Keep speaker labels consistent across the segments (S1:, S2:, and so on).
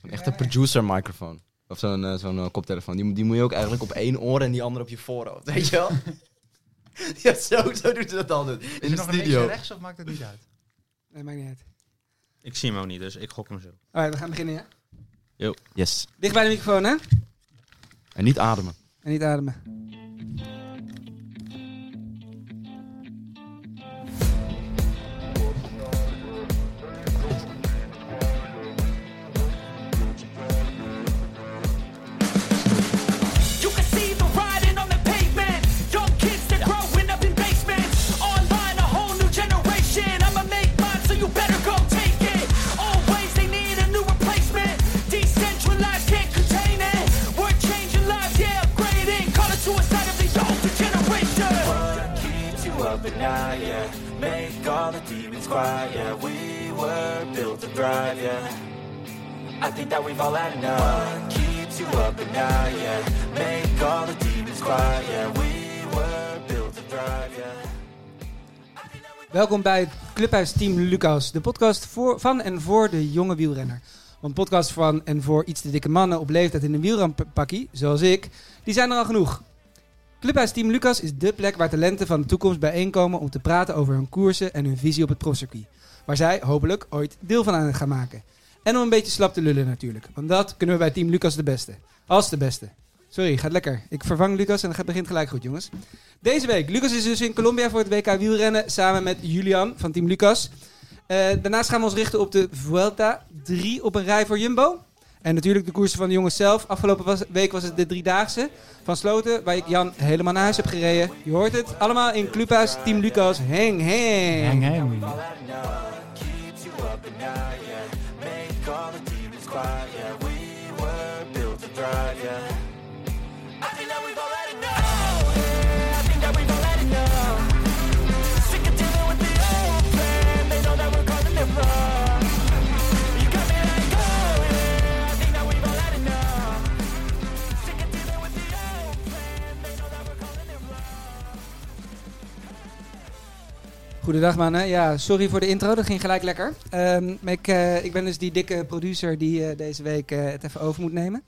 S1: Een echte producer microfoon. Of zo'n eh, zo'n eh, koptelefoor. Die, moet- die moet je ook eigenlijk op één oor en die andere op je voorhoofd. Weet je wel? ja, zo, zo doet ze dat altijd.
S2: Is
S1: In
S2: er
S1: de
S2: nog een links en
S1: studio.
S2: rechts of maakt het niet uit?
S3: Nee, maakt niet uit.
S4: Ik zie hem ook niet, dus ik gok hem zo.
S3: Alright, we gaan beginnen, ja?
S1: Yes.
S3: Dicht bij de microfoon, hè?
S1: En niet ademen.
S3: En niet ademen.
S5: You can see the riding on the pavement. Young kids that growing up in basements. Online, a whole new generation. I'ma make mine, so you better go take it. Always they need a new replacement. Decentralized, can't contain it. We're changing lives, yeah, upgrading. Call it suicide of the older generation.
S6: keeps you up at night, yeah. Make all the demons quiet, yeah. We were built to thrive, yeah. I think that we've all had enough. What keeps you up at night, yeah. Make all the demons quiet, yeah. We were built to thrive, yeah.
S3: Welkom bij het Clubhuis Team Lucas, de podcast voor, van en voor de jonge wielrenner. Want podcasts van en voor iets te dikke mannen op leeftijd in een wielrenpakkie, zoals ik, die zijn er al genoeg. Clubhuis Team Lucas is dé plek waar talenten van de toekomst bijeenkomen om te praten over hun koersen en hun visie op het profcircuit. Waar zij hopelijk ooit deel van aan gaan maken. En om een beetje slap te lullen natuurlijk, want dat kunnen we bij Team Lucas de beste. Als de beste. Sorry, gaat lekker. Ik vervang Lucas en het begint gelijk goed, jongens. Deze week. Lucas is dus in Colombia voor het WK wielrennen samen met Julian van Team Lucas. Eh, daarnaast gaan we ons richten op de Vuelta. Drie op een rij voor Jumbo. En natuurlijk de koersen van de jongens zelf. Afgelopen was- week was het de driedaagse van Sloten, waar ik Jan helemaal naar huis heb gereden. Je hoort het, allemaal in Clubhuis Team Lucas. Heng, heng.
S2: Hang, hang.
S6: Keeps you up at night, yeah. Make all the demons quiet, yeah. We were built to thrive, yeah.
S5: I think that we've all had enough. Yeah, I think that we've all had enough. Sick of dealing with the old plan. They know that we're causing it wrong. You got me like, oh, yeah, I think that we've all had enough. Sick of dealing with the old plan. They know that we're causing it wrong.
S3: Goedendag mannen. Ja, sorry voor de intro, dat ging gelijk lekker. Ehm, maar ik, eh, ik ben dus die dikke producer die eh, deze week eh, het even over moet nemen.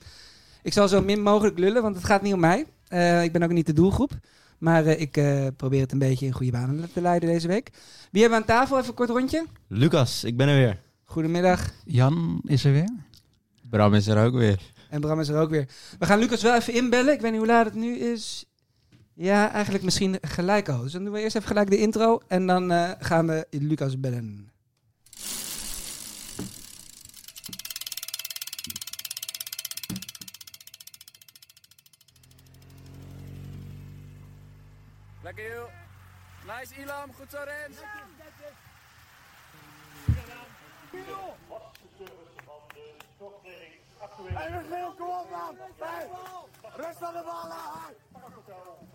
S3: Ik zal zo min mogelijk lullen, want het gaat niet om mij. Eh, ik ben ook niet de doelgroep. Maar eh, ik eh, probeer het een beetje in goede banen te leiden deze week. Wie hebben we aan tafel? Even een kort rondje.
S1: Lucas, ik ben er weer.
S3: Goedemiddag.
S2: Jan is er weer.
S4: Bram is er ook weer.
S3: En Bram is er ook weer. We gaan Lucas wel even inbellen. Ik weet niet hoe laat het nu is. Ja, eigenlijk misschien gelijk al. Dus dan doen we eerst even gelijk de intro. En dan eh, gaan we Lucas bellen.
S5: Lekker joh. Nice Ilam, goed zo Rens.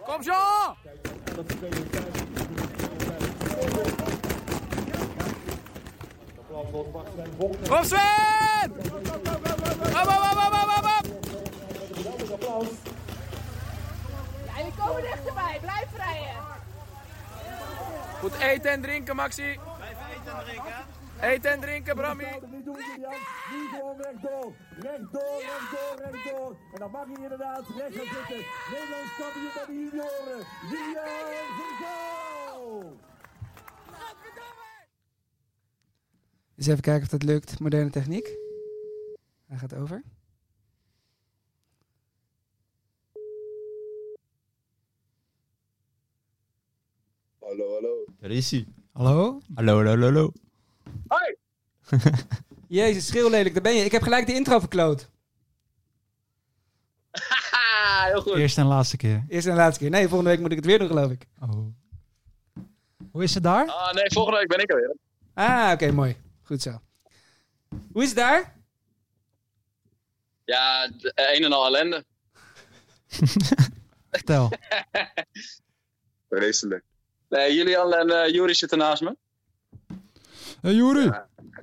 S5: Kom Jean! Kom Sven! Op, op, op, op, op, op, op!
S7: Ja, jullie komen dichterbij. Blijf vrijen.
S5: Goed eten en drinken, Maxi. Blijf eten en drinken. Eten en drinken, Brammy.
S3: Eens even kijken of dat lukt. Moderne techniek. Hij gaat over.
S1: Daar is hij.
S2: Hallo?
S4: Hallo, hallo, hallo.
S3: Jezus, schreeuw lelijk, daar ben je. Ik heb gelijk de intro verkloot.
S2: Eerste en laatste keer.
S3: Eerst en laatste keer. Nee, volgende week moet ik het weer doen, geloof ik.
S2: Oh. Hoe is het daar?
S8: Ah, nee, volgende week ben ik er weer.
S3: Ah, oké, mooi. Goed zo. Hoe is het daar?
S8: Ja, de- eh, een en al ellende.
S2: Vertel.
S9: Vreselijk.
S8: Nee, Julian en eh Juri zitten naast me.
S2: Hey, Juri.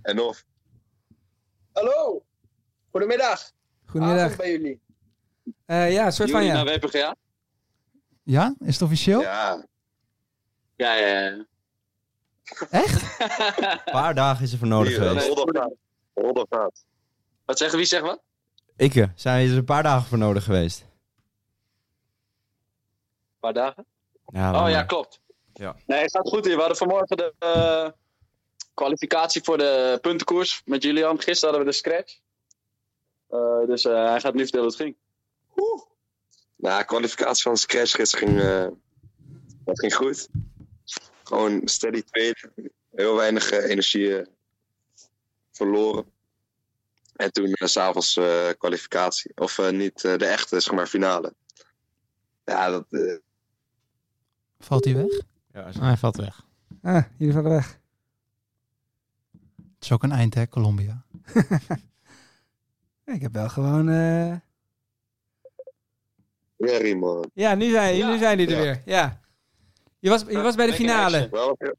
S9: En of.
S8: Hallo, goedemiddag.
S3: Goedemiddag.
S8: bij jullie.
S3: Eh, ja, een soort van
S8: Juri
S3: ja.
S8: naar WPGA?
S2: Ja? Is het officieel?
S9: Ja,
S8: Ja, ja, ja.
S2: Echt?
S1: Een paar dagen is er voor nodig
S9: hier,
S1: geweest.
S9: Roddervaart. Roddervaart.
S8: Wat zeggen, wie zegt wat?
S1: Ikke, eh, zijn we er een paar dagen voor nodig geweest?
S8: Een paar dagen.
S1: Ja,
S8: Oh
S1: maar-
S8: ja,
S1: eh,
S8: klopt.
S1: Ja.
S8: Nee, het gaat goed hier. We hadden vanmorgen de eh, kwalificatie voor de puntenkoers met Julian. Gisteren hadden we de scratch. Eh, dus eh, hij gaat nu vertellen hoe het ging.
S9: Nou, kwalificatie van Scratch gisteren ging, eh, dat ging goed. Gewoon steady tweede. Heel weinig eh, energie eh, verloren. En toen eh, s s'avonds eh, kwalificatie. Of eh, niet eh, de echte, zeg maar, finale. Ja, dat, eh,
S2: Valt hij weg?
S1: Ja,
S4: hij valt weg.
S3: Ah, jullie vallen weg.
S2: Het is ook een eind, hè, Colombia.
S3: Ik heb wel gewoon... eh,
S9: Jerry, man.
S3: Ja, nu zijn,
S8: Ja.
S3: nu zijn jullie er
S9: Ja.
S3: weer. Ja. Je was, je was bij de
S8: Lekker
S3: finale.
S8: action.
S9: Wel, eh,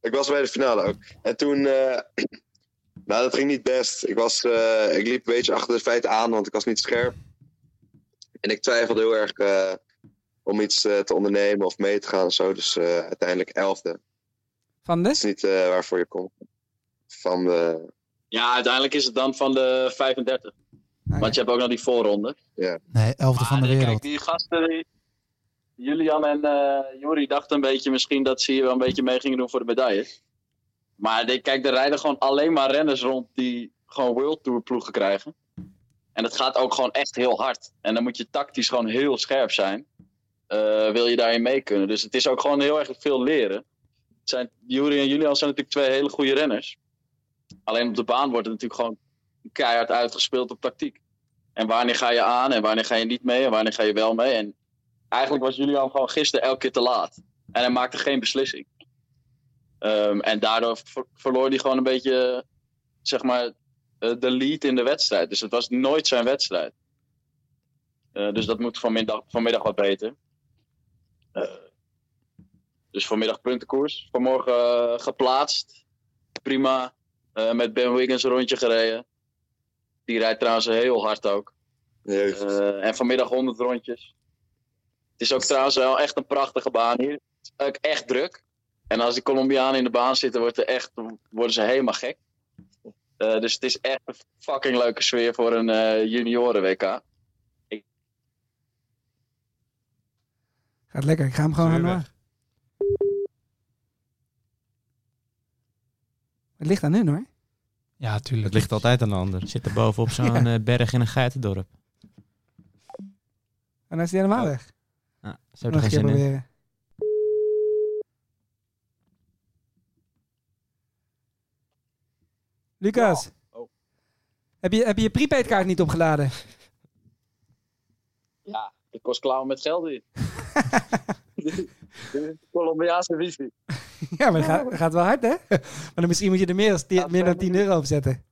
S9: ik was bij de finale ook. En toen... eh, nou, dat ging niet best. Ik, was, eh, ik liep een beetje achter de feiten aan, want ik was niet scherp. En ik twijfelde heel erg eh, om iets eh, te ondernemen of mee te gaan en zo. Dus eh, uiteindelijk elfde. Het
S3: Van
S9: is
S3: de?
S9: niet eh, waarvoor je komt. Van de...
S8: Ja, uiteindelijk is het dan van de 35.
S3: Ah,
S8: Want je hebt ook nog die voorronde.
S2: Nee, elfde van de
S8: Maar, eh,
S2: wereld.
S8: Kijk, die gasten, die- Julian en eh Jori dachten een beetje misschien dat ze hier wel een beetje mee gingen doen voor de medailles. Maar die- kijk, er rijden gewoon alleen maar renners rond die gewoon World Tour ploegen krijgen. En het gaat ook gewoon echt heel hard. En dan moet je tactisch gewoon heel scherp zijn. eh, wil je daarin mee kunnen. Dus het is ook gewoon heel erg veel leren. Het Zijn, Juri en Julian zijn natuurlijk twee hele goede renners. Alleen op de baan wordt het natuurlijk gewoon keihard uitgespeeld op tactiek. En wanneer ga je aan en wanneer ga je niet mee en wanneer ga je wel mee. En eigenlijk was Julian gewoon gisteren elke keer te laat. En hij maakte geen beslissing. Ehm, en daardoor ver- verloor hij gewoon een beetje, eh, zeg maar, eh, de lead in de wedstrijd. Dus het was nooit zijn wedstrijd. Eh, dus dat moet vanmiddag, vanmiddag wat beter. Eh, dus vanmiddag puntenkoers. Vanmorgen eh, geplaatst. Prima. Eh, met Ben Wiggins een rondje gereden. Die rijdt trouwens heel hard ook.
S9: jeugd.
S8: Eh, en vanmiddag 100 rondjes. Het is ook trouwens wel echt een prachtige baan hier. Het is ook echt druk. En als die Colombianen in de baan zitten, wordt er echt, worden ze helemaal gek. Eh, dus het is echt een fucking leuke sfeer voor een eh, junioren WK.
S3: Gaat lekker, ik ga hem gewoon
S4: Is
S3: aan
S4: weer
S3: door. Het ligt aan hun hoor. Oh,
S2: Ja,
S4: eh,
S2: tuurlijk.
S1: Het ligt altijd aan de ander.
S4: Zit er bovenop zo'n eh, berg in een geitendorp.
S3: En dan is hij helemaal weg.
S4: Nou, zou er
S3: Nog een
S4: geen
S3: keer
S4: zin in.
S3: proberen. Lucas.
S8: Oh.
S3: Heb je, heb je je prepaid kaart niet opgeladen?
S8: Ja, ik kost klauwen met geld hier. Dit is Colombiaanse wifi.
S3: Ja, maar dat gaat, dat gaat wel hard, hè? Maar dan misschien moet je er meer, als ti-
S8: Ja,
S3: meer dan
S8: vijf
S3: 10 euro op zetten.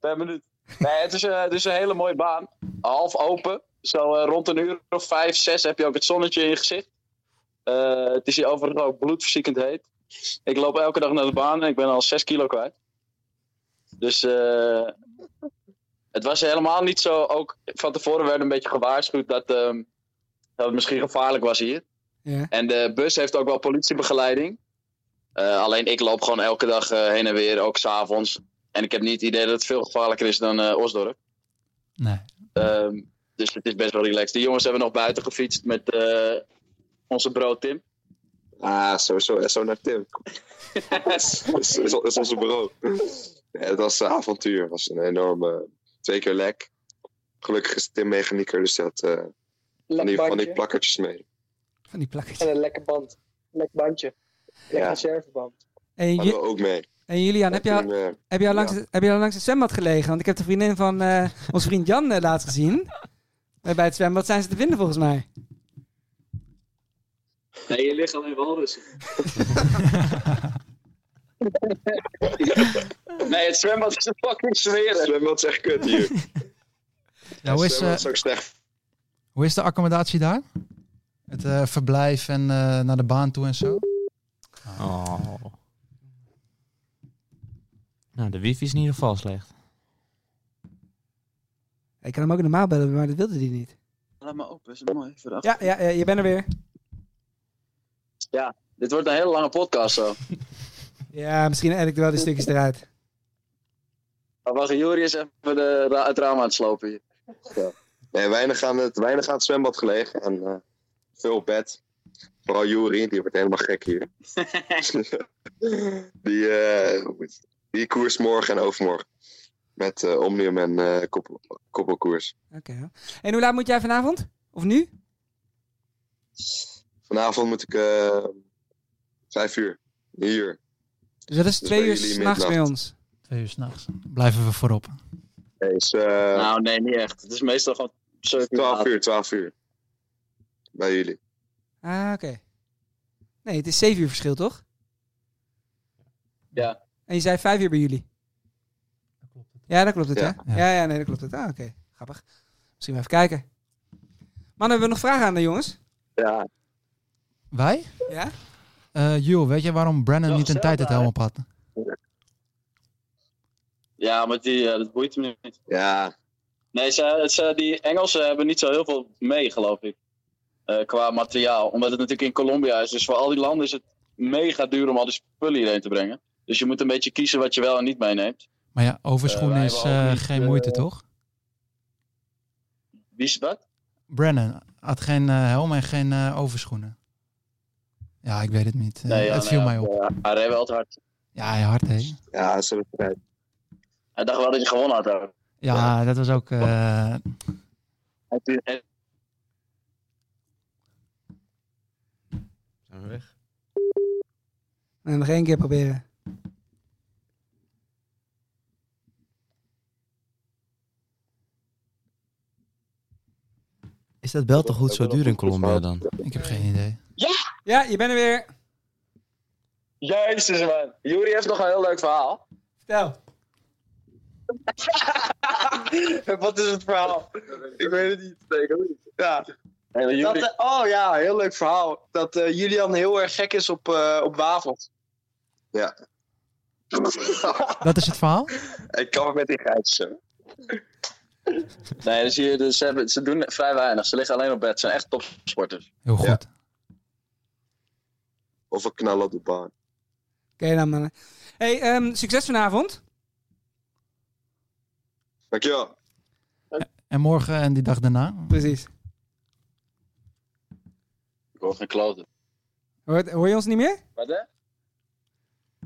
S8: per minuut. Nee, het is, eh, het is een hele mooie baan. Half open. Zo eh, rond een uur of vijf, zes heb je ook het zonnetje in je gezicht. Eh, het is hier overigens ook bloedverziekend heet. Ik loop elke dag naar de baan en ik ben al zes kilo kwijt. Dus eh, het was helemaal niet zo. Ook van tevoren werd een beetje gewaarschuwd dat, ehm, dat het misschien gevaarlijk was hier.
S3: Ja.
S8: En de bus heeft ook wel politiebegeleiding. Eh, alleen ik loop gewoon elke dag eh, heen en weer, ook s'avonds. En ik heb niet het idee dat het veel gevaarlijker is dan eh Osdorp.
S2: Nee.
S8: Ehm, dus het is best wel relaxed. Die jongens hebben nog buiten gefietst met eh, onze bro Tim.
S9: Ah, sowieso. SO naar Tim. dat, is, is- is onze bureau. Ja, het was een avontuur. Het was een enorme... Twee keer lek. Gelukkig is Tim mechanieker, dus die had eh, van, die, van die plakkertjes mee.
S3: Van die plakketjes.
S10: En een lekker band. Lekker bandje. Lekker
S9: Ja.
S10: reserveband.
S3: En,
S9: Hadden
S3: Ju-
S9: we ook mee.
S3: en Julian, heb je, al-
S9: Toen, eh,
S3: heb, je al langs, het- heb je al langs het zwembad gelegen? Want ik heb de vriendin van eh ons vriend Jan eh, laatst gezien. Eh, Bij het zwembad zijn ze te vinden volgens mij.
S8: Nee, je ligt alleen walrus. nee, het zwembad is een fucking
S9: Het
S8: smeren.
S9: zwembad is echt kut hier.
S2: Ja, hoe,
S9: Het
S2: is,
S9: zwembad
S2: eh,
S9: is ook slecht.
S2: hoe is de accommodatie daar? Het eh, verblijf en eh, naar de baan toe en zo?
S4: Oh. Nou, de wifi is in ieder geval slecht.
S3: Ik kan hem ook normaal bellen, maar dat wilde hij niet.
S8: Laat maar open, is het mooi.
S3: Ja, ja, eh, je bent er weer.
S8: Dit wordt een hele lange podcast zo.
S3: Ja, misschien edit ik wel die stukjes eruit.
S8: Maar wacht, Jori is even de, ra- het raam aan het slopen hier.
S9: Ja. Nee, weinig aan het, weinig aan het zwembad gelegen en eh, veel op bed. Vooral Juri, die wordt helemaal gek hier. die, eh, die koers morgen en overmorgen. Met eh, Omnium en eh, koppel, koppelkoers.
S3: Oké. ja. En hoe laat moet jij vanavond? Of nu?
S9: Vanavond moet ik eh vijf uur. Hier.
S3: Dus dat is
S9: Dus
S3: twee
S9: bij
S3: uur
S9: jullie
S3: s'nachts bij
S9: midnacht.
S3: ons.
S2: Twee uur s'nachts. Blijven we voorop.
S8: nou, nee, niet echt. Het is meestal gewoon 7 uur.
S9: 12
S8: later.
S9: Eh, uur, 12 uur. Bij jullie.
S3: Ah, oké. Nee, het is zeven uur verschil, toch?
S8: Ja.
S3: En je zei vijf uur bij jullie. Ja, dat klopt het,
S9: Ja.
S3: hè? Ja, ja, nee, dat klopt het. Ah, oké. Grappig. Misschien maar even kijken. Mannen, hebben we nog vragen aan de jongens?
S9: Ja.
S2: Wij?
S3: Ja?
S2: Eh Jules, weet jij waarom Brandon niet een tijd het helemaal had?
S8: Ja, maar die, eh, dat boeit hem niet.
S9: Ja.
S8: Nee, ze, ze- die Engelsen hebben niet zo heel veel mee, geloof ik. Eh, qua materiaal. Omdat het natuurlijk in Colombia is. Dus voor al die landen is het mega duur om al die spullen hierheen te brengen. Dus je moet een beetje kiezen wat je wel en niet meeneemt.
S2: Maar ja, overschoen
S8: Eh, wij
S2: is
S8: hebben ook
S2: eh,
S8: niet,
S2: geen
S8: eh,
S2: moeite, toch?
S8: Wie is dat?
S2: Eh, Brandon had geen eh, helm en geen eh, overschoenen. Ja, ik weet het niet. Eh,
S8: Nee, ja,
S2: het
S8: nou
S2: viel
S8: ja,
S2: mij op.
S8: eh, hij reed wel te hard.
S2: Ja, ja hard, hè?
S9: Ja, ze hebben het
S8: Hij dacht wel dat je gewonnen had. daar.
S2: Ja, dat was ook... eh,
S8: Hij-
S1: Zijn we weg?
S3: En nog één keer proberen.
S1: Is dat bel toch goed zo duur in Colombia dan?
S2: ik heb geen idee.
S3: Ja, je bent er weer.
S8: Jezus man. Juri heeft nog een heel leuk verhaal.
S3: Vertel.
S8: Wat is het verhaal?
S9: Ik weet het niet.
S10: Ja. Dat, eh, oh ja, heel leuk verhaal. Dat eh, Julian heel erg gek is op, eh, op wafels.
S9: Ja.
S2: Dat is het verhaal?
S9: ik kan het met die geitjes.
S8: Nee, dus hier, dus ze, hebben, ze doen vrij weinig. Ze liggen alleen op bed. Ze zijn echt topsporters.
S2: Heel goed.
S9: Ja. Of een knal op de baan.
S3: Oké dan, mannen. hey, ehm, succes vanavond.
S9: Dankjewel.
S2: En morgen en die dag daarna?
S3: Precies.
S8: Ik hoor geen kloten.
S3: Hoor, hoor je ons niet meer?
S8: Wat hè?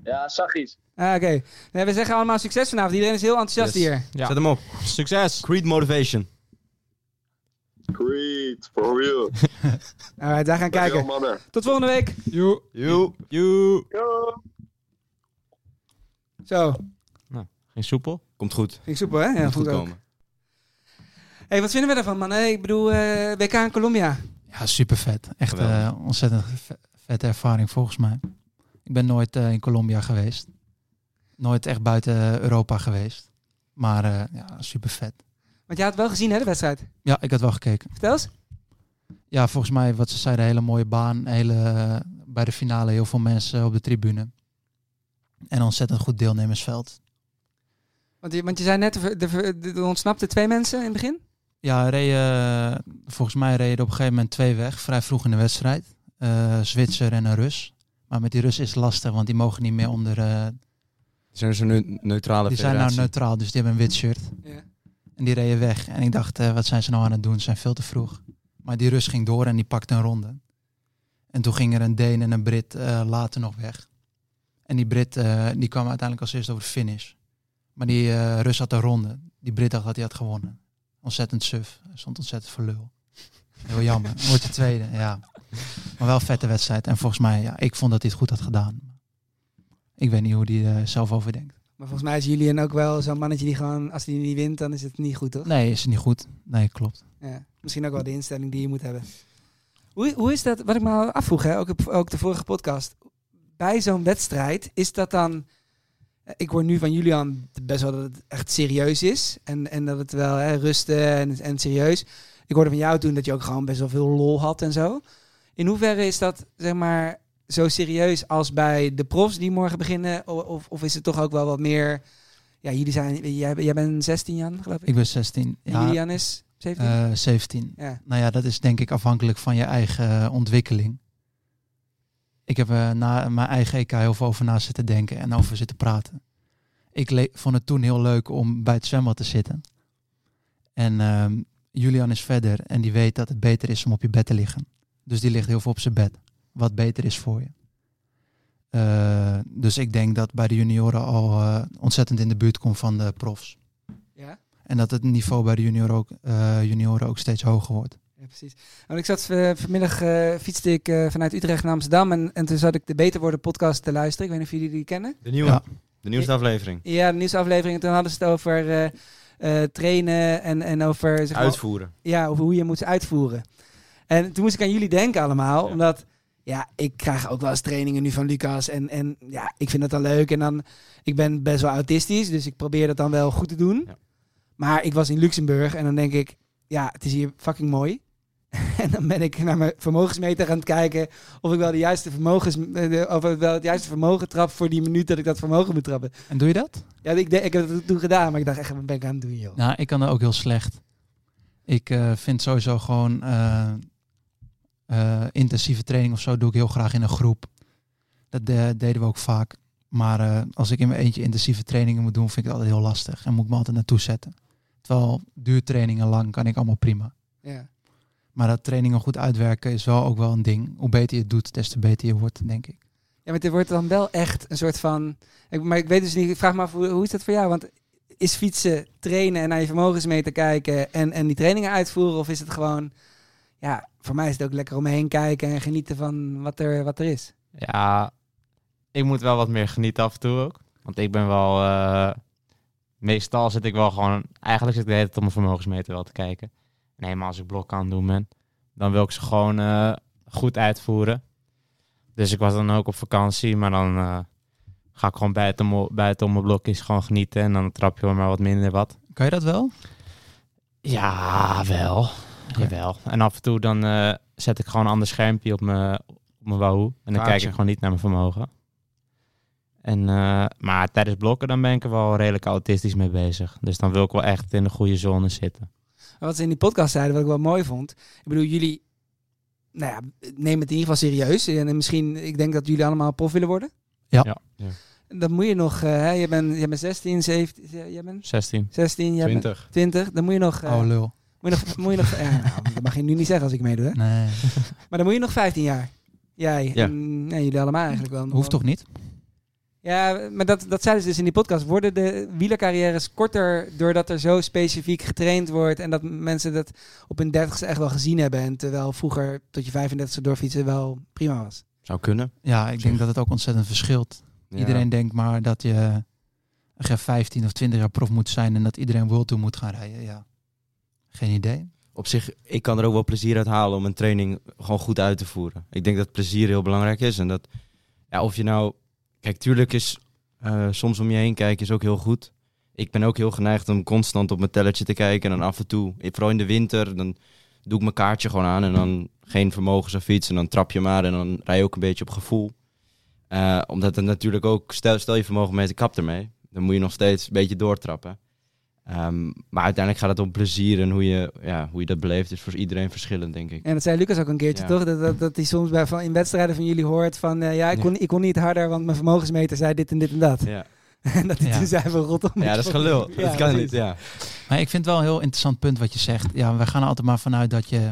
S8: Ja, zag iets.
S3: Ah, oké. Nee, we zeggen allemaal succes vanavond. Iedereen is heel enthousiast
S1: Yes.
S3: hier.
S4: Ja.
S1: Zet hem op.
S4: Succes!
S1: Creed Motivation.
S9: Creed, for real.
S3: Alright, Nou, daar gaan
S9: Dankjewel,
S3: kijken.
S9: mannen.
S3: Tot volgende week. Joe.
S1: You. You.
S3: Zo,
S4: Geen soepel.
S1: Komt goed.
S3: ging soepel hè? Ja,
S1: Komt
S3: goed
S1: goed
S3: ook.
S1: komen.
S3: hey, wat vinden we daarvan, man? Hey, ik bedoel, eh, WK in Colombia.
S2: Ja, super vet. Echt eh,
S1: Geweldig.
S2: ontzettend ve- vette ervaring volgens mij. Ik ben nooit eh, in Colombia geweest. Nooit echt buiten Europa geweest. Maar eh, ja, super vet.
S3: Want jij had wel gezien, hè, de wedstrijd.
S2: Ja, ik had wel gekeken.
S3: Vertel eens.
S2: Ja, volgens mij, wat ze zeiden, hele mooie baan. Hele, eh, bij de finale heel veel mensen op de tribune. En ontzettend goed deelnemersveld.
S3: Want je, want je zei net, er, er, er ontsnapten twee mensen in het begin.
S2: Ja, reden, volgens mij reden er op een gegeven moment twee weg, vrij vroeg in de wedstrijd. Eh, Zwitser en een Rus. Maar met die Russen is het lastig, want die mogen niet meer onder... eh,
S1: Zijn er zo'n neu- neutrale
S2: die zijn nou
S1: federatie?
S2: neutraal, dus die hebben een wit shirt.
S3: Ja.
S2: En die reden weg. En ik dacht, eh, wat zijn ze nou aan het doen? Ze zijn veel te vroeg. Maar die Rus ging door en die pakte een ronde. En toen ging er een Deen en een Brit eh, later nog weg. En die Brit eh, die kwam uiteindelijk als eerste over de finish. Maar die eh, Rus had een ronde. Die Brit dacht dat hij had gewonnen. Ontzettend suf. Hij Stond ontzettend voor lul. Heel jammer. Wordt de tweede, ja. Maar wel een vette wedstrijd. En volgens mij, ja, ik vond dat hij het goed had gedaan. Ik weet niet hoe hij er zelf over denkt.
S3: Maar volgens mij is Julian ook wel zo'n mannetje die gewoon, als hij niet wint, dan is het niet goed, toch?
S2: Nee, is het niet goed? Nee, klopt.
S3: Ja. Misschien ook wel de instelling die je moet hebben. Hoe, hoe is dat, wat ik me afvroeg, hè, ook, op, ook de vorige podcast. Bij zo'n wedstrijd is dat dan... eh, Ik hoor nu van Julian best wel dat het echt serieus is. En, en dat het wel hè, rusten en, en serieus. Ik hoorde van jou toen dat je ook gewoon best wel veel lol had en zo. In hoeverre is dat, zeg maar, zo serieus als bij de profs die morgen beginnen? O- Of, of is het toch ook wel wat meer... Ja, jullie zijn... Jij, jij bent 16, Jan, geloof ik?
S2: Ik ben 16.
S3: En
S2: Ja,
S3: Julian is 17?
S2: eh 17.
S3: ja.
S2: Nou ja, dat is denk ik afhankelijk van je eigen eh, ontwikkeling. E Ik heb eh, na mijn eigen EK heel veel over na zitten denken en over zitten praten. Ik le- vond het toen heel leuk om bij het zwembad te zitten. En ehm, Julian is verder en die weet dat het beter is om op je bed te liggen. Dus die ligt heel veel op zijn bed. Wat beter is voor je. Eh, dus ik denk dat bij de junioren al eh, ontzettend in de buurt komt van de profs.
S3: Ja?
S2: En dat het niveau bij de junior ook, eh, junioren ook steeds hoger wordt.
S3: Ja, precies. Want ik zat eh, vanmiddag, eh, fietste ik eh, vanuit Utrecht naar Amsterdam en, en toen zat ik de Beter Worden podcast te luisteren. Ik weet niet of jullie die kennen.
S4: De nieuwe.
S2: Ja.
S4: De nieuwste aflevering.
S3: Ja, de nieuwsaflevering. En toen hadden ze het over eh, eh, trainen en, en over... Zeg maar-
S4: Uitvoeren.
S3: ja, over hoe je moet uitvoeren. En toen moest ik aan jullie denken allemaal, omdat... Ja, ik krijg ook wel eens trainingen nu van Lucas. En, en ja, ik vind dat dan leuk. En dan, ik ben best wel autistisch, dus ik probeer dat dan wel goed te doen. Maar ik was in Luxemburg en dan denk ik, ja, het is hier fucking mooi. En dan ben ik naar mijn vermogensmeter aan het kijken of ik wel, de juiste vermogens, eh, de- of ik wel het juiste vermogen trap voor die minuut dat ik dat vermogen moet trappen.
S2: En doe je dat?
S3: Ja, ik, de- ik heb dat toen gedaan, maar ik dacht echt, wat ben ik aan het doen, joh?
S2: Nou, ik kan dat ook heel slecht. Ik eh, vind sowieso gewoon eh, eh, intensieve training of zo doe ik heel graag in een groep. Dat de- deden we ook vaak. Maar eh, als ik in mijn eentje intensieve trainingen moet doen, vind ik het altijd heel lastig. En moet ik me altijd naartoe zetten. Terwijl duurtrainingen lang kan ik allemaal prima.
S3: Ja.
S2: Maar dat trainingen goed uitwerken is wel ook wel een ding. Hoe beter je het doet, des te beter je wordt, denk ik.
S3: Ja, maar dit wordt dan wel echt een soort van. Ik, maar ik weet dus niet. Ik vraag me af hoe, hoe is dat voor jou? Want is fietsen, trainen en naar je vermogensmeter kijken en, en die trainingen uitvoeren? Of is het gewoon. Ja, voor mij is het ook lekker om me heen kijken en genieten van wat er, wat er is.
S4: Ja, ik moet wel wat meer genieten af en toe ook. Want ik ben wel... eh, meestal zit ik wel gewoon... Eigenlijk zit ik de hele tijd op mijn vermogensmeter wel te kijken. En helemaal als ik blok aan het doen ben. Dan wil ik ze gewoon eh, goed uitvoeren. Dus ik was dan ook op vakantie. Maar dan eh, ga ik gewoon buiten, mo- buiten om mijn blokjes gewoon genieten. En dan trap je wel maar wat minder wat.
S2: Kan je dat wel?
S4: Ja, wel. Jawel. En af en toe dan eh, zet ik gewoon een ander schermpje op mijn, op mijn Wahoo. En dan
S1: Kaartje.
S4: kijk ik gewoon niet naar mijn vermogen. En, eh, maar tijdens blokken dan ben ik er wel redelijk autistisch mee bezig. Dus dan wil ik wel echt in de goede zone zitten.
S3: Maar wat ze in die podcast zeiden, wat ik wel mooi vond. Ik bedoel, jullie. Nou ja, neem het in ieder geval serieus. En misschien, ik denk dat jullie allemaal prof willen worden.
S2: Ja.
S4: Ja.
S3: Dan moet je nog. eh, hè, je, bent, je bent 16, 17. Jij bent
S4: 16.
S3: 16, jij bent
S1: 20.
S3: 20. Dan moet je nog. eh,
S2: Oh, lul.
S3: Moet je nog, moet je nog ja, nou, dat mag je nu niet zeggen als ik meedoe. Hè?
S2: Nee,
S3: Maar dan moet je nog 15 jaar. Jij
S1: Ja.
S3: en nee, jullie allemaal eigenlijk wel.
S2: hoeft toch niet?
S3: Ja, maar dat, dat zeiden ze dus in die podcast. Worden de wielercarrières korter doordat er zo specifiek getraind wordt en dat mensen dat op hun 30ste echt wel gezien hebben. En terwijl vroeger tot je 35ste doorfietsen wel prima was.
S1: Zou kunnen.
S2: Ja, ik denk dat het ook ontzettend verschilt.
S1: Ja.
S2: Iedereen denkt maar dat je geen 15 of 20 jaar prof moet zijn en dat iedereen World Tour moet gaan rijden. Ja. Geen idee.
S1: Op zich, ik kan er ook wel plezier uit halen om een training gewoon goed uit te voeren. Ik denk dat plezier heel belangrijk is. En dat, ja, of je nou... Kijk, tuurlijk is eh, soms om je heen kijken is ook heel goed. Ik ben ook heel geneigd om constant op mijn tellertje te kijken. En dan af en toe, eh, vooral in de winter, dan doe ik mijn kaartje gewoon aan. En dan geen vermogens of fiets. En dan trap je maar. En dan rij je ook een beetje op gevoel. Eh, omdat het natuurlijk ook... Stel, stel je vermogen mee, kap ermee. Dan moet je nog steeds een beetje doortrappen. Ehm, maar uiteindelijk gaat het om plezier en hoe je, ja, hoe je dat beleeft is voor iedereen verschillend, denk ik.
S3: En dat zei Lucas ook een keertje,
S1: Ja.
S3: toch? Dat, dat, dat hij soms bij, van, in wedstrijden van jullie hoort van... eh, ja, ik
S1: Ja.
S3: kon, ik kon niet harder, want mijn vermogensmeter zei dit en dit en dat.
S1: Ja,
S3: En dat hij
S2: Ja.
S3: toen zei van rot op.
S1: ja dat is gelul.
S3: Ja,
S1: dat kan
S3: precies.
S1: niet, ja.
S2: Maar ik vind het wel een heel interessant punt wat je zegt. Ja, wij gaan er altijd maar vanuit dat je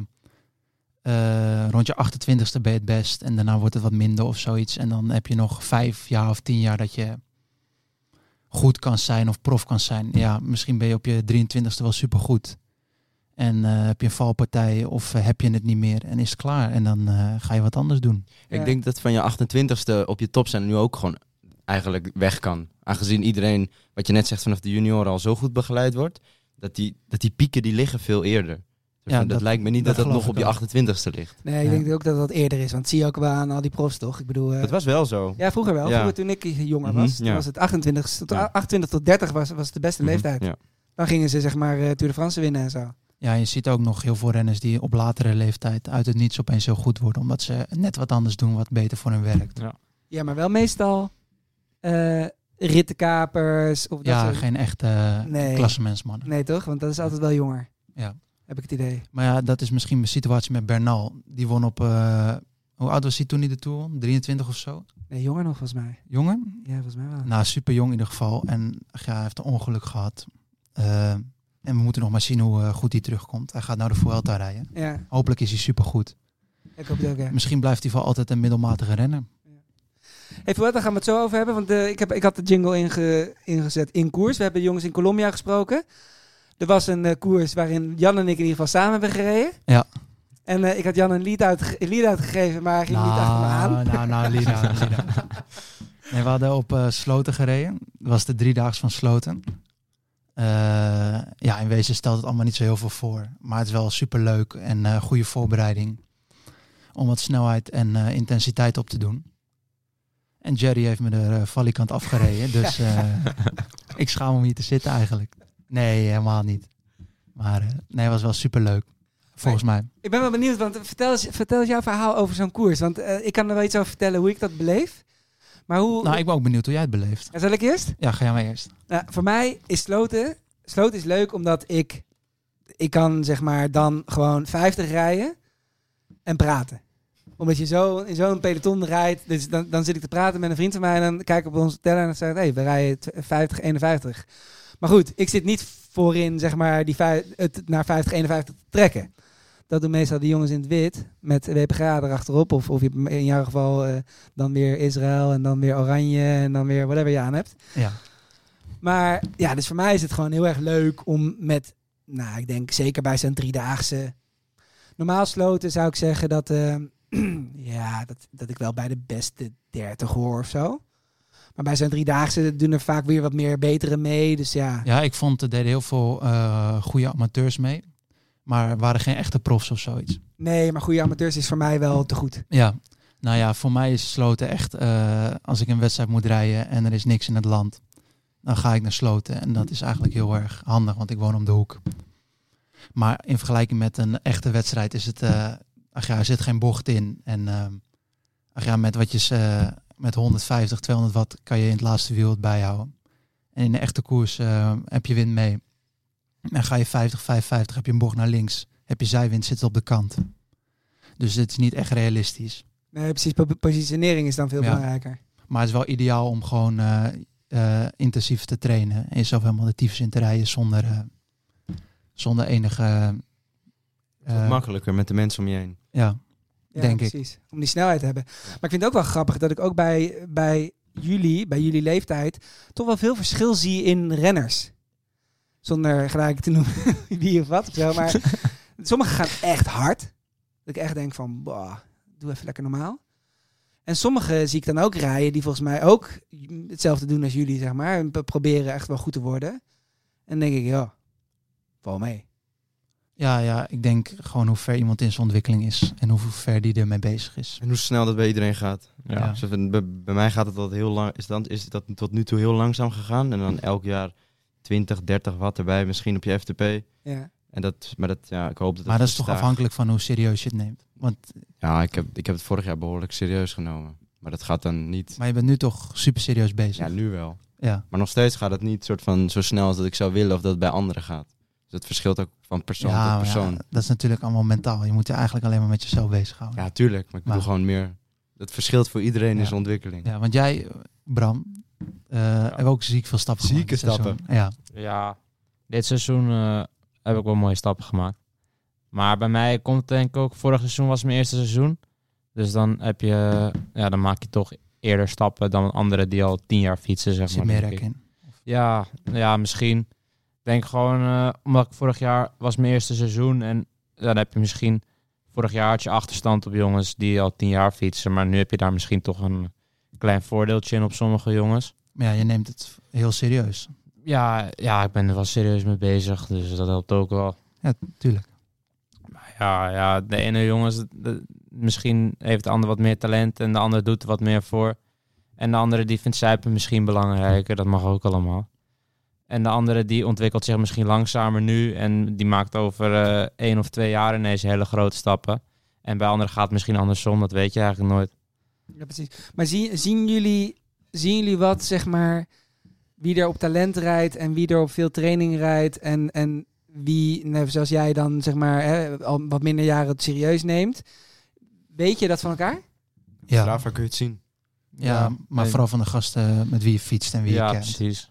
S2: eh, rond je 28ste ben je het best en daarna wordt het wat minder of zoiets. En dan heb je nog vijf jaar of tien jaar dat je goed kan zijn of prof kan zijn. Ja, misschien ben je op je 23ste wel supergoed. En eh, heb je een valpartij of eh, heb je het niet meer en is het klaar. En dan eh, ga je wat anders doen.
S3: Ja.
S1: Ik denk dat van je 28ste op je top zijn nu ook gewoon eigenlijk weg kan. Aangezien iedereen, wat je net zegt, vanaf de junioren al zo goed begeleid wordt, dat die, dat die pieken die liggen veel eerder.
S2: Ja,
S1: Ja, dat,
S2: dat-
S1: lijkt me niet dat
S2: dat
S1: dat,
S2: geloof
S1: nog op
S2: ik
S1: je 28ste ligt.
S3: Nee,
S2: Ja.
S3: ik denk ook dat dat eerder is. Want zie je ook wel aan al die profs, toch? Ik bedoel, eh,
S1: Dat was wel zo.
S3: ja, vroeger wel.
S1: Ja.
S3: Vroeger toen ik jonger was,
S1: Mhm,
S3: toen
S1: ja.
S3: was het 28, tot,
S1: Ja. Mhm,
S3: 28 tot 30 was, was het de beste leeftijd.
S1: Ja.
S3: Dan gingen ze zeg maar eh Tour de France winnen en zo.
S2: Ja, je ziet ook nog heel veel renners die op latere leeftijd uit het niets opeens heel goed worden. Omdat ze net wat anders doen wat beter voor hun werkt.
S3: Ja, maar wel meestal eh, rittenkapers of dat
S2: Ja,
S3: soort-
S2: geen echte
S3: Nee.
S2: klassementsmannen. klassementsmannen.
S3: Nee, toch? Want dat is altijd wel jonger.
S2: Ja.
S3: Heb ik het idee.
S2: Maar ja, dat is misschien mijn situatie met Bernal. Die won op eh, Hoe oud was hij toen hij de Tour won? 23 of zo?
S3: Nee, jonger nog volgens mij.
S2: Jonger?
S3: Ja, volgens mij wel.
S2: Nou, super jong in ieder geval. En ach ja, hij heeft een ongeluk gehad. Eh, en we moeten nog maar zien hoe eh, goed hij terugkomt. Hij gaat nou de Vuelta rijden.
S3: Ja,
S2: Hopelijk is hij supergoed.
S3: ik hoop het ook, ja.
S2: Misschien blijft hij voor altijd een middelmatige renner.
S3: Hey, Fuad, daar gaan we het zo over hebben. Want eh, ik, heb, ik had de jingle inge- ingezet in koers. We hebben de jongens in Colombia gesproken. Er was een eh, koers waarin Jan en ik in ieder geval samen hebben gereden.
S2: Ja.
S3: En eh, ik had Jan een lied, uitge- een lied uitgegeven, maar hij ging niet achter me aan.
S2: Nou, nou, nou, Lina. Lina. Nee, we hadden op eh, Sloten gereden. Dat was de driedaags van Sloten. Eh, ja, in wezen stelt het allemaal niet zo heel veel voor. Maar het is wel superleuk en eh, goede voorbereiding. Om wat snelheid en eh, intensiteit op te doen. En Jerry heeft me de eh, valikant afgereden. Dus eh, ik schaam om hier te zitten eigenlijk. Nee, helemaal niet. Maar eh, nee, het was wel superleuk. Volgens mij.
S3: Ik ben wel benieuwd, want vertel eens, vertel eens jouw verhaal over zo'n koers. Want eh, ik kan er wel iets over vertellen hoe ik dat beleef. Maar hoe...
S2: Nou, ik ben ook benieuwd hoe jij het beleeft.
S3: Zal ik eerst?
S2: Ja, ga jij maar eerst.
S3: Nou, voor mij is sloten. Sloten is leuk omdat ik. Ik kan zeg maar dan gewoon 50 rijden en praten. Omdat je zo in zo'n peloton rijdt. Dus dan, dan zit ik te praten met een vriend van mij. En dan kijk ik op onze teller en dan zeg ik: hey, we rijden tw- 50, 51. Maar goed, ik zit niet voorin zeg maar die vij- het naar 50, 51 te trekken. Dat doen meestal de jongens in het wit. Met WPG erachterop. Of, of je hebt in jouw geval eh, dan weer Israël. En dan weer Oranje. En dan weer whatever je aan hebt.
S2: Ja.
S3: Maar ja, dus voor mij is het gewoon heel erg leuk om met, nou, ik denk zeker bij zijn driedaagse. Normaal sloten zou ik zeggen dat, eh, ja, dat, dat ik wel bij de beste 30 hoor of zo. Maar bij zijn driedaagse doen er vaak weer wat meer betere mee. Dus ja,
S2: Ja, ik vond er deden heel veel eh, goede amateurs mee. Maar waren geen echte profs of zoiets.
S3: nee, maar goede amateurs is voor mij wel te goed.
S2: Ja. Nou ja, voor mij is Sloten echt... eh, als ik een wedstrijd moet rijden en er is niks in het land... dan ga ik naar Sloten. En dat is eigenlijk heel erg handig, want ik woon om de hoek. Maar in vergelijking met een echte wedstrijd is het... eh, ach ja, er zit geen bocht in. En ehm, ach ja, met, wat je, z- eh, met 150, 200 watt kan je in het laatste wiel het bijhouden. En in de echte koers eh, heb je wind mee. En ga je 50, 55, heb je een bocht naar links. Heb je zijwind, zit het op de kant. Dus het is niet echt realistisch.
S3: Nee, precies, po- positionering is dan veel
S2: Ja.
S3: belangrijker.
S2: Maar het is wel ideaal om gewoon eh, eh, intensief te trainen. En jezelf helemaal de tyfus in te rijden zonder, eh, zonder enige...
S1: Het wordt
S2: eh,
S1: makkelijker met de mensen om je heen.
S2: ja.
S3: Ja,
S2: Denk ik.
S3: precies. Om die snelheid te hebben. Maar ik vind het ook wel grappig dat ik ook bij, bij jullie, bij jullie leeftijd, toch wel veel verschil zie in renners. Zonder gelijk te noemen wie of wat of zo. Maar sommigen gaan echt hard. Dat ik echt denk van, bah, doe even lekker normaal. En sommigen zie ik dan ook rijden die volgens mij ook hetzelfde doen als jullie, zeg maar. En p- proberen echt wel goed te worden. En dan denk ik, ja, val mee.
S2: Ja, ja, ik denk gewoon hoe ver iemand in zijn ontwikkeling is. En hoe ver die ermee bezig is.
S1: En hoe snel dat bij iedereen gaat.
S4: Ja.
S2: Ja.
S1: Dus even- bij, bij mij gaat het dat heel lang. Is, dan, is dat tot nu toe heel langzaam gegaan. En dan elk jaar 20, 30 watt erbij, misschien op je FTP.
S3: Ja.
S1: En dat, maar dat, ja, ik hoop dat.
S2: Maar
S1: het
S2: dat is toch
S1: gestaag-
S2: afhankelijk van hoe serieus je het neemt. Want,
S1: Ja, ik heb, ik heb het vorig jaar behoorlijk serieus genomen. Maar dat gaat dan niet.
S2: maar je bent nu toch super serieus bezig.
S1: Ja,
S2: Ja.
S1: nu wel. Maar nog steeds gaat het niet soort van zo snel als dat ik zou willen of dat het bij anderen gaat. Dus het verschilt ook van persoon
S2: Ja, maar
S1: tot
S2: ja,
S1: persoon.
S2: dat is natuurlijk allemaal mentaal. Je moet je eigenlijk alleen maar met jezelf bezighouden.
S1: Ja, tuurlijk. Maar ik
S2: Maar-
S1: bedoel gewoon meer. Het verschilt voor iedereen
S2: Ja.
S1: in zijn ontwikkeling.
S2: Ja, want jij, Bram, eh hebben ook ziek veel stappen
S1: Zieke
S2: gemaakt dit seizoen. Ja,
S4: Ja, dit seizoen eh, heb ik wel mooie stappen gemaakt. Maar bij mij komt het denk ik ook, vorig seizoen was mijn eerste seizoen. Dus dan heb je, ja, dan maak je toch eerder stappen dan anderen die al tien jaar fietsen, zeg
S2: er zit
S4: maar.
S2: meer
S4: denk
S2: rek
S4: ik.
S2: in.
S4: Ja, ja, misschien. Ik denk gewoon, eh, omdat ik vorig jaar was mijn eerste seizoen. En ja, dan heb je misschien, vorig jaar had je achterstand op jongens die al tien jaar fietsen. Maar nu heb je daar misschien toch een klein voordeeltje in op sommige jongens.
S2: Maar ja, je neemt het heel serieus.
S4: Ja, ja, ik ben er wel serieus mee bezig, dus dat helpt ook wel.
S2: Ja, tuurlijk.
S4: Maar ja, ja de ene jongens, de- misschien heeft de ander wat meer talent en de ander doet er wat meer voor. En de andere die vindt zuipen misschien belangrijker, dat mag ook allemaal. En de andere die ontwikkelt zich misschien langzamer nu en die maakt over eh, één of twee jaar ineens hele grote stappen. En bij anderen gaat het misschien andersom, dat weet je eigenlijk nooit.
S3: Ja, precies. Maar zien, zien, jullie, zien jullie wat, zeg maar, wie er op talent rijdt en wie er op veel training rijdt en, en wie, net zoals jij dan, zeg maar, hè, al wat minder jaren het serieus neemt? Weet je dat van elkaar?
S1: Ja.
S2: Ja.
S1: Strava kun je het zien.
S2: Ja,
S1: Ja,
S2: maar
S1: nee.
S2: vooral van de gasten eh, met wie je fietst en wie
S4: ja,
S2: je kent.
S4: precies.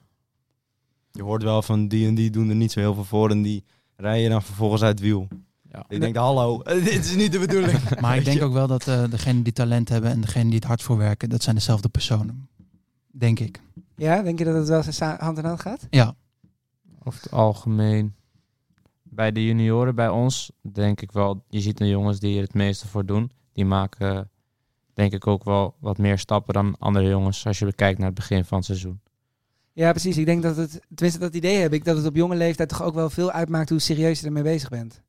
S1: Je hoort wel van die en die doen er niet zo heel veel voor en die rijden dan vervolgens uit het wiel.
S4: Ja.
S1: Ik denk, hallo, dit is niet de bedoeling.
S2: Maar ik denk ook wel dat eh degenen die talent hebben en degenen die het hard voor werken, dat zijn dezelfde personen. Denk ik.
S3: Ja, denk je dat het wel eens sa- hand in hand gaat?
S4: Over het algemeen. Bij de junioren, bij ons, denk ik wel. Je ziet de jongens die er het meeste voor doen. Die maken, eh, denk ik, ook wel wat meer stappen dan andere jongens. Als je kijkt naar het begin van het seizoen.
S3: Ja, precies. Ik denk dat het, tenminste dat idee heb ik, dat het op jonge leeftijd toch ook wel veel uitmaakt hoe serieus je ermee bezig bent.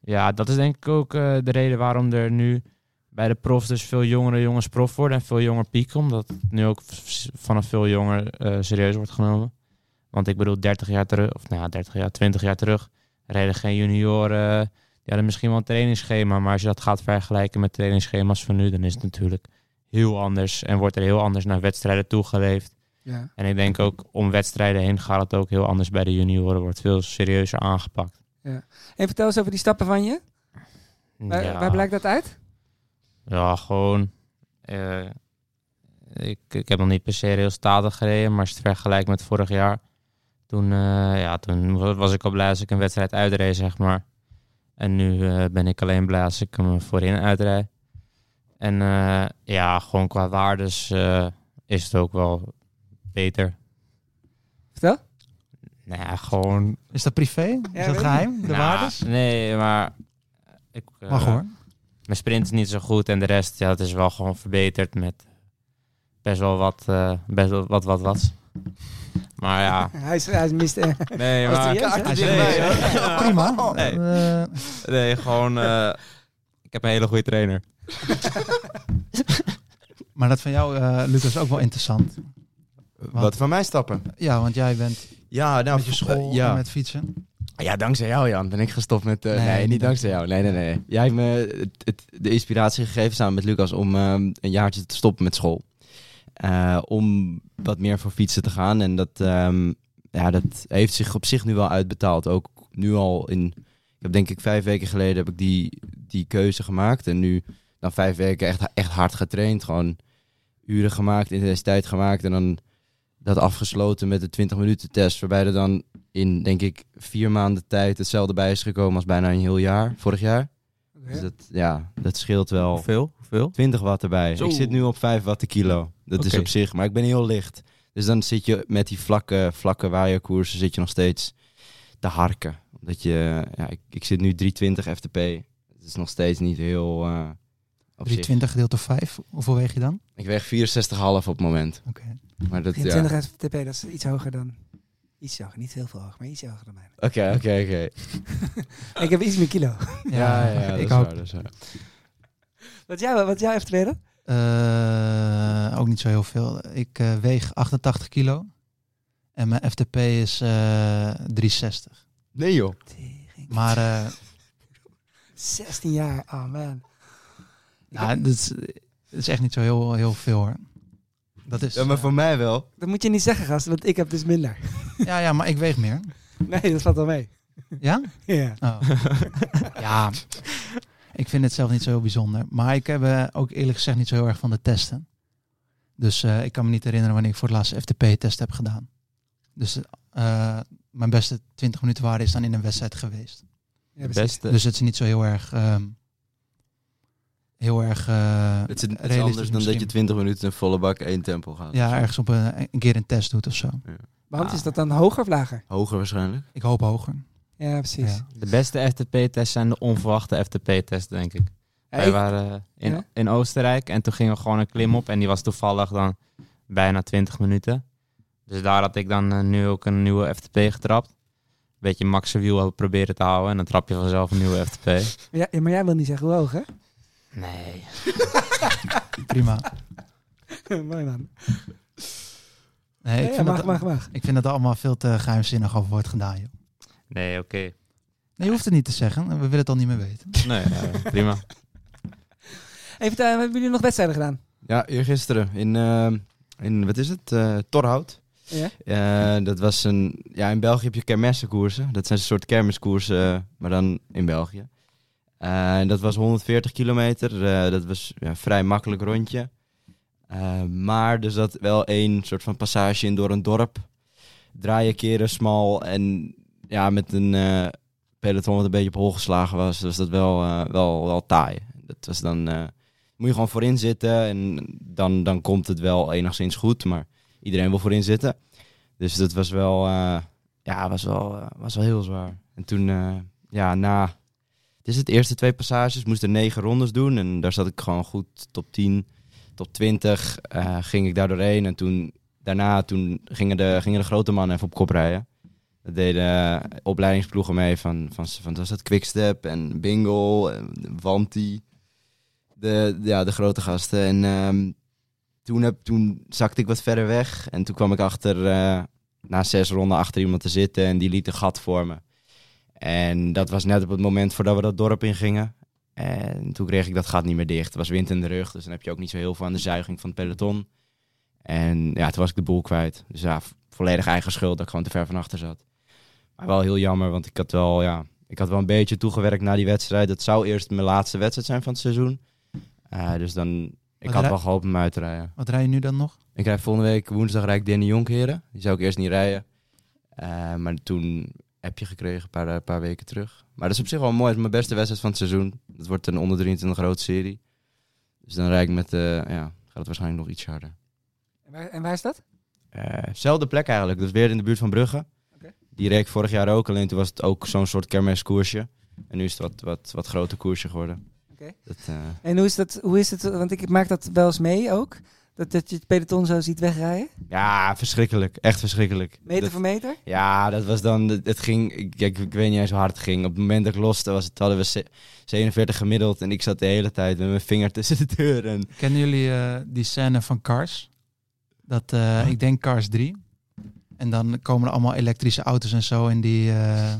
S4: Ja, dat is denk ik ook eh, de reden waarom er nu bij de profs dus veel jongere jongens prof worden. En veel jonger pieken. Omdat het nu ook v- vanaf veel jonger eh, serieus wordt genomen. Want ik bedoel, 30 jaar terug, of nou ja, 30 jaar, 20 jaar terug, reden geen junioren. eh, Die hadden misschien wel een trainingsschema, maar als je dat gaat vergelijken met trainingsschema's van nu, dan is het natuurlijk heel anders en wordt er heel anders naar wedstrijden toegeleefd.
S3: Ja.
S4: En ik denk ook om wedstrijden heen gaat het ook heel anders bij de junioren, wordt veel serieuzer aangepakt.
S3: En vertel eens over die stappen van je. Waar,
S4: Ja.
S3: waar blijkt dat uit?
S4: Ja, gewoon. eh, ik, ik heb nog niet per se heel statig gereden, maar als je het vergelijkt met vorig jaar, toen, eh, ja, toen wa- was ik al blij als ik een wedstrijd uitreed, zeg maar. En nu eh, ben ik alleen blij als ik hem voorin uitrijd. En eh, ja, gewoon qua waardes eh, is het ook wel beter.
S3: Vertel.
S4: Nou ja, gewoon.
S2: Is dat privé? is
S3: weet ik
S2: dat geheim? De
S4: Nou,
S2: waardes?
S4: Nee, maar. Ik, eh,
S2: Mag hoor.
S4: mijn sprint is niet zo goed en de rest, ja, het is wel gewoon verbeterd met best wel wat, eh, best wel wat, wat, wat. Maar ja,
S3: Hij is, hij is mist. eh,
S4: nee,
S3: was
S4: maar,
S3: serieus, hè?
S2: Hij zegt nee,
S4: hè?
S1: Oh,
S2: Prima.
S4: Nee.
S2: Eh,
S4: nee, gewoon, eh, ik heb een hele goede trainer.
S2: maar dat van jou, eh, Lucas, is ook wel interessant.
S1: Wat van mij stappen?
S2: Ja, want jij bent
S1: Ja, nou,
S2: met je school
S1: eh, ja.
S2: en met fietsen.
S1: ja, dankzij jou, Jan. Ben ik gestopt met. eh,
S2: Nee,
S1: nee,
S2: niet
S1: niet dankzij jou. Nee, nee, nee. Jij hebt me het, het- de inspiratie gegeven samen met Lucas om ehm, een jaartje te stoppen met school. Eh, om wat meer voor fietsen te gaan. En dat, ehm, ja, dat heeft zich op zich nu wel uitbetaald. Ook nu al in. Ik heb denk ik vijf weken geleden heb ik die, die keuze gemaakt. En nu dan vijf weken echt, echt hard getraind. Gewoon uren gemaakt, intensiteit gemaakt. En dan dat afgesloten met de 20 minuten test. Waarbij er dan in, denk ik, vier maanden tijd hetzelfde bij is gekomen als bijna een heel jaar, vorig jaar. Dus dat, ja, dat scheelt wel
S4: Hoeveel? Hoeveel?
S1: 20 watt erbij.
S4: Zo.
S1: Ik zit nu op 5 watt de kilo. Dat is
S4: Oké.
S1: op zich, maar ik ben heel licht. Dus dan zit je met die vlakke, vlakke waaierkoersen zit je nog steeds te harken. Omdat je, ja, ik, ik zit nu 320 FTP. Het is nog steeds niet heel... eh op zich.
S2: 320 gedeeld door 5. Hoeveel weeg je dan?
S1: Ik weeg 64,5 op het moment.
S2: Oké.
S1: Maar dat, ja.
S3: 23 FTP, dat is iets hoger dan... Iets hoger, niet heel veel hoger, maar iets hoger dan mij.
S1: Oké, oké, oké.
S3: Ik heb iets meer kilo.
S1: Ja, ja, dat
S2: ik
S1: is
S2: ook.
S1: waar, dat is waar.
S3: Wat jij, wat jij FTP dan?
S2: Eh, ook niet zo heel veel. Ik eh, weeg 88 kilo. En mijn FTP is eh 360.
S1: Nee joh.
S3: Tering.
S2: Maar eh,
S3: 16 jaar, oh man.
S2: nou, dat, is, dat is echt niet zo heel, heel veel hoor. Dat is, eh,
S1: Ja, maar voor mij wel.
S3: Dat moet je niet zeggen, gast, want ik heb dus minder.
S2: ja, ja, maar ik weeg meer.
S3: Nee, dat valt wel mee.
S2: Ja?
S3: Ja.
S2: Oh. ja, ik vind het zelf niet zo heel bijzonder. Maar ik heb eh, ook eerlijk gezegd niet zo heel erg van de testen. Dus eh, ik kan me niet herinneren wanneer ik voor het laatste FTP-test heb gedaan. Dus eh, mijn beste 20 minuten waarde is dan in een wedstrijd geweest.
S3: Ja, precies.
S4: Beste.
S2: Dus het is niet zo heel erg... ehm, heel erg... eh,
S1: Het is, het is
S2: realistisch
S1: anders dan dat je
S2: misschien.
S1: 20 minuten in volle bak één tempo gaat.
S2: Ja, ergens op een, een keer een test doet of zo.
S3: Maar
S2: Ah.
S3: want is dat dan hoger of lager?
S1: Hoger waarschijnlijk.
S2: Ik hoop hoger.
S3: Ja, precies.
S2: Ja.
S4: De beste FTP-tests zijn de onverwachte FTP-tests, denk ik.
S3: Ja,
S4: Wij
S3: ik-
S4: waren in,
S3: Ja.
S4: in Oostenrijk en toen gingen we gewoon een klim op en die was toevallig dan bijna 20 minuten. Dus daar had ik dan eh, nu ook een nieuwe FTP getrapt. Een beetje maxe wiel proberen te houden en dan trap je vanzelf een nieuwe FTP.
S3: ja, ja, maar jij wil niet zeggen hoe hoog, hè?
S4: Nee.
S2: Prima.
S3: Mooi man.
S2: Nee, ik,
S3: Ja,
S2: vind
S3: mag,
S2: dat,
S3: mag, mag.
S2: ik vind dat er allemaal veel te geheimzinnig over wordt gedaan, joh.
S4: Nee, oké.
S2: Nee, je hoeft het niet te zeggen. We willen het al niet meer weten.
S4: Nee, eh, prima.
S3: Even, vertel, hebben jullie nog wedstrijden gedaan?
S1: Ja, eergisteren in, ehm, in wat is het? Eh, Torhout.
S3: Ja.
S1: Eh, dat was een, ja, in België heb je kermessenkoersen. Dat zijn een soort kermiskoersen, eh, maar dan in België. Eh, Eh, en dat was 140 kilometer. Eh, dat was ja, een vrij makkelijk rondje. Eh, maar er zat wel één soort van passage in door een dorp. Draaien, keren, smal. En ja, met een eh, peloton wat een beetje op hol geslagen was, was dat wel, eh, wel, wel taai. Dat was dan... eh, moet je gewoon voorin zitten en dan, dan komt het wel enigszins goed. Maar iedereen wil voorin zitten. Dus dat was wel, eh, ja, was wel, eh, was wel heel zwaar. En toen, eh, ja, na... Het is het eerste twee passages. Moest er negen rondes doen. En daar zat ik gewoon goed top 10, top 20. eh, ging ik daar doorheen. En toen, daarna toen gingen, de, gingen de grote mannen even op kop rijden. Dat deden eh, opleidingsploegen mee van, van, van, wat was dat Quickstep en Bingle en Wanti. De, ja, de grote gasten. En ehm, toen, heb, toen zakte ik wat verder weg. En toen kwam ik achter, eh, na zes ronden achter iemand te zitten. En die liet een gat voor me. En dat was net op het moment voordat we dat dorp ingingen. En toen kreeg ik dat gat niet meer dicht. Het was wind in de rug, dus dan heb je ook niet zo heel veel aan de zuiging van het peloton. En ja, toen was ik de boel kwijt. Dus ja, v- volledig eigen schuld dat ik gewoon te ver van achter zat. Maar wel heel jammer, want ik had wel, ja, ik had wel een beetje toegewerkt na die wedstrijd. Dat zou eerst mijn laatste wedstrijd zijn van het seizoen. Eh, dus dan, ik
S2: Wat
S1: had
S2: rij-
S1: wel gehoopt hem uit te rijden.
S2: Wat rij je nu dan nog?
S1: Ik rijd volgende week woensdag rijd ik Danny Jonkheren. Die zou ik eerst niet rijden. Eh, maar toen heb je gekregen een paar, eh, paar weken terug. Maar dat is op zich wel mooi. Het is mijn beste wedstrijd van het seizoen. Het wordt een onder 23 grote serie. Dus dan rijd ik met... eh, ja, gaat het waarschijnlijk nog iets harder.
S3: En waar, en waar is dat?
S1: Eh, Zelfde plek eigenlijk. Dus weer in de buurt van Brugge.
S3: Oké.
S1: Die reed ik vorig jaar ook. Alleen toen was het ook zo'n soort kermiskoersje. En nu is het wat, wat, wat groter koersje geworden.
S3: Oké.
S1: Dat, eh,
S3: En hoe is, dat, hoe is het, want ik maak dat wel eens mee ook, dat, dat je het peloton zo ziet wegrijden,
S1: ja, verschrikkelijk. Echt verschrikkelijk.
S3: meter
S1: Dat-
S3: voor meter.
S1: Ja, dat was dan. Het het ging. Ik, ik, ik weet niet eens hoe hard het ging. Op het moment dat ik loste, was het, hadden we ze- 47 gemiddeld. En ik zat de hele tijd met mijn vinger tussen de deur. En
S2: Kennen jullie eh, die scène van Cars? Dat, eh, ik denk Cars 3. En dan komen er allemaal elektrische auto's en zo in die... eh,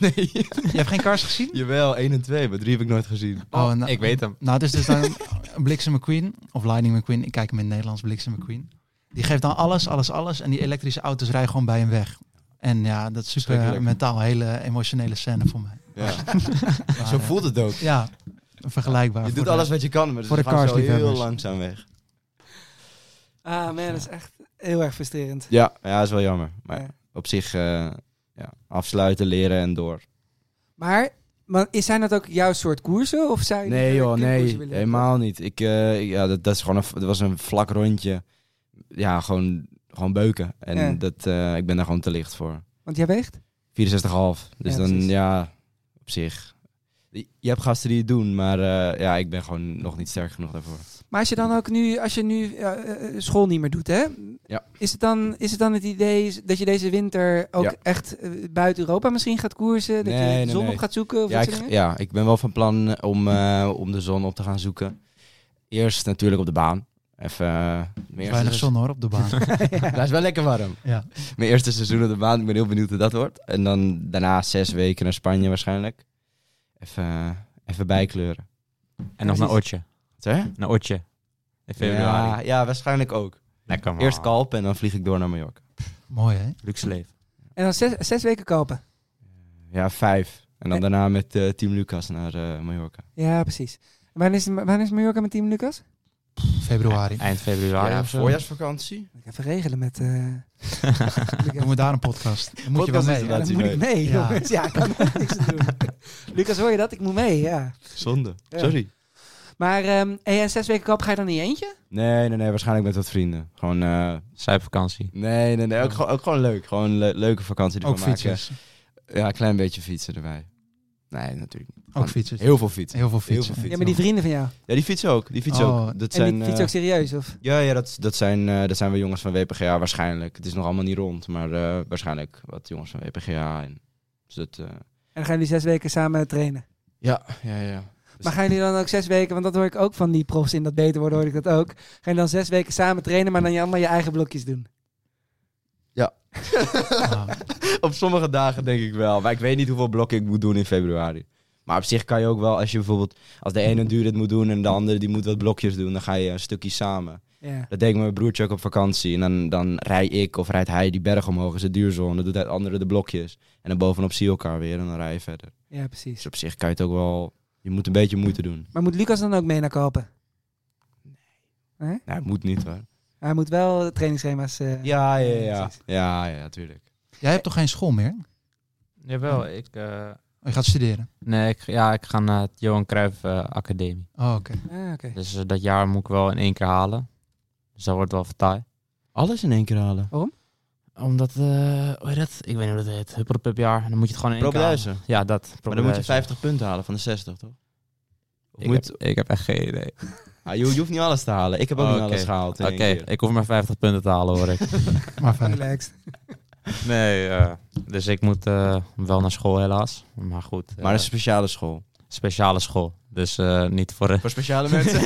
S1: nee.
S2: Je hebt geen Cars gezien?
S1: Jawel, 1 en 2, maar 3 heb ik nooit gezien.
S2: Oh, nou-
S4: Ik weet hem.
S2: Nou, het is dus dan Bliksem McQueen, of Lightning McQueen, ik kijk hem in het Nederlands, Bliksem McQueen. Die geeft dan alles, alles, alles en die elektrische auto's rijden gewoon bij hem weg. En ja, dat is super
S1: Schrikkelijk.
S2: mentaal, hele emotionele scène voor mij.
S1: Ja.
S2: Maar,
S1: Zo
S2: eh,
S1: voelt het ook.
S2: Ja, vergelijkbaar.
S1: Je
S2: voor
S1: doet
S2: de-
S1: alles wat je kan, maar
S2: voor
S1: ze
S2: de
S1: gaan zo heel
S2: carsliefhebbers.
S1: langzaam weg.
S3: Ah
S1: Dus,
S3: man,
S1: eh,
S3: dat is echt heel erg frustrerend.
S1: Ja, ja, is wel jammer. Maar
S3: Ja.
S1: op zich eh, ja, afsluiten, leren en door.
S3: Maar, maar is- zijn dat ook jouw soort koersen? Of zou je
S1: Nee
S3: liever
S1: joh,
S3: een klimkoers
S1: nee,
S3: willen?
S1: helemaal niet. Ik, eh, ik- ja, dat, dat, is gewoon een, v- dat was een vlak rondje. Ja, gewoon, gewoon beuken. En
S3: Ja.
S1: dat, eh, ik ben daar gewoon te licht voor.
S3: Want jij weegt?
S1: 64,5. Dus
S3: Ja,
S1: dan,
S3: precies.
S1: ja, op zich. Je je hebt gasten die het doen, maar eh, ja, ik ben gewoon nog niet sterk genoeg daarvoor.
S3: Maar als je dan ook nu, als je nu eh, eh, school niet meer doet, hè?
S1: Ja.
S3: Is het dan, is het dan het idee dat je deze winter ook
S1: Ja.
S3: echt eh, buiten Europa misschien gaat koersen? Dat
S1: Nee,
S3: je de
S1: nee,
S3: zon
S1: nee.
S3: op gaat zoeken? Of
S1: Ja
S3: dat soort
S1: ik,
S3: dingen?
S1: ja, ik ben wel van plan om, eh, om de zon op te gaan zoeken. Eerst natuurlijk op de baan. Even eh, mijn
S2: Weinig
S1: eerste-
S2: zon hoor op de baan.
S1: Dat is wel lekker warm.
S2: Ja.
S1: Mijn eerste seizoen op de baan. Ik ben heel benieuwd hoe dat wordt. En dan daarna zes weken naar Spanje waarschijnlijk. Even, eh, even bijkleuren.
S4: En nog naar Otje.
S1: Wat Zeg? je?
S4: Naar Otje. In februari.
S1: Ja, ja, waarschijnlijk ook.
S4: Lekker man.
S1: Eerst kalp en dan vlieg ik door naar Mallorca.
S2: Mooi hè?
S4: Luxe leven.
S3: En dan zes, zes weken kopen.
S1: Ja, vijf. En dan
S3: En-
S1: daarna met eh, Team Lucas naar eh, Mallorca.
S3: Ja, precies. En Wanneer is, wanneer is Mallorca met team Lucas?
S2: Februari.
S4: Eind februari. of eh, zo.
S1: voorjaarsvakantie.
S3: Moet ik even regelen met... eh,
S2: Doen
S3: Lucas.
S2: we daar een podcast? Dan moet je wel
S1: Podcast is
S2: mee.
S1: het laatste.
S3: Ja,
S1: hij mee.
S2: hè?
S3: dan moet ik mee,
S2: Ja.
S3: jongens. Ja, ik kan ook niks aan doen. Lucas, hoor je dat? Ik moet mee, ja.
S1: Zonde.
S3: Ja.
S1: Sorry.
S3: Maar ehm hey, en zes weken kopen ga je dan in je eentje?
S1: Nee, nee, nee. Waarschijnlijk met wat vrienden. Gewoon, eh,
S4: Zuipvakantie.
S1: nee, nee, nee. Ook, gewoon- ook gewoon leuk. Gewoon een le- leuke vakantie ervan
S2: Ook
S1: maken.
S2: fietsers.
S1: Ja, een klein beetje fietsen erbij. Nee, natuurlijk niet.
S2: Ook fietsers.
S1: Heel veel fietsen.
S2: Heel veel
S1: veel
S2: fietsen.
S1: fietsen.
S3: Ja, maar die vrienden van jou.
S1: Ja, die fietsen ook. Die fietsen
S2: Oh,
S1: ook. Dat
S3: En
S1: zijn,
S3: die
S1: eh,
S3: fietsen ook serieus, of?
S1: Ja, ja dat, dat, zijn, eh, dat zijn we jongens van WPGA waarschijnlijk. Het is nog allemaal niet rond, maar eh, waarschijnlijk wat jongens van WPGA. En, dus dat, eh,
S3: En dan gaan jullie zes weken samen trainen.
S1: ja, ja, ja.
S3: Maar gaan jullie dan ook zes weken, want dat hoor ik ook van die profs in dat beter worden, hoor ik dat ook. Gaan jullie dan zes weken samen trainen, maar dan je allemaal je eigen blokjes doen?
S2: Ah,
S1: Op sommige dagen denk ik wel. Maar ik weet niet hoeveel blokken ik moet doen in februari. Maar op zich kan je ook wel, als je bijvoorbeeld, als de ene een duur dit moet doen en de andere die moet wat blokjes doen, dan ga je een stukje samen.
S3: Ja.
S1: Dat deed ik met mijn broertje ook op vakantie. En dan, dan rij ik of rijdt hij die berg omhoog, is het duurzone. Dan doet het andere de blokjes. En dan bovenop zie je elkaar weer en dan rij je verder.
S3: Ja,
S1: Dus
S3: precies.
S1: op zich kan je het ook wel Je moet een beetje moeite doen.
S3: Maar moet Lucas dan ook mee naar Kalpen?
S1: Nou, het moet niet hoor.
S3: Hij moet wel de trainingsschema's... eh,
S1: Ja, ja, ja.
S3: precies.
S1: Ja, ja, tuurlijk.
S2: Jij hebt toch geen school meer?
S4: Jawel, ik... eh,
S2: Je gaat studeren.
S4: nee, ik, ja, ik ga naar het Johan Cruijff eh, Academie.
S2: Oh, oké.
S3: Ah, oké.
S4: Dus eh, dat jaar moet ik wel in één keer halen. Dus dat wordt wel vertaai.
S1: Alles in één keer halen.
S4: Omdat, eh hoe heet dat? Ik weet niet hoe dat heet. Huppelpupjaar. Dan moet je het gewoon in één keer halen.
S1: Probeduizen.
S4: Ja, dat.
S1: Maar dan moet je
S4: Probeduizen.
S1: 50 punten halen van de 60, toch? Of
S4: Ik,
S1: moet,
S4: heb, ik heb echt geen idee.
S1: Ah, je, je hoeft niet alles te halen. Ik heb ook
S4: Oh,
S1: niet
S4: oké.
S1: alles gehaald. in
S4: Oké,
S1: één keer.
S4: ik hoef maar 50 punten te halen hoor ik.
S2: Maar fijn.
S3: Relaxed.
S4: nee, eh, dus ik moet eh, wel naar school helaas. Maar goed, eh,
S1: Maar een speciale school.
S4: speciale school. Dus eh, niet voor...
S1: Voor speciale mensen?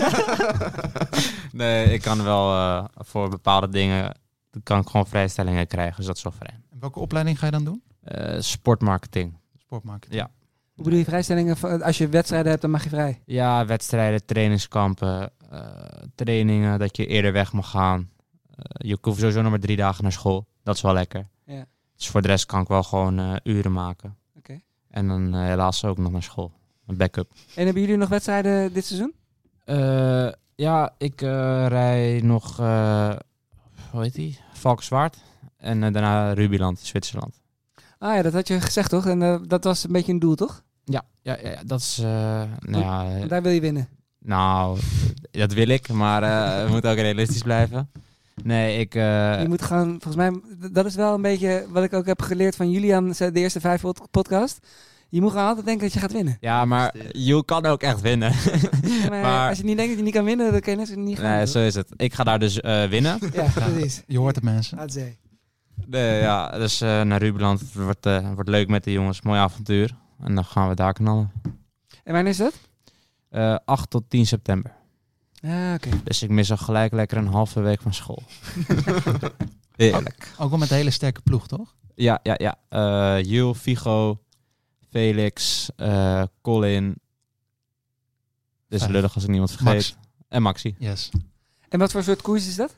S4: nee, ik kan wel eh, voor bepaalde dingen... kan ik gewoon vrijstellingen krijgen, dus dat is wel vrij.
S2: Welke opleiding ga je dan doen?
S4: Eh, sportmarketing.
S2: Sportmarketing.
S4: Ja.
S3: Hoe bedoel je vrijstellingen? van- Als je wedstrijden hebt, dan mag je vrij.
S4: Ja, wedstrijden, trainingskampen, eh, trainingen, dat je eerder weg mag gaan. Eh, je hoeft sowieso nog maar drie dagen naar school. Dat is wel lekker.
S3: Ja.
S4: Dus voor de rest kan ik wel gewoon eh, uren maken.
S3: Oké.
S4: En dan eh, helaas ook nog naar school. Een backup.
S3: En hebben jullie nog wedstrijden dit seizoen?
S4: Eh, ja, ik eh, rij nog, eh hoe heet die? Valkenswaard. En eh, daarna Rubiland, Zwitserland.
S3: Ah ja, dat had je gezegd toch? En eh, dat was een beetje een doel toch?
S4: Ja, ja, ja, ja, dat is... eh, nou, ja, eh,
S3: Want daar wil je winnen.
S4: Nou, dat wil ik, maar eh we moeten ook realistisch blijven. Nee, ik... eh,
S3: Je moet gewoon, volgens mij, d- dat is wel een beetje wat ik ook heb geleerd van Julian, ze- de eerste vijf pod- podcast. Je moet gewoon altijd denken dat je gaat winnen.
S4: Ja, maar Joel kan ook echt winnen.
S3: Maar,
S4: Maar-
S3: als je niet denkt dat je niet kan winnen, dan kan je net zo niet gaan.
S4: nee,
S3: toch?
S4: zo is het. Ik ga daar dus eh, winnen.
S3: Ja, precies.
S2: Je hoort het mensen.
S3: Laat zee.
S4: Nee, ja, dus eh, naar Rubeland. Het wordt, eh, wordt leuk met de jongens. Mooi avontuur. En dan gaan we daar knallen.
S3: En wanneer is dat?
S4: Eh 8 tot 10 september.
S3: Ah, oké.
S4: Dus ik mis al gelijk lekker een halve week van school. Heerlijk.
S2: Ook wel met een hele sterke ploeg, toch?
S4: Ja, ja, ja. Eh Jules, Figo, Felix, eh, Colin. Dus
S2: Vijf.
S4: lullig als ik niemand vergeet.
S2: Max.
S4: En Maxi.
S2: Yes.
S3: En wat voor soort koers is dat?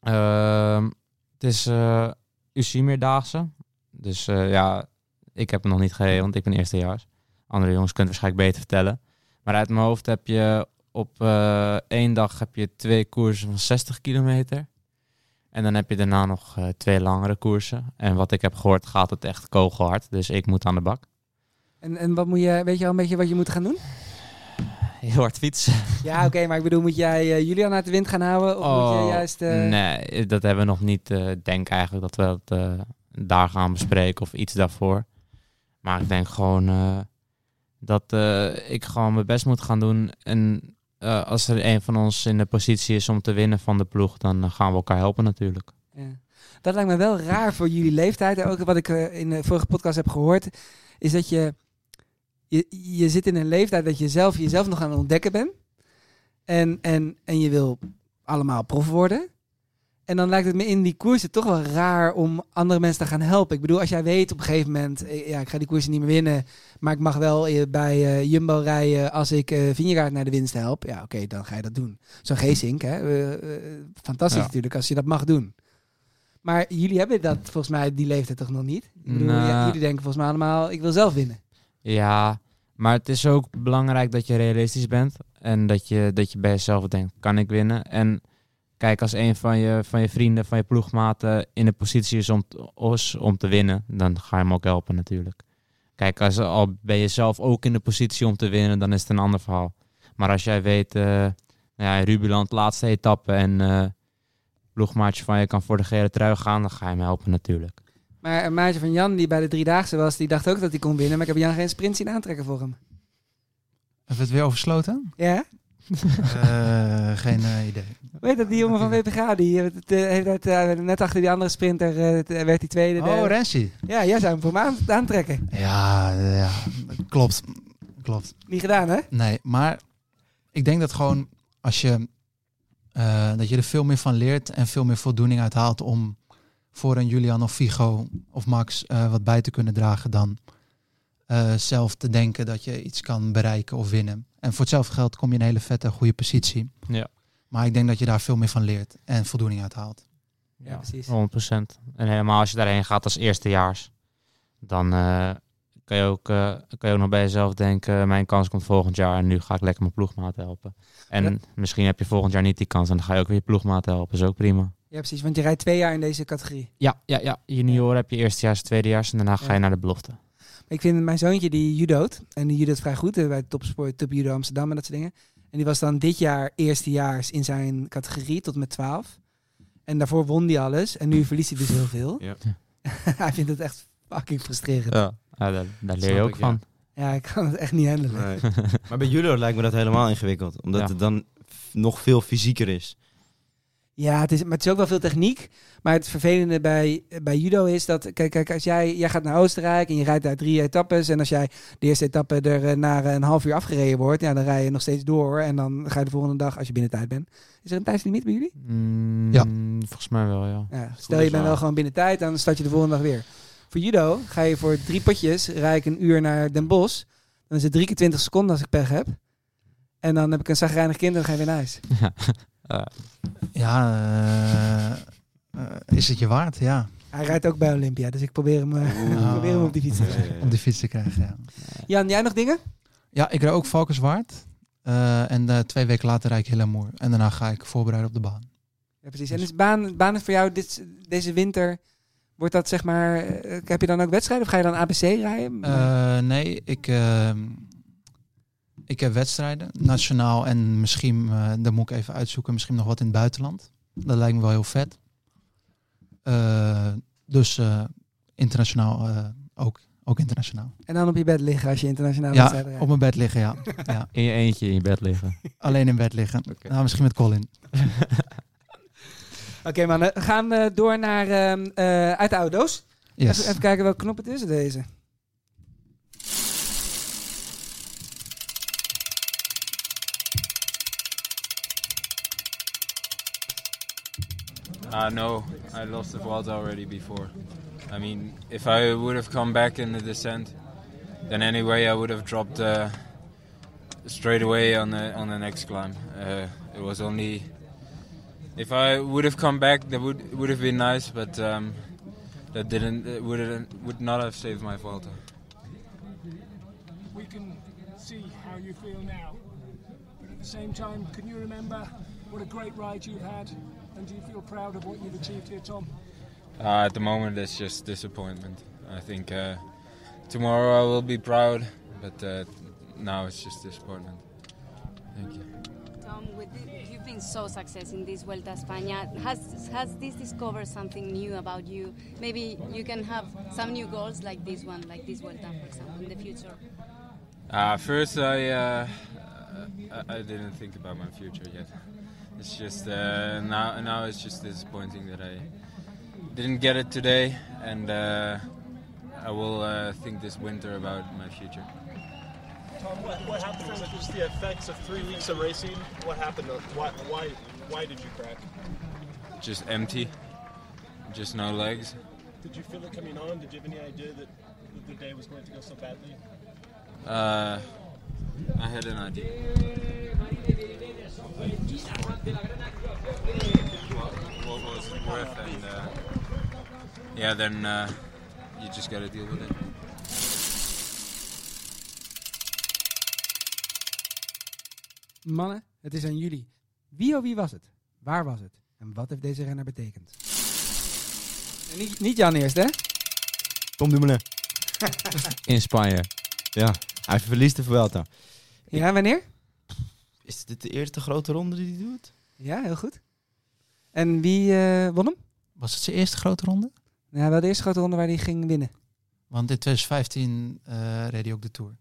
S4: Ehm, het is eh UC-meerdaagse. Dus eh, ja, ik heb hem nog niet gereden, want ik ben eerstejaars. Andere jongens kunnen het waarschijnlijk beter vertellen. Maar uit mijn hoofd heb je op eh, één dag heb je twee koersen van 60 kilometer. En dan heb je daarna nog eh, twee langere koersen. En wat ik heb gehoord, gaat het echt kogelhard. Dus ik moet aan de bak.
S3: En, en wat moet je, weet je al een beetje wat je moet gaan doen?
S4: Heel hard fietsen.
S3: Ja, oké, maar ik bedoel, moet jij eh, Julian uit de wind gaan houden? Of moet je juist... eh,
S4: Oh, Nee, dat hebben we nog niet. eh, Ik denk eigenlijk dat we dat eh, daar gaan bespreken of iets daarvoor. Maar ik denk gewoon eh, dat eh, ik gewoon mijn best moet gaan doen. En eh, als er een van ons in de positie is om te winnen van de ploeg, dan eh, gaan we elkaar helpen natuurlijk.
S3: Ja. Dat lijkt me wel raar voor jullie leeftijd. En ook wat ik eh, in de vorige podcast heb gehoord, is dat je, je, je zit in een leeftijd dat je zelf jezelf nog aan het ontdekken bent. En, en, en je wil allemaal prof worden. En dan lijkt het me in die koersen toch wel raar om andere mensen te gaan helpen. Ik bedoel, als jij weet op een gegeven moment, eh, ja, ik ga die koersen niet meer winnen, maar ik mag wel eh, bij eh, Jumbo rijden als ik eh Vingegaard naar de winst help. Ja, oké, dan ga je dat doen. Zo'n Geesink, hè? eh, eh, fantastisch
S4: Ja.
S3: natuurlijk als je dat mag doen. Maar jullie hebben dat volgens mij die leeftijd toch nog niet? Ik bedoel,
S4: Nou.
S3: ja, jullie denken volgens mij allemaal, ik wil zelf winnen.
S4: Ja, maar het is ook belangrijk dat je realistisch bent. En dat je, dat je bij jezelf denkt, kan ik winnen? En kijk, als een van je, van je vrienden, van je ploegmaten in de positie is om, t- is om te winnen, dan ga je hem ook helpen natuurlijk. Kijk, als, al ben je zelf ook in de positie om te winnen, dan is het een ander verhaal. Maar als jij weet, eh nou ja, in Rubiland, laatste etappe en eh ploegmaatje van je kan voor de gele trui gaan, dan ga je hem helpen natuurlijk.
S3: Maar een maatje van Jan, die bij de Driedaagse was, die dacht ook dat hij kon winnen. Maar ik heb Jan geen sprint zien aantrekken voor hem.
S2: Hebben we het weer oversloten?
S3: Ja?
S2: Eh, geen eh, idee.
S3: Weet dat die jongen van WPG, die eh, het, eh, heeft het, eh, net achter die andere sprinter eh, het, eh, werd die tweede.
S2: Oh,
S3: derde.
S2: Rensi.
S3: ja, jij zou hem voor me aan- aantrekken.
S2: Ja, ja, klopt. Klopt.
S3: Niet gedaan, hè?
S2: Nee, maar ik denk dat gewoon als je, eh, dat je er veel meer van leert en veel meer voldoening uit haalt om voor een Julian of Figo of Max eh, wat bij te kunnen dragen dan eh, zelf te denken dat je iets kan bereiken of winnen. En voor hetzelfde geld kom je in een hele vette, goede positie.
S4: Ja.
S2: Maar ik denk dat je daar veel meer van leert en voldoening uit haalt.
S3: Ja, precies.
S4: 100%. En helemaal als je daarheen gaat als eerstejaars, dan eh, kan je ook, eh, kan je ook nog bij jezelf denken, mijn kans komt volgend jaar en nu ga ik lekker mijn ploegmaat helpen. En
S3: Ja.
S4: misschien heb je volgend jaar niet die kans en dan ga je ook weer je ploegmaat helpen, is ook prima.
S3: Ja, precies. Want je rijdt twee jaar in deze categorie.
S4: Ja, ja, ja. Junior heb je eerstejaars, tweedejaars en daarna ga
S3: Ja.
S4: je naar de belofte.
S3: Ik vind mijn zoontje die judoot. En die judoot vrij goed eh, bij topsport, top judo Amsterdam en dat soort dingen. En die was dan dit jaar eerstejaars in zijn categorie tot en met 12. En daarvoor won hij alles. En nu verliest hij dus heel veel.
S1: Ja.
S3: hij vindt het echt fucking frustrerend.
S4: Ja, daar, daar leer je
S1: Snap
S4: ook
S1: ik, ja.
S4: van.
S3: Ja, ik kan het echt niet handelen.
S1: maar bij judo lijkt me dat helemaal ingewikkeld. Omdat
S4: Ja.
S1: het dan f- nog veel fysieker is.
S3: Ja, het is, maar het is ook wel veel techniek. Maar het vervelende bij, bij judo is dat... Kijk, kijk als jij, jij gaat naar Oostenrijk en je rijdt daar drie etappes... en als jij de eerste etappe er eh, na een half uur afgereden wordt... Ja, dan rij je nog steeds door en dan ga je de volgende dag, als je binnen tijd bent... Is er een tijdslimiet bij jullie?
S4: Mm,
S2: Ja.
S4: Volgens mij wel, ja.
S3: Ja, stel je
S4: is
S3: bent
S4: wel.
S3: wel gewoon binnen tijd, dan start je de volgende dag weer. Voor judo ga je voor drie potjes, rijd ik een uur naar Den Bosch... dan is het drie keer twintig seconden als ik pech heb... En dan heb ik een zagrijnig kind en dan ga je weer naar huis.
S2: Ja, eh, eh, is het je waard? Ja,
S3: Hij rijdt ook bij Olympia, dus ik probeer hem, eh,
S2: Oeh.
S3: probeer hem op die fiets te krijgen.
S2: om die fiets te krijgen. Oh. Ja,
S3: Jan, jij nog dingen?
S2: ja ik rijd ook Valkenswaard. Eh, en eh, twee weken later rijd ik Hillemoer. En daarna ga ik voorbereiden op de baan.
S3: Ja, precies. En is baan, baan is voor jou dit, deze winter, wordt dat zeg maar, eh, heb je dan ook wedstrijden of ga je dan ABC rijden?
S2: Eh, nee, ik, ehm, ik heb wedstrijden, nationaal en misschien, eh dat moet ik even uitzoeken, misschien nog wat in het buitenland. Dat lijkt me wel heel vet. Eh, dus eh, internationaal eh, ook, ook internationaal.
S3: en dan op je bed liggen als je internationale
S2: ja,
S3: wedstrijden
S2: op
S3: rijdt.
S2: mijn bed liggen, ja. ja.
S4: In je eentje in je bed liggen.
S2: Alleen in bed liggen. Nou, misschien met Colin.
S3: Oké mannen, we gaan eh, door naar ehm, eh, uit de oude doos.
S2: Yes.
S3: Even, even kijken welke knop het is, deze.
S11: Uh, no, I lost the vault already before. I mean, if I would have come back in the descent, then anyway I would have dropped uh, straight away on the on the next climb. Uh, it was only if I would have come back, that would would have been nice, but um, that didn't that would would not have saved my vault.
S12: we can see how you feel now. But at the same time, can you remember what a great ride you've had? And do you feel proud of what you've achieved here, Tom?
S11: Uh, at the moment, it's just disappointment. I think uh, tomorrow I will be proud, but uh, now it's just disappointment. Thank you.
S13: Tom, with thi- you've been so successful in this Vuelta a España. Has, has this discovered something new about you? Maybe you can have some new goals like this one, like this Vuelta, for example, in the future.
S11: Uh, first, I, uh, I I didn't think about my future yet. It's just uh, now now it's just disappointing that I didn't get it today, and uh, I will uh, think this winter about my future.
S14: Tom, what, what happened was just the effects of three weeks of racing. What happened? to- Why, why, why did you crack?
S11: Just empty, just no legs.
S14: Did you feel it coming on? Did you have any idea that, that the day was going to go so badly?
S11: Uh, I had an idea. What was it worth? And uh, yeah, then uh, you just got to deal with it.
S3: Mannen, het is aan jullie. Wie of wie was het? Waar was het? En wat heeft deze renner betekend? En niet, niet Jan eerst, hè?
S1: Tom Dumoulin.
S4: In Spanje.
S1: Ja, hij verliest de Vuelta.
S3: Ja, wanneer?
S1: Is dit de eerste grote ronde die hij doet?
S3: Ja, heel goed. En wie eh, won hem?
S2: Was het zijn eerste grote ronde?
S3: Ja, wel de eerste grote ronde waar hij ging winnen.
S2: Want in 2015 eh reed hij ook de Tour.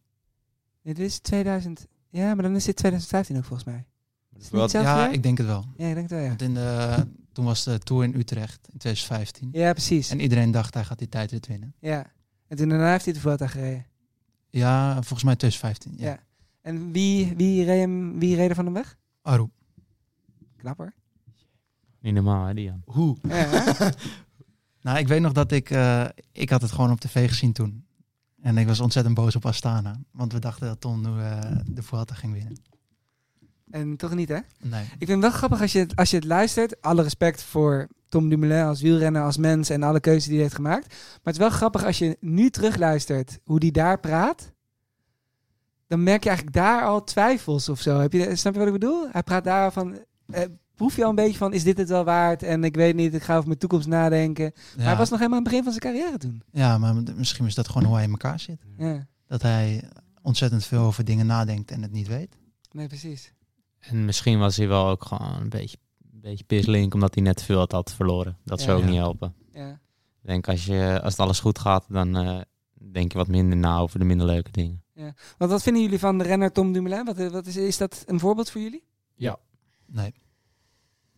S3: Dit is 2000. Ja, maar dan is dit 2015 ook volgens mij. Is het niet
S1: Wel-
S3: hetzelfde
S2: Ja,
S3: jaar?
S2: ik denk het wel.
S3: ja, ik denk het wel, ja.
S2: Want in de, toen was de Tour in Utrecht in 2015.
S3: Ja, precies.
S2: En iedereen dacht hij gaat die tijdrit winnen.
S3: ja. En toen daarna heeft hij de Vuelta gereden.
S2: Ja, volgens mij 2015. Ja.
S3: Ja. En wie, wie, reed, hem, wie reed er van hem weg?
S2: Aru.
S3: Knap hoor.
S4: Niet normaal, hè, Dian?
S2: Hoe?
S3: Ja, hè?
S2: Nou, ik weet nog dat ik... eh, ik had het gewoon op tv gezien toen. En ik was ontzettend boos op Astana. Want we dachten dat Tom nu eh, de Vuelta ging winnen.
S3: En toch niet, hè?
S2: Nee.
S3: Ik vind het wel grappig als je, het- als je het luistert. Alle respect voor Tom Dumoulin als wielrenner, als mens en alle keuzes die hij heeft gemaakt. Maar het is wel grappig als je nu terugluistert hoe die daar praat. Dan merk je eigenlijk daar al twijfels of zo. Heb je, snap je wat ik bedoel? Hij praat daar al van... eh, proef je al een beetje van, is dit het wel waard? En ik weet niet, ik ga over mijn toekomst nadenken. Maar
S2: Ja.
S3: hij was nog helemaal aan het begin van zijn carrière toen.
S2: Ja, maar m- misschien is dat gewoon hoe hij in elkaar zit.
S3: Ja.
S2: Dat hij ontzettend veel over dingen nadenkt en het niet weet.
S3: Nee, precies.
S4: En misschien was hij wel ook gewoon een beetje, een beetje pislink, omdat hij net veel had, had verloren. Dat
S3: Ja.
S4: zou ook
S3: Ja.
S4: niet helpen.
S3: Ja.
S4: Ik denk als, je, als het alles goed gaat, dan eh, denk je wat minder na over de minder leuke dingen.
S3: Ja. Want wat vinden jullie van de renner Tom Dumoulin? Wat, eh, wat is, is dat een voorbeeld voor jullie?
S2: Nee.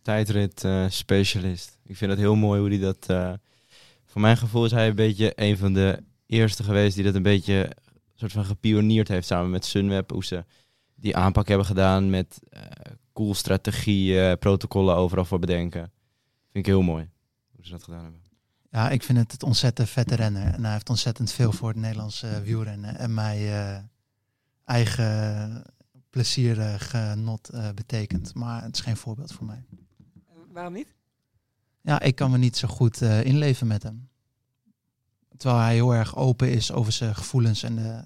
S1: Tijdrit eh, specialist. Ik vind het heel mooi hoe hij dat... eh, voor mijn gevoel is hij een beetje een van de eerste geweest die dat een beetje soort van gepioneerd heeft samen met Sunweb. Hoe ze die aanpak hebben gedaan met eh, cool strategieën, protocollen overal voor bedenken. Vind ik heel mooi hoe ze dat gedaan hebben.
S2: Ja, ik vind het het ontzettend vette renner. En hij heeft ontzettend veel voor het Nederlandse eh, wielrennen. En mij eh, eigen plezier eh, genot eh, betekent. Maar het is geen voorbeeld voor mij.
S3: Waarom niet?
S2: Ja, ik kan me niet zo goed eh, inleven met hem. Terwijl hij heel erg open is over zijn gevoelens en de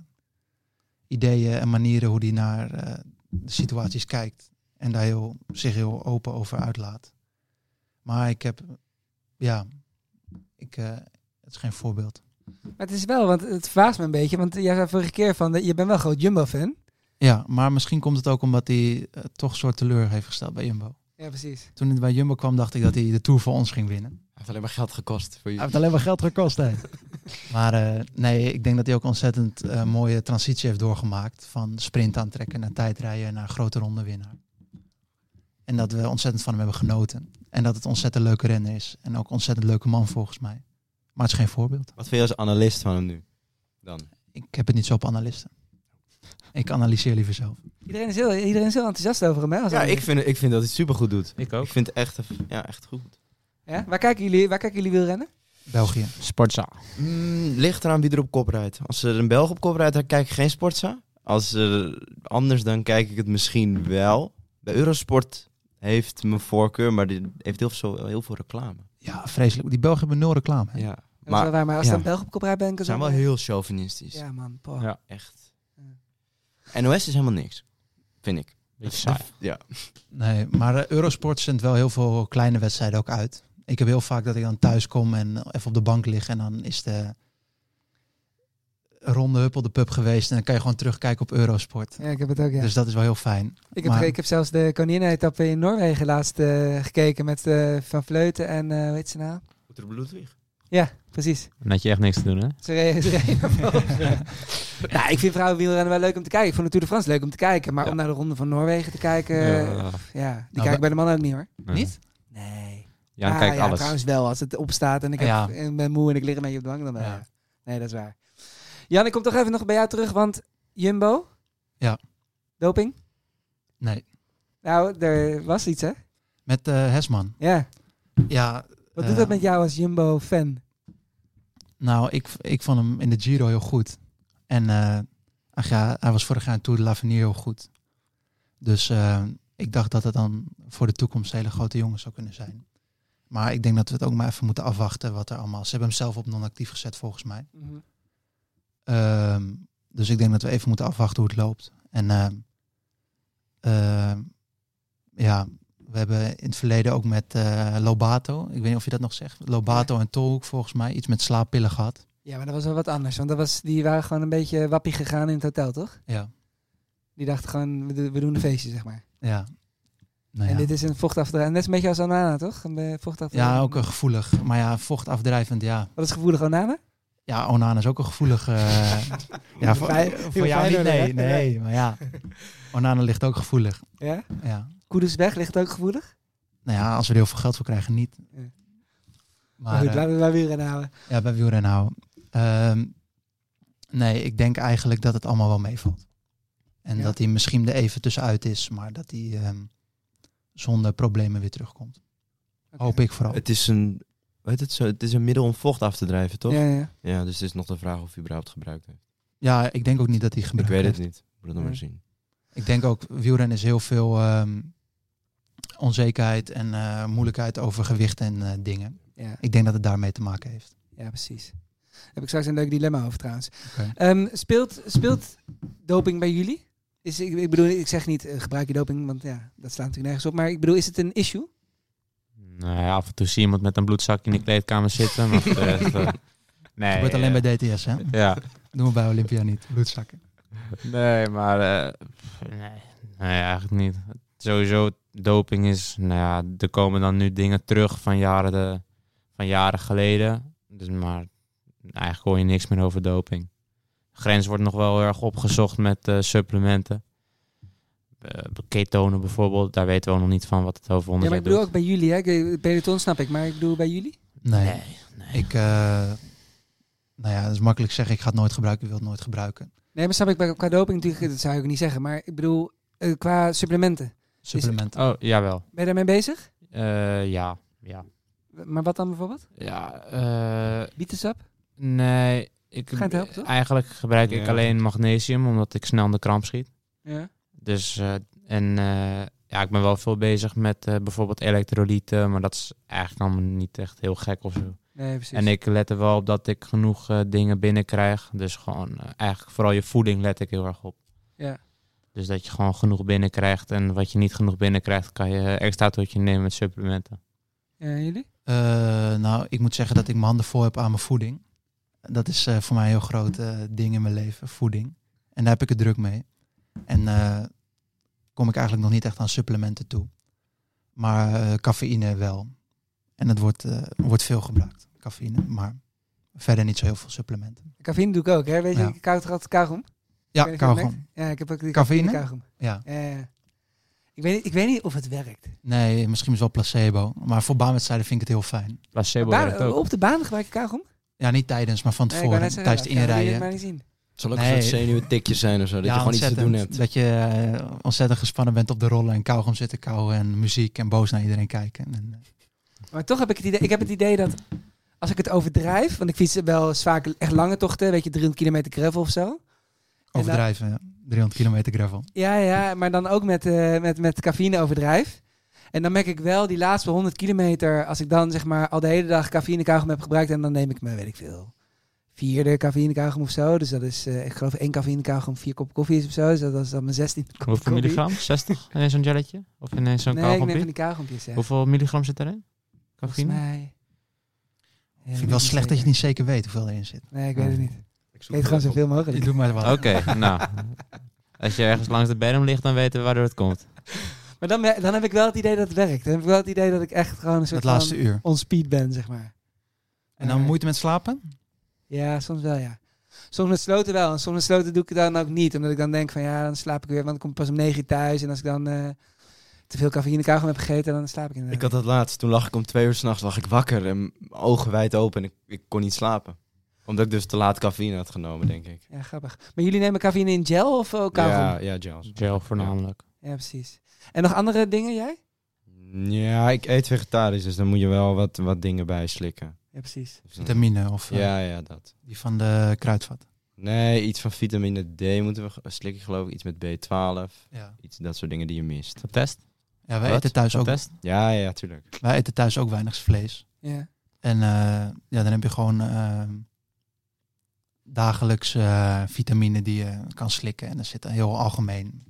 S2: ideeën en manieren hoe hij naar eh, de situaties kijkt. En daar heel, zich heel open over uitlaat. Maar ik heb, ja, ik, eh, het is geen voorbeeld.
S3: Maar het is wel, want het verbaast me een beetje. Want jij zei vorige keer van, eh, je bent wel groot Jumbo-fan.
S2: Ja, maar misschien komt het ook omdat hij eh, toch een soort teleur heeft gesteld bij Jumbo.
S3: Ja, precies.
S2: Toen hij bij Jumbo kwam, dacht ik dat hij de Tour voor ons ging winnen.
S1: Hij heeft alleen maar geld gekost voor
S2: Hij heeft alleen maar geld gekost, hè. maar eh, nee, ik denk dat hij ook ontzettend eh, mooie transitie heeft doorgemaakt. Van sprint aantrekken naar tijdrijden naar grote ronde winnaar. En dat we ontzettend van hem hebben genoten. En dat het ontzettend leuke renner is. En ook ontzettend leuke man volgens mij. Maar het is geen voorbeeld.
S1: Wat vind je als analist van hem nu? Dan?
S2: Ik heb het niet zo op analisten. Ik analyseer liever zelf.
S3: Iedereen is heel, iedereen is heel enthousiast over hem. Hè, als
S1: Ja,
S3: hij-
S1: ik vind, ik vind dat hij het supergoed doet.
S4: Ik ook.
S1: Ik vind het echt, ja, echt goed.
S3: Ja? Waar, kijken jullie, waar kijken jullie wielrennen?
S2: België.
S4: Sportza.
S1: Mm, ligt eraan wie er op kop rijdt. Als er een Belg op kop rijdt, dan kijk ik geen sportza. Als er anders, dan kijk ik het misschien wel. Bij Eurosport heeft mijn voorkeur, maar die heeft heel veel, heel veel reclame.
S2: Ja, vreselijk. Die Belgen hebben nul reclame. hè.
S1: Ja.
S3: Maar, dat is wel waar, maar als
S1: ja.
S3: dan Belg op kop rijdt, ben ik er
S1: zijn
S3: zo
S1: wel
S3: bij.
S1: heel chauvinistisch.
S3: Ja, man. Poh.
S4: Ja.
S1: Echt. NOS is helemaal niks, vind ik.
S4: Beetje saai.
S1: Ja.
S2: Nee, maar eh, Eurosport zendt wel heel veel kleine wedstrijden ook uit. Ik heb heel vaak dat ik dan thuis kom en even op de bank lig en dan is de ronde hup op de pub geweest en dan kan je gewoon terugkijken op Eurosport.
S3: Ja, ik heb het ook, ja.
S2: Dus dat is wel heel fijn.
S3: ik, heb,
S2: maar-
S3: ge- ik heb zelfs de koninginetappe in Noorwegen laatst eh, gekeken met eh, Van Vleuten en, eh hoe heet ze nou?
S1: Oeter Bloedweg.
S3: Ja, precies.
S4: En dat je echt niks te doen, hè?
S3: Ze reden, ze reden naar boven. Nou, ik vind vrouwenwielrennen wel leuk om te kijken. Ik vond de Tour de France leuk om te kijken. Maar om naar de Ronde van Noorwegen te kijken...
S4: Ja.
S3: Ja, die kijk ik bij de mannen ook niet hoor.
S4: Nee.
S2: Niet?
S3: Nee.
S4: Jan
S3: Ah,
S4: kijkt
S3: ja,
S4: alles.
S3: trouwens wel. Als het opstaat en ik, heb,
S2: Ja.
S3: en ben moe en ik lig een beetje op de bank, dan... eh,
S2: Ja.
S3: Nee, dat is waar. Jan, ik kom toch even nog bij jou terug, want Jumbo?
S2: Ja.
S3: Doping?
S2: Nee.
S3: Nou, er was iets hè?
S2: Met eh, Hesman.
S3: Ja.
S2: Ja,
S3: Wat
S2: Eh,
S3: doet dat met jou als Jumbo-fan?
S2: nou, ik, ik vond hem in de Giro heel goed. En eh, ach ja, hij was vorig jaar in Tour de L'Avenir heel goed. Dus eh, ik dacht dat het dan voor de toekomst hele grote jongens zou kunnen zijn. Maar ik denk dat we het ook maar even moeten afwachten wat er allemaal... Ze hebben hem zelf op non-actief gezet volgens mij. Ehm, dus ik denk dat we even moeten afwachten hoe het loopt. En ehm, ehm, ja, we hebben in het verleden ook met eh, Lobato, ik weet niet of je dat nog zegt, Lobato en Tolhoek volgens mij, iets met slaappillen gehad.
S3: Ja, maar dat was wel wat anders. Want dat was, die waren gewoon een beetje wappie gegaan in het hotel, toch?
S2: Ja,
S3: Die dachten gewoon, we, do- we doen een feestje, zeg maar.
S2: ja. Nou
S3: En
S2: ja.
S3: dit is een vochtafdrijvend. Net een beetje als Onana, toch? Een eh, vochtafdrijvend.
S2: ja, ook een gevoelig, maar ja, vochtafdrijvend, ja.
S3: Wat is gevoelig Onana?
S2: Ja, Onana is ook een gevoelig... eh, ja, voor,
S3: Fijn-
S2: voor jou niet,
S3: Feyenoord, hè?
S2: nee, nee, maar ja. Onana ligt ook gevoelig,
S3: Ja?
S2: ja.
S3: Koeders weg ligt ook gevoelig.
S2: Nou ja, als we er heel veel geld voor krijgen, niet.
S3: Ja.
S2: Maar,
S3: Maar goed,
S2: eh,
S3: laten we daar weer aan houden.
S2: Ja, bij wielrennen houden. Ehm, nee, ik denk eigenlijk dat het allemaal wel meevalt. En
S3: Ja.
S2: dat hij misschien er even tussenuit is, maar dat hij ehm, zonder problemen weer terugkomt. Hoop ik vooral.
S1: Het is een, hoe heet het zo? Het is een middel om vocht af te drijven, toch?
S3: Ja, ja.
S1: Ja, dus het is nog de vraag of hij überhaupt gebruikt heeft.
S2: Ja, ik denk ook niet dat hij gebruikt
S1: ik weet het
S2: heeft.
S1: niet. Moet het nog maar
S3: Nee.
S1: zien.
S2: Ik denk ook, wielrennen is heel veel ehm, onzekerheid en eh, moeilijkheid over gewicht en eh, dingen.
S3: Ja.
S2: Ik denk dat het daarmee te maken heeft.
S3: Ja, precies. Daar heb ik straks een leuk dilemma over trouwens.
S2: Oké.
S3: Ehm, speelt, speelt doping bij jullie? Is, ik, ik bedoel, ik zeg niet eh, gebruik je doping, want ja, dat slaat natuurlijk nergens op. Maar ik bedoel, is het een issue?
S4: Nou ja, af en toe zie je iemand met een bloedzak in de kleedkamer zitten. Maar voor de rest, eh, nee,
S2: Gebeurt alleen
S4: eh,
S2: bij DTS, hè?
S4: Ja.
S2: Doen we bij Olympia niet. Bloedzakken.
S4: Nee, maar eh, pff, nee. nee, eigenlijk niet. Sowieso, doping is, nou ja, er komen dan nu dingen terug van jaren, de, van jaren geleden. Dus, maar eigenlijk hoor je niks meer over doping. De grens wordt nog wel erg opgezocht met eh, supplementen. Eh, ketonen bijvoorbeeld, daar weten we ook nog niet van wat het over
S3: Ja, maar
S4: onderzoek
S3: ik bedoel ook bij jullie, hè? Ik- eh, Peloton snap ik, maar ik bedoel bij jullie?
S2: Nee. Ik, eh, nou ja, dat is makkelijk zeggen. Ik ga het nooit gebruiken. Ik wil het nooit gebruiken.
S3: Nee, maar snap ik, bij- qua doping natuurlijk, dat zou ik niet zeggen. Maar ik bedoel, eh, qua supplementen. Is-
S2: Supplementen.
S4: Oh, jawel.
S3: ben je daarmee bezig?
S4: Eh, ja, ja.
S3: Maar wat dan bijvoorbeeld?
S4: Ja, eh
S3: Bietensap?
S4: Nee, ik,
S3: Ga je het helpen, toch?
S4: eigenlijk gebruik ik
S3: Ja.
S4: alleen magnesium, omdat ik snel in de kramp schiet.
S3: Ja.
S4: Dus, eh, en eh, ja, ik ben wel veel bezig met eh, bijvoorbeeld elektrolyten, maar dat is eigenlijk allemaal niet echt heel gek of zo.
S3: Nee, precies.
S4: En ik let er wel op dat ik genoeg eh, dingen binnenkrijg. Dus gewoon eh, eigenlijk vooral je voeding let ik heel erg op.
S3: Ja.
S4: Dus dat je gewoon genoeg binnenkrijgt en wat je niet genoeg binnenkrijgt, kan je eh, extra tot je nemen met supplementen.
S3: Ja, jullie?
S2: Eh, nou, ik moet zeggen dat ik mijn handen vol heb aan mijn voeding. Dat is eh, voor mij een heel groot eh, ding in mijn leven, voeding. En daar heb ik het druk mee. En eh, kom ik eigenlijk nog niet echt aan supplementen toe. Maar eh, cafeïne wel. En het wordt, eh, wordt veel gebruikt, cafeïne. Maar verder niet zo heel veel supplementen.
S3: Cafeïne doe ik ook, hè? Weet je,
S2: Ja.
S3: ik koud gehad kauwgom.
S2: Ja,
S3: Ik weet niet of je het
S2: kauwgom.
S3: merkt. Ja, ik heb ook die
S2: Cafeïne?
S3: kauwgom.
S2: Ja.
S3: ja. Ik weet, niet, ik weet niet of het werkt.
S2: Nee, misschien is het wel placebo. Maar voor baanwedstrijden vind ik het heel fijn.
S4: Placebo
S3: Baan- op de baan gebruik ik kauwgom?
S2: Ja, niet tijdens, maar van
S3: Nee, ik wou
S2: tevoren.
S3: net zeggen,
S2: tijdens het
S3: dat kan
S2: inrijden.
S3: je maar niet zien.
S1: Het zal ook een soort zenuwtikje zijn of zo, dat je gewoon iets te doen
S2: ontzettend.
S1: hebt.
S2: Dat je eh, ontzettend gespannen bent op de rollen en kauwgom zitten kauwen en muziek en boos naar iedereen kijken. En, eh,
S3: Maar toch heb ik het idee, ik heb het idee dat als ik het overdrijf, want ik fiets wel eens vaak echt lange tochten, weet je, 300 kilometer gravel of zo. En dan-
S2: overdrijven, ja. 300 kilometer gravel.
S3: Ja, ja, maar dan ook met, eh, met, met cafeïne overdrijf. En dan merk ik wel die laatste 100 kilometer, als ik dan zeg maar al de hele dag cafeïne kauwgom heb gebruikt en dan neem ik me, weet ik veel, vierde cafeïne kauwgom of zo. Dus dat is, eh, ik geloof één cafeïne kauwgom, vier kop koffie is of zo. Dus dat is dan mijn 16 kop
S4: Hoeveel
S3: koffie.
S4: milligram? 60 in zo'n jelletje? Of in zo'n
S3: Nee, ik neem van die kauwgompjes, ja.
S4: Hoeveel milligram zit erin?
S3: Volgens
S4: Cafeïne?
S3: mij... Ja,
S2: Vind
S3: weet
S2: ik wel
S3: niet
S2: slecht dat je
S3: zeker.
S2: niet zeker weet hoeveel erin zit.
S3: Nee, ik weet het niet. Ik eet gewoon zoveel mogelijk.
S2: Doe maar wat.
S4: Oké, nou. Als je ergens langs de berm ligt, dan weten we waardoor het komt.
S3: Maar dan, dan heb ik wel het idee dat het werkt. Dan heb ik wel het idee dat ik echt gewoon een soort
S2: Het laatste
S3: van
S2: uur.
S3: on speed ben, zeg maar.
S2: En dan moeite met slapen?
S3: Ja, soms wel, ja. Soms met sloten wel. En soms met sloten doe ik het dan ook niet. Omdat ik dan denk van ja, dan slaap ik weer. Want ik kom pas om negen uur thuis. En als ik dan eh, te veel cafeïne kauwgom heb gegeten, dan slaap ik inderdaad.
S1: Ik had dat laatst, toen lag ik om twee uur s'nachts wakker en mijn ogen wijd open en ik, ik kon niet slapen. Omdat ik dus te laat cafeïne had genomen, denk ik.
S3: Ja, grappig. Maar jullie nemen cafeïne in gel of ook kauwgom?
S1: Ja, ja, gels.
S4: Gel voornamelijk.
S3: ja, precies. En nog andere dingen, jij?
S1: Ja, ik eet vegetarisch, dus dan moet je wel wat, wat dingen bij slikken.
S3: Ja, precies.
S1: Dus dan-
S2: Vitamine of eh,
S1: Ja, ja, dat.
S2: die van de kruidvat.
S1: Nee, iets van vitamine D moeten we ge- slikken, geloof ik. Iets met B12.
S2: Ja.
S1: Iets, dat soort dingen die je mist.
S4: Test?
S2: Ja, wij
S1: Wat?
S2: eten thuis
S1: Wat
S2: ook.
S1: test? Ja, ja, tuurlijk.
S2: Wij eten thuis ook weinig vlees.
S3: Ja.
S2: En eh, ja, dan heb je gewoon eh, dagelijks eh, vitamine die je kan slikken. En dat zit heel algemeen.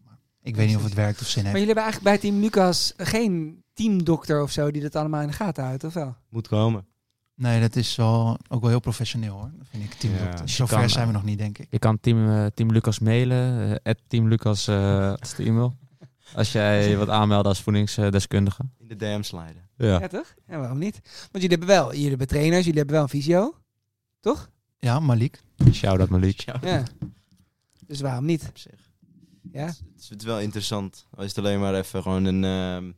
S2: Ik weet niet of het werkt of zin
S3: Maar
S2: heeft.
S3: jullie hebben eigenlijk bij Team Lucas geen teamdokter of zo die dat allemaal in de gaten houdt, of wel?
S1: Moet komen.
S2: Nee, dat is wel, ook wel heel professioneel hoor. Dat vind ik team
S1: Ja,
S2: dokter.
S1: je
S2: Zover
S4: kan,
S2: zijn we
S4: eh,
S2: nog niet, denk ik.
S4: Je kan team, eh, team Lucas mailen. eh, at team Lucas eh, dat is de e-mail. Nou, Als jij je wilt aanmelden als voedingsdeskundige.
S1: In de DM sliden.
S4: Ja.
S3: toch? Ja, waarom niet? Want jullie hebben wel, jullie hebben trainers, jullie hebben wel een fysio, toch?
S2: Ja, Malik.
S4: Shout-out Malik.
S3: Ja. Dus waarom niet? Ja.
S1: Het is- het is wel interessant. Al is het alleen maar even gewoon een... ehm,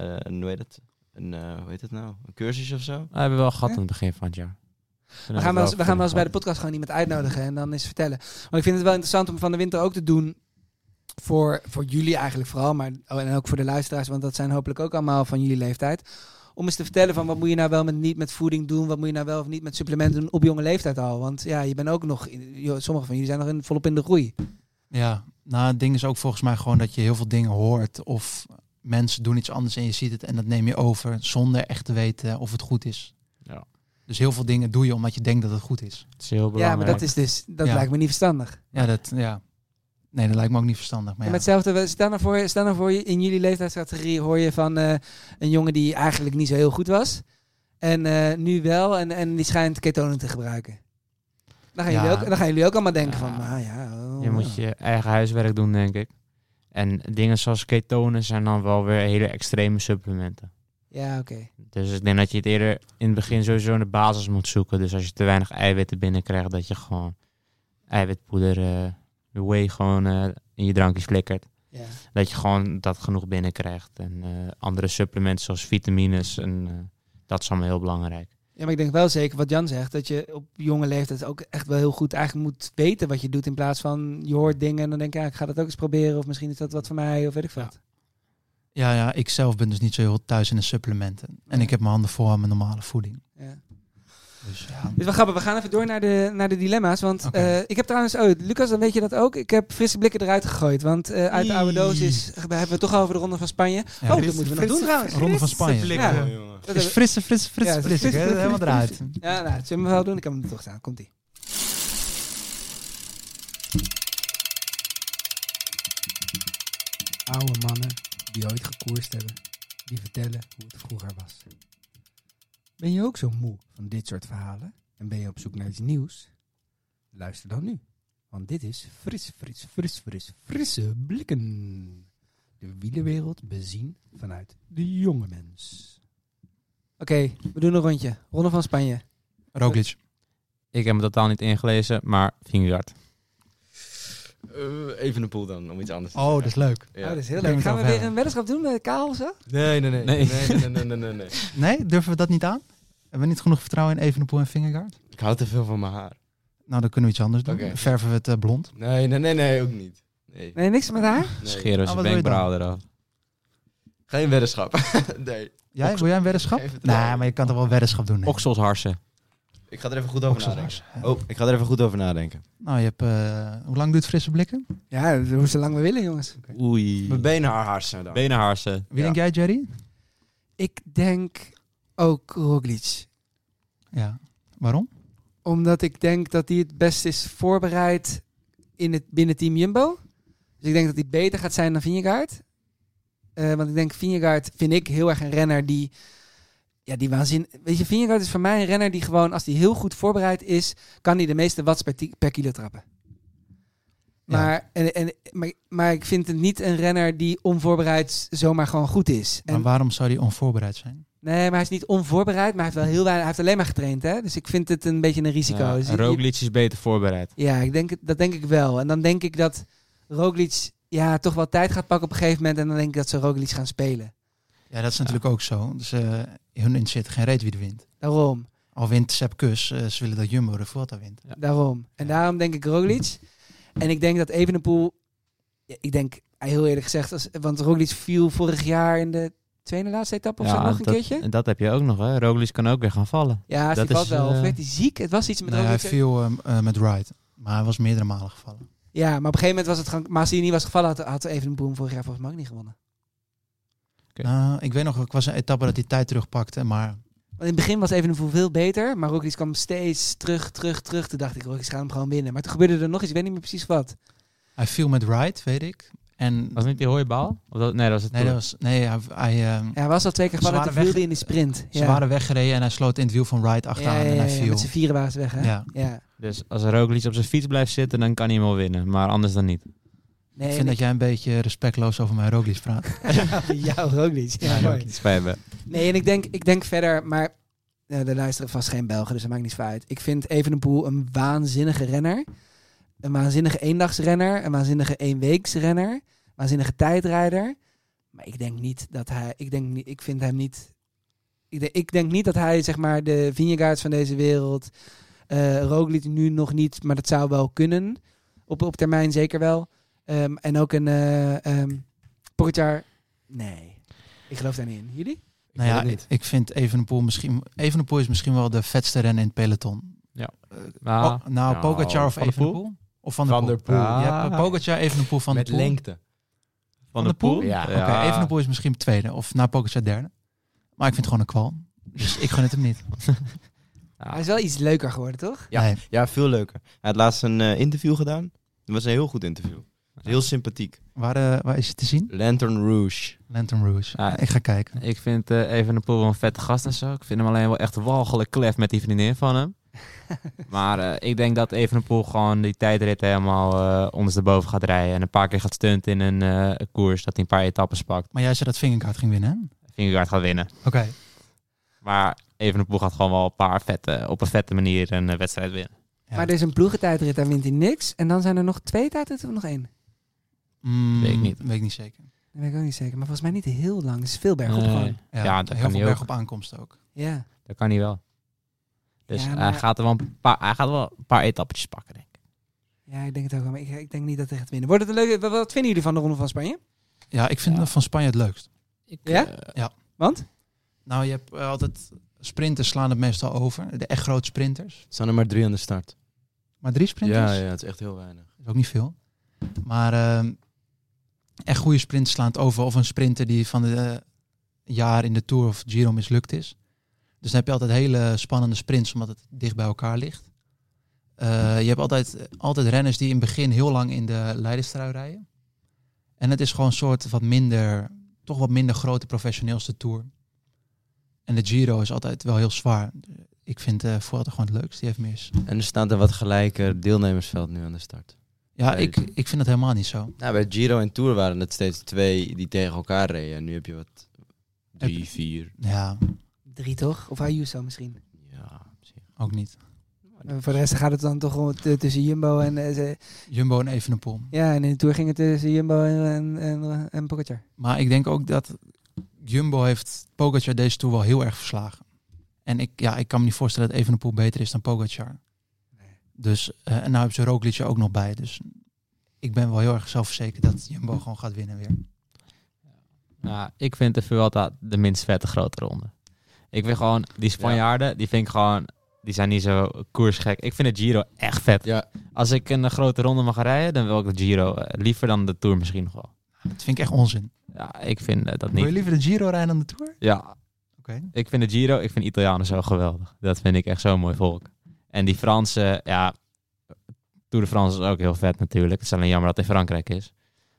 S1: eh, een hoe heet het? Een, eh, hoe heet het nou? Een cursus of zo?
S4: We hebben we wel gehad aan het begin van het jaar.
S3: We gaan, wel eens, we gaan wel eens bij de podcast gewoon iemand uitnodigen en dan eens vertellen. Want ik vind het wel interessant om van de winter ook te doen. Voor, voor jullie eigenlijk vooral, maar oh, en ook voor de luisteraars, want dat zijn hopelijk ook allemaal van jullie leeftijd. Om eens te vertellen van wat moet je nou wel met niet met voeding doen, wat moet je nou wel of niet met supplementen doen op jonge leeftijd al. Want ja, je bent ook nog, in- joh, sommige van jullie zijn nog in, volop in de groei.
S2: Ja, Nou, het ding is ook volgens mij gewoon dat je heel veel dingen hoort of mensen doen iets anders en je ziet het en dat neem je over zonder echt te weten of het goed is.
S4: Ja.
S2: Dus heel veel dingen doe je omdat je denkt dat het goed is.
S4: Het is heel
S3: Ja, maar dat, is dus, dat
S2: Ja.
S3: lijkt me niet verstandig.
S2: Ja, dat, ja. Nee, dat lijkt me ook niet verstandig. Maar
S3: En
S2: ja.
S3: met hetzelfde, we- stel nou voor, stel nou voor je- in jullie leeftijdscategorie hoor je van eh, een jongen die eigenlijk niet zo heel goed was. En eh, nu wel, en, en die schijnt ketonen te gebruiken. Dan gaan,
S4: Ja.
S3: jullie, ook, dan gaan jullie ook allemaal denken van, nou ja... oh,
S4: Je moet je eigen huiswerk doen, denk ik. En dingen zoals ketonen zijn dan wel weer hele extreme supplementen.
S3: Ja, oké.
S4: Dus ik denk dat je het eerder in het begin sowieso in de basis moet zoeken. Dus als je te weinig eiwitten binnenkrijgt, dat je gewoon eiwitpoeder, eh whey gewoon eh, in je drankjes flikkert.
S3: Ja.
S4: Dat je gewoon dat genoeg binnenkrijgt. En eh, andere supplementen zoals vitamines, en, eh, dat is allemaal heel belangrijk.
S3: Ja, maar ik denk wel zeker wat Jan zegt, dat je op jonge leeftijd ook echt wel heel goed eigenlijk moet weten wat je doet. In plaats van je hoort dingen en dan denk je, ja, ik ga dat ook eens proberen. Of misschien is dat wat voor mij, of weet ik wat.
S2: Ja, ja, ik zelf ben dus niet zo heel thuis in de supplementen. En ik heb mijn handen vol aan mijn normale voeding.
S3: Ja.
S2: Dus ja.
S3: Dit is wel grappig. We gaan even door naar de, naar de dilemma's. Want eh, ik heb trouwens... Oh, Lucas, dan weet je dat ook. Ik heb frisse blikken eruit gegooid. Want eh, uit de oude doos is, hebben we het toch over de Ronde van Spanje.
S2: Ja.
S3: oh, dat
S2: Frisse-
S3: moeten we nog
S2: frisse-
S3: doen trouwens.
S2: Ronde van Spanje.
S3: Ja.
S2: Blikken,
S3: Ja.
S2: jongen.
S3: Dat
S2: Is frisse, frisse, frisse,
S3: Ja, het is
S2: frisse, hè? Helemaal eruit.
S3: Ja, nou, dat zullen we wel doen. Ik heb hem er toch staan. Komt-ie. Oude mannen die ooit gekoerst hebben, die vertellen hoe het vroeger was. Ben je ook zo moe van dit soort verhalen en ben je op zoek naar iets nieuws? Luister dan nu, want dit is fris, fris, fris, fris, frisse blikken. De wielerwereld bezien vanuit de jonge mens. Oké, we doen een rondje. Ronde van Spanje.
S2: Roglic.
S4: Ik heb me totaal niet ingelezen, maar Vingegaard.
S1: Eh, even een pool dan, om iets anders te
S2: Oh,
S1: zeggen.
S2: dat is leuk.
S1: Ja.
S3: Oh, dat is heel leuk. Gaan we weer een weddenschap doen met Kaal of zo?
S1: Nee, nee, nee.
S2: Nee.
S1: Nee, nee, nee, nee, nee, nee, nee.
S2: Nee, durven we dat niet aan? Hebben we niet genoeg vertrouwen in Evenepoel en Vingegaard?
S1: Ik hou te veel van mijn haar.
S2: Nou, dan kunnen we iets anders doen.
S1: Oké.
S2: Verven we het eh, blond.
S1: Nee, nee, nee, nee, ook niet. Nee.
S3: Nee, niks met haar?
S1: Nee.
S4: Scheren
S2: Ah,
S4: we zijn
S2: wat wil je
S4: wenkbrauw eraf.
S1: Geen weddenschap. nee.
S2: Jij, wil jij een weddenschap? Nee, maar je kan toch wel een weddenschap doen. hè?
S4: Oksels harsen.
S1: Ik ga er even goed over
S2: Oksels
S1: nadenken. Oh, ik ga er even goed over nadenken.
S2: Nou, je hebt... eh, hoe lang duurt frisse blikken?
S3: Ja, dat doen ze lang we willen, jongens.
S4: Oei.
S1: Mijn benen harsen dan.
S4: Benen harsen.
S2: Wie denk jij, Jerry?
S3: Ik denk ook Roglic.
S2: Ja. Waarom?
S3: Omdat ik denk dat hij het best is voorbereid in het, binnen Team Jumbo. Dus ik denk dat hij beter gaat zijn dan Vingegaard. Eh, want ik denk Vingegaard vind ik heel erg een renner die... Ja, die waanzin... Weet je, Vingegaard is voor mij een renner die gewoon... als hij heel goed voorbereid is... kan hij de meeste watts per, ti- per kilo trappen. Maar, en, en, maar, maar ik vind het niet een renner die onvoorbereid zomaar gewoon goed is. En
S2: Maar waarom zou die onvoorbereid zijn?
S3: Nee, maar hij is niet onvoorbereid, maar hij heeft wel heel weinig. Hij heeft alleen maar getraind, hè? Dus ik vind het een beetje een risico.
S4: Ja,
S3: Dus je-
S4: Roglic is beter voorbereid.
S3: ja, ik denk, het- dat denk ik wel. En dan denk ik dat Roglic ja, toch wel tijd gaat pakken op een gegeven moment. En dan denk ik dat ze Roglic gaan spelen.
S2: Ja, dat is natuurlijk ook zo. Dus eh hun in zit geen reet wie er wint.
S3: Daarom,
S2: Al wint Sepp Kus, eh, ze willen dat Jumbo de Vuelta wint.
S3: daarom. En daarom denk ik Roglic. En ik denk dat Evenepoel... ja, ik denk, heel eerlijk gezegd, als, want Roglic viel vorig jaar in de tweede laatste etappe of zo nog een
S4: dat,
S3: keertje.
S4: en dat heb je ook nog, hè. Roglic kan ook weer gaan vallen.
S3: Ja, als
S4: dat
S3: hij valt wel. Of
S4: eh, nou
S3: werd hij ziek? Het was iets met
S2: Nee, hij
S3: Roglic.
S2: viel eh, m- eh, met Wright, maar hij was meerdere malen gevallen.
S3: Ja, maar op een gegeven moment was het gewoon... Maar als hij niet was gevallen, had, had Evenepoel vorig jaar volgens mij ook niet gewonnen.
S2: Nou, ik weet nog, ik was een etappe dat hij tijd terugpakte, maar
S3: Want in het begin was Evenepoel veel beter, maar Roglic kwam steeds terug, terug, terug. Toen dacht ik, Roglic gaat hem gewoon winnen. Maar toen gebeurde er nog iets, ik weet niet meer precies wat.
S2: hij viel met Wright, weet ik. En
S4: Was het niet die hooibaal? Of dat, nee, dat was het
S2: nee, dat was, nee hij, hij, eh,
S3: Ja, hij was al twee keer gevallen,
S2: Ze
S3: toen
S2: waren
S3: viel hij in die sprint.
S2: ze
S3: Ja.
S2: waren weggereden en hij sloot in het wiel van Wright
S3: ja,
S2: achteraan
S3: ja,
S2: en
S3: ja,
S2: hij
S3: ja,
S2: viel.
S3: met z'n vieren waren ze weg, hè?
S2: Ja.
S4: Dus als Roglic op zijn fiets blijft zitten, dan kan hij hem wel winnen. Maar anders dan niet.
S3: Nee,
S2: ik vind dat jij een beetje respectloos over mijn Roglic praat.
S3: Jouw Roglic. Ja, mooi.
S4: Spijt me.
S3: Nee, en ik denk, ik denk verder, maar eh er luisteren vast geen Belgen, dus dat maakt niet veel uit. Ik vind Evenepoel een waanzinnige renner. Een waanzinnige eendagsrenner, een waanzinnige eenweeksrenner, een waanzinnige tijdrijder. Maar ik denk niet dat hij, ik denk niet, ik vind hem niet, ik denk, ik denk niet dat hij zeg maar de Vingegaards van deze wereld, eh Roglic nu nog niet, maar dat zou wel kunnen. Op, op termijn zeker wel. Ehm, en ook een eh ehm, Pogacar. Nee, ik geloof daar niet in. Jullie?
S2: nou
S1: weet
S2: ja,
S1: het
S2: ik, ik vind Evenepoel misschien... Evenepoel is misschien wel de vetste renner in het peloton.
S4: Ja.
S2: Eh,
S4: Nou,
S2: oh, nou, Pogacar of
S4: Van der Poel?
S2: Evenepoel? Of Van der Poel? Je hebt
S3: Ah.
S2: eh, Pogacar, Evenepoel, Van der
S1: Met
S2: Poel.
S1: lengte.
S2: Van, de Poel?
S1: Ja.
S2: Oké, Evenepoel is misschien tweede. Of na Pogacar derde. Maar ik vind het gewoon een kwal. Dus ik gun het hem niet.
S3: Hij is wel iets leuker geworden, toch?
S1: Ja,
S2: Nee.
S1: ja, veel leuker. Hij had laatst een eh, interview gedaan. Dat was een heel goed interview. Heel sympathiek.
S2: Waar, eh, waar is het te zien?
S1: Lantern Rouge.
S2: Lantern Rouge. ik ga kijken.
S4: Ik vind eh Evenepoel wel een vette gast en zo. Ik vind hem alleen wel echt walgelijk klef met die vriendin van hem. maar eh, ik denk dat Evenepoel gewoon die tijdrit helemaal eh ondersteboven gaat rijden. En een paar keer gaat stunten in een eh, koers dat hij een paar etappes pakt.
S2: Maar jij zei dat Vingegaard ging winnen, hè?
S4: Vingegaard gaat winnen.
S2: Oké.
S4: Maar Evenepoel gaat gewoon wel een paar vette, op een vette manier een eh, wedstrijd winnen.
S3: Maar dus- er is een ploegentijdrit, daar wint hij niks. En dan zijn er nog twee tijdritten of nog één?
S4: Weet ik niet.
S2: Mm, Weet ik niet zeker.
S3: Dat weet ik ook niet zeker. Maar volgens mij niet heel lang. Het is veel bergop
S4: Nee.
S3: gewoon.
S4: Ja, dat
S2: heel veel
S4: kan hij
S2: berg
S4: ook.
S2: op aankomst ook.
S3: Ja.
S4: Dat kan hij wel. Dus
S3: Ja,
S4: hij,
S3: maar-
S4: gaat er wel een paar, hij gaat wel een paar etappetjes pakken, denk ik.
S3: ja, ik denk het ook wel. Maar ik, ik denk niet dat hij gaat winnen. Wordt het een leuke... Wat, wat vinden jullie van de Ronde van Spanje?
S2: Ja, ik vind dat van Spanje het leukst.
S3: ja?
S4: Eh,
S2: ja.
S3: Want?
S2: Nou, je hebt eh, altijd... Sprinters slaan het meestal over. De echt grote sprinters.
S1: Er staan er maar drie aan de start.
S2: Maar drie sprinters?
S1: Ja, ja, het is echt heel weinig.
S2: is ook niet veel. Maar ehm, echt goede sprint slaand over. Of een sprinter die van de eh, jaar in de Tour of Giro mislukt is. Dus dan heb je altijd hele spannende sprints, omdat het dicht bij elkaar ligt. Eh, je hebt altijd, altijd renners die in het begin heel lang in de leiderstrui rijden. En het is gewoon een soort wat minder, toch wat minder grote professioneelste Tour. En de Giro is altijd wel heel zwaar. Ik vind eh Vuelta gewoon het leukst. Die heeft meer
S1: En er staat een wat gelijker deelnemersveld nu aan de start.
S2: Ja,
S1: Bij
S2: ik,
S1: de-
S2: ik vind dat helemaal niet zo.
S1: Nou, bij Giro en Tour waren het steeds twee die tegen elkaar reden. En nu heb je wat... Drie, vier.
S2: Ja,
S3: Drie toch? Of Ayuso misschien?
S2: ook niet.
S3: En Eh, voor de rest gaat het dan toch om het, eh, tussen Jumbo en... eh, ze-
S2: Jumbo en Evenepoel.
S3: ja, en in de Tour ging het tussen Jumbo en, en, en, en Pogacar.
S2: Maar ik denk ook dat Jumbo heeft Pogacar deze Tour wel heel erg verslagen. En ik, ja, ik kan me niet voorstellen dat Evenepoel beter is dan Pogacar. Dus, eh, en nou hebben ze Roglic er ook nog bij. Dus ik ben wel heel erg zelfverzekerd dat Jumbo gewoon gaat winnen weer.
S4: Ja, Nou, ik vind de Vuelta de minst vette grote ronde. Ik vind gewoon, die Spanjaarden, die vind ik gewoon, die zijn niet zo koersgek. Ik vind de Giro echt vet. Als ik een eh, grote ronde mag rijden, dan wil ik de Giro eh, liever dan de Tour misschien nog wel.
S2: Dat vind ik echt onzin.
S4: Ja, ik vind eh, dat
S2: Wil je
S4: niet.
S2: liever de Giro rijden dan de Tour?
S4: Ja.
S2: Oké.
S4: Ik vind de Giro, ik vind Italianen zo geweldig. Dat vind ik echt zo'n mooi volk. En die Fransen, ja, Tour de France is ook heel vet natuurlijk. Het is alleen jammer dat het in Frankrijk is.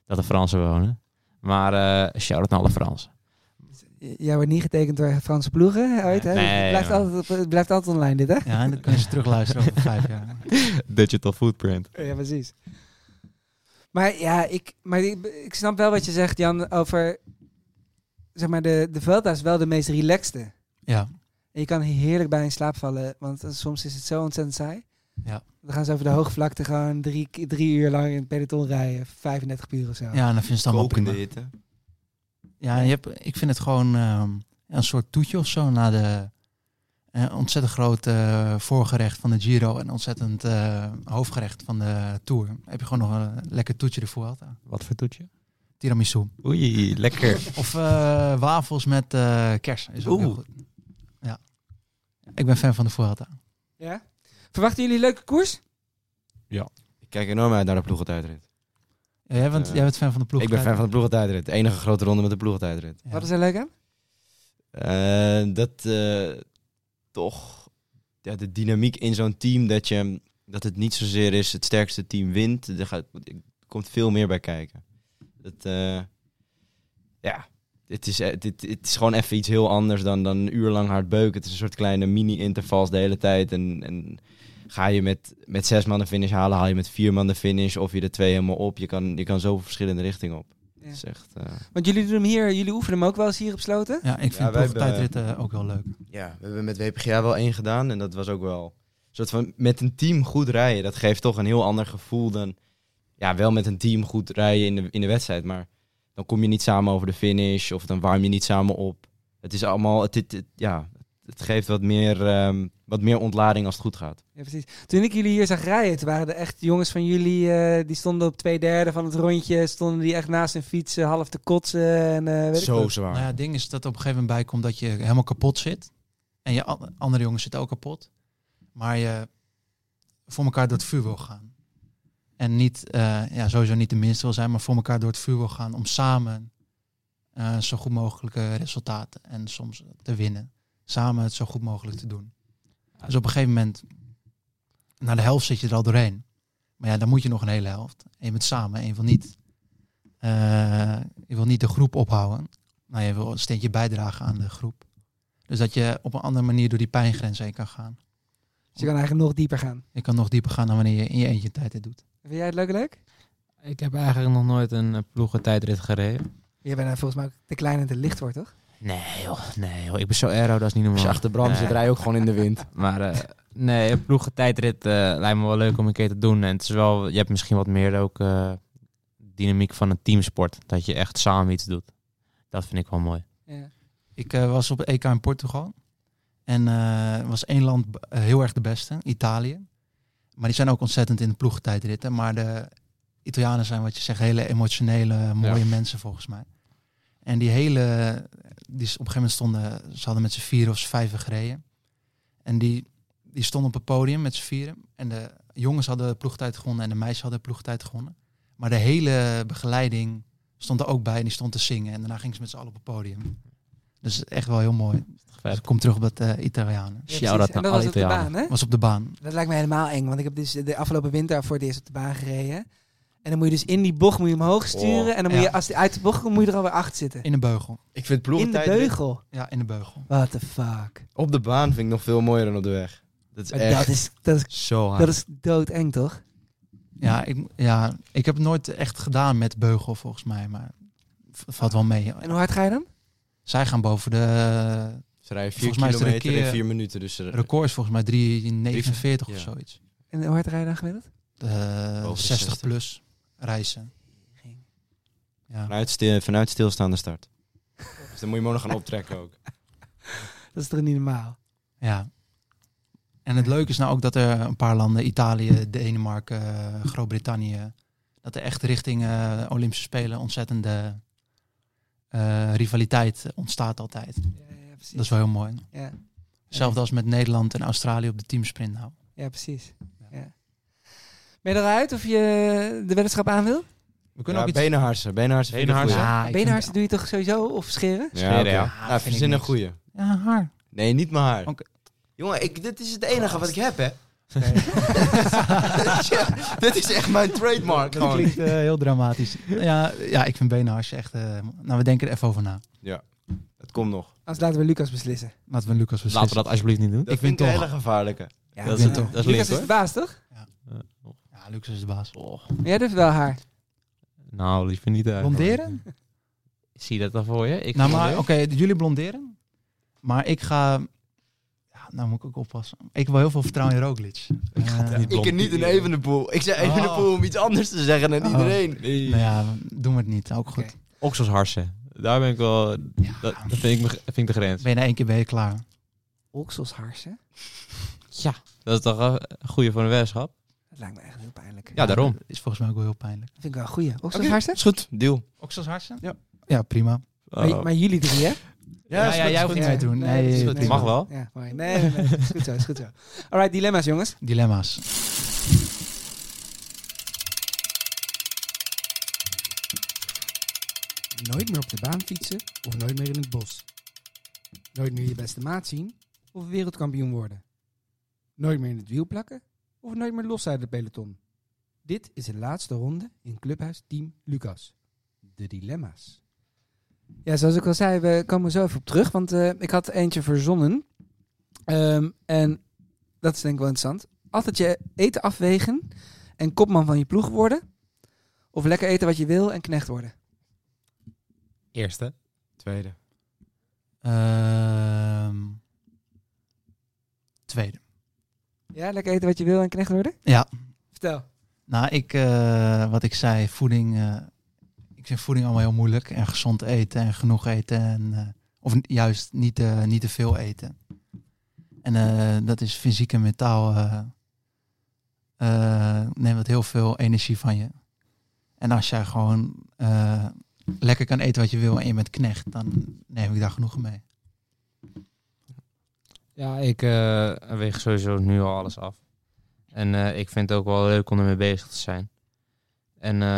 S4: Dat er Fransen wonen. Maar eh shout-out naar alle Fransen.
S3: J- Jij wordt niet getekend door Franse ploegen uit, hè?
S4: Nee,
S3: het, blijft
S4: maar-
S3: altijd, op- het blijft altijd online, dit, hè?
S2: Ja, en dat kunnen ze terugluisteren over vijf jaar.
S4: Digital footprint.
S3: Ja, precies. Maar ja, ik, maar ik, ik snap wel wat je zegt, Jan, over... Zeg maar, de, de Vuelta is wel de meest relaxte.
S2: Ja.
S3: En je kan hier heerlijk bij in slaap vallen, want eh, soms is het zo ontzettend saai.
S2: Ja.
S3: Dan gaan ze over de hoogvlakte gewoon drie, ki- drie uur lang in het peloton rijden. 35 uur of zo.
S2: Ja, en dan vind ze het allemaal
S1: Kokende
S2: prima.
S1: hitte.
S2: Ja, je hebt, ik vind het gewoon ehm, een soort toetje of zo na de eh, ontzettend groot eh, voorgerecht van de Giro en ontzettend eh, hoofdgerecht van de Tour. Heb je gewoon nog een lekker toetje de Vuelta.
S4: Wat voor toetje?
S2: Tiramisu.
S4: Oei, lekker.
S2: Of eh, wafels met eh kersen is ook heel goed. Ja. Ik ben fan van de Vuelta.
S3: Ja? Verwachten jullie een leuke koers?
S1: Ik kijk enorm uit naar de ploegentijdrit.
S2: Ja, jij, bent,
S1: Eh,
S2: jij bent fan van de ploeg.
S1: Ik ben fan van de ploegentijdrit. De enige grote ronde met de ploegentijdrit.
S3: Wat is er leuk aan?
S1: Eh, dat eh, toch ja, de dynamiek in zo'n team dat, je, dat het niet zozeer is het sterkste team wint. Er, gaat, er komt veel meer bij kijken. Dat, eh, ja, het is, eh, dit, het is gewoon even iets heel anders dan, dan een uur lang hard beuken. Het is een soort kleine mini-intervals de hele tijd. En, en ga je met, met zes man de finish halen, haal je met vier man de finish of je de twee helemaal op. Je kan, je kan zoveel verschillende richtingen op.
S3: Ja.
S1: Het is echt... eh,
S3: Want jullie doen hem hier, jullie oefenen hem ook wel eens hier op sloten.
S2: Ja, ik vind
S1: Ja,
S2: de
S1: wij
S2: ploegentijdritten ook heel leuk.
S1: Ja, we hebben met WPGA wel één gedaan en dat was ook wel een soort van met een team goed rijden. Dat geeft toch een heel ander gevoel dan ja, wel met een team goed rijden in de, in de wedstrijd, maar dan kom je niet samen over de finish of dan warm je niet samen op. Het is allemaal, het, het, het- ja, het geeft wat meer, ehm, wat meer ontlading als het goed gaat.
S3: Ja, precies. Toen ik jullie hier zag rijden, toen waren er echt jongens van jullie, eh, die stonden op twee derde van het rondje, stonden die echt naast hun fietsen, half te kotsen en eh, weet ik wat.
S2: Nou ja, het ding is dat er op een gegeven moment bij komt dat je helemaal kapot zit. En je an- andere jongens zitten ook kapot. Maar je voor elkaar door het vuur wil gaan. En En niet, eh, ja, sowieso niet de minste wil zijn, maar voor elkaar door het vuur wil gaan om samen eh, zo goed mogelijke resultaten en soms te winnen. Samen het zo goed mogelijk te doen. Dus op een gegeven moment, na de helft zit je er al doorheen. Maar ja, dan moet je nog een hele helft. En je bent samen en je wil niet, eh, je wil niet de groep ophouden. Nou, je wil een steentje bijdragen aan de groep. Dus dat je op een andere manier door die pijngrens heen kan gaan.
S3: Dus je kan eigenlijk nog dieper gaan.
S2: Je kan nog dieper gaan dan wanneer je in je eentje tijd dit doet.
S3: Vind jij het leuk leuk?
S4: Ik heb eigenlijk nog nooit een eh, ploegentijdrit gereden.
S3: Je bent eh, volgens mij ook te klein en te licht wordt, toch?
S4: Nee joh, nee joh. Ik ben zo aero, dat is niet normaal.
S3: Als je achter Bram zit, rij
S4: ook gewoon in de wind. maar eh, nee, een ploegentijdrit eh, lijkt me wel leuk om een keer te doen. En het is wel, je hebt misschien wat meer ook eh, dynamiek van een teamsport. Dat je echt samen iets doet. Dat vind ik wel mooi.
S2: Ik eh, was op het EK in Portugal. En eh, er was één land b- eh, heel erg de beste, Italië. Maar die zijn ook ontzettend in de ploegentijdritten. Maar de Italianen zijn, wat je zegt, hele emotionele, mooie
S15: Ja.
S2: mensen volgens mij. En die hele, die s- op een gegeven moment stonden, ze hadden met z'n vier of z'n vijven gereden. En die, die stonden op het podium met z'n vieren. En de jongens hadden de ploegtijd gewonnen en de meisjes hadden de ploegtijd gewonnen. Maar de hele begeleiding stond er ook bij en die stond te zingen. En daarna gingen ze met z'n allen op het podium. Dus echt wel heel mooi. Dus ik kom terug op dat eh Italianen.
S3: Ja, precies. en dat was op de baan, hè?
S2: Was op de baan.
S3: Dat lijkt me helemaal eng, want ik heb dus de afgelopen winter voor het eerst op de baan gereden. En dan moet je dus in die bocht moet je omhoog sturen.
S2: Oh.
S3: en dan moet je,
S2: Ja.
S3: als die uit de bocht komt, moet je er alweer achter zitten.
S2: In de beugel.
S1: Ik vind
S3: In de
S1: ploegentijd...
S3: beugel.
S2: Ja, in de beugel.
S3: What the fuck.
S1: Op de baan vind ik nog veel mooier dan op de weg. Dat is
S3: Maar
S1: echt
S3: dat is- dat is-
S1: zo hard.
S3: Dat is doodeng, toch?
S2: Ja ik, ja, ik heb het nooit echt gedaan met beugel volgens mij, maar v- valt wel mee.
S3: En hoe hard ga je dan?
S2: Zij gaan boven de...
S1: Ze rijden vier
S2: volgens mij is er een
S1: kilometer in
S2: keer-
S1: vier minuten, dus er-
S2: record is volgens mij 3,49 of
S1: Ja.
S2: zoiets.
S3: En hoe hard rij je dan gemiddeld?
S2: Eh, 60,
S1: 60.
S2: plus reizen.
S1: Vanuit, stil, vanuit stilstaande start. dus dan moet je maar nog gaan optrekken ook.
S3: Dat is toch niet normaal?
S2: Ja. En het leuke is nou ook dat er een paar landen, Italië, Denemarken, eh,
S1: Hm.
S2: Groot-Brittannië, dat er echt richting eh, Olympische Spelen ontzettende eh, rivaliteit ontstaat altijd. dat is wel heel mooi.
S3: Ja.
S2: Hetzelfde als met Nederland en Australië op de teamsprint nou.
S3: Ja, precies. Ja. Ben je eruit of je de weddenschap aan wil?
S2: We
S1: kunnen ook iets- benenharsen, benenharsen vind ik een goeie. Ja, ik vind-
S3: benenharsen doe je toch sowieso? Of
S2: Ah,
S3: scheren?
S1: Ja, oké. nou,
S2: vind ik
S1: verzin een
S2: niks.
S1: goeie.
S2: Ja, haar.
S1: Nee, niet mijn haar. Jongen, ik, dit is het enige wat ik heb, hè? Ja, dit is echt mijn trademark.
S2: Dat
S1: gewoon.
S2: klinkt eh, heel dramatisch. ja, ja, ik vind benenharsen echt... eh, nou, we denken er even over na.
S1: Ja, het komt nog.
S3: Anders laten we Lucas beslissen.
S2: Laten we Lucas beslissen.
S4: Laten we dat alsjeblieft niet doen.
S1: Dat vind ik een hele gevaarlijke.
S3: Ja,
S1: dat
S2: ik
S1: is,
S2: vind
S1: dat
S2: het
S1: is
S3: Lucas
S1: link,
S3: is de
S1: hoor.
S3: baas, toch?
S2: Ja, Lucas is de baas.
S3: Maar jij durft wel haar.
S4: Nou, liever niet eigenlijk.
S2: Blonderen?
S4: Zie je dat dan voor je? Ik
S2: nou, maar
S4: blondeer.
S2: oké, jullie blonderen. Maar ik ga... Ja, nou moet ik ook oppassen. Ik wil heel veel vertrouwen in Roglic. Eh, Ik ga
S1: Ja, ik ken niet een Evenepoel. Ik
S2: Ah.
S1: zei Evenepoel om iets anders te zeggen dan iedereen.
S2: Nou ja, doen we het niet. Ook goed.
S4: Oksels harsen. Daar ben ik wel... Dat, dat vind, ik, me- vind ik de grens.
S2: Ben je na één keer ben je klaar.
S3: Okselsharsen?
S4: Ja. Dat is toch eh, een goede voor een weddenschap?
S3: Dat lijkt me echt heel pijnlijk.
S4: Ja, daarom.
S2: Is volgens mij ook wel heel pijnlijk.
S3: Dat vind ik wel een goeie.
S1: Oké,
S3: Okselsharsen?
S1: Is goed, deal.
S2: Okselsharsen? Ja. Ja, prima.
S1: Ah, Oh.
S3: Maar, maar jullie drie, hè?
S2: Ja, ja, jij hoeft niet mee te doen. Nee,
S3: dat is
S2: dat
S3: goed.
S2: mag wel.
S3: Ja, mooi. Nee, nee, nee. Is goed zo, is goed zo. Alright, dilemma's, jongens.
S2: Dilemma's.
S3: Nooit meer op de baan fietsen of nooit meer in het bos. Nooit meer je beste maat zien of wereldkampioen worden. Nooit meer in het wiel plakken of nooit meer los uit het peloton. Dit is de laatste ronde in Clubhuis Team Lucas. De dilemma's. Ja, zoals ik al zei, we komen zo even op terug. Want eh, ik had eentje verzonnen. Ehm, en dat is denk ik wel interessant. Altijd je eten afwegen en kopman van je ploeg worden. Of lekker eten wat je wil en knecht worden.
S4: Eerste.
S1: Tweede.
S2: Ehm, tweede.
S3: Ja, lekker eten wat je wil en knecht worden?
S2: Ja.
S3: Vertel.
S2: Nou, ik, eh, wat ik zei, voeding. eh, ik vind voeding allemaal heel moeilijk. En gezond eten en genoeg eten. En, eh, of n- juist niet, eh, niet te veel eten. En eh, dat is fysiek en mentaal. eh eh, neemt dat heel veel energie van je. En als jij gewoon eh, lekker kan eten wat je wil en je bent knecht, dan neem ik daar genoegen mee.
S4: Ja, ik eh, weeg sowieso nu al alles af. En eh, ik vind het ook wel leuk om ermee bezig te zijn. En eh,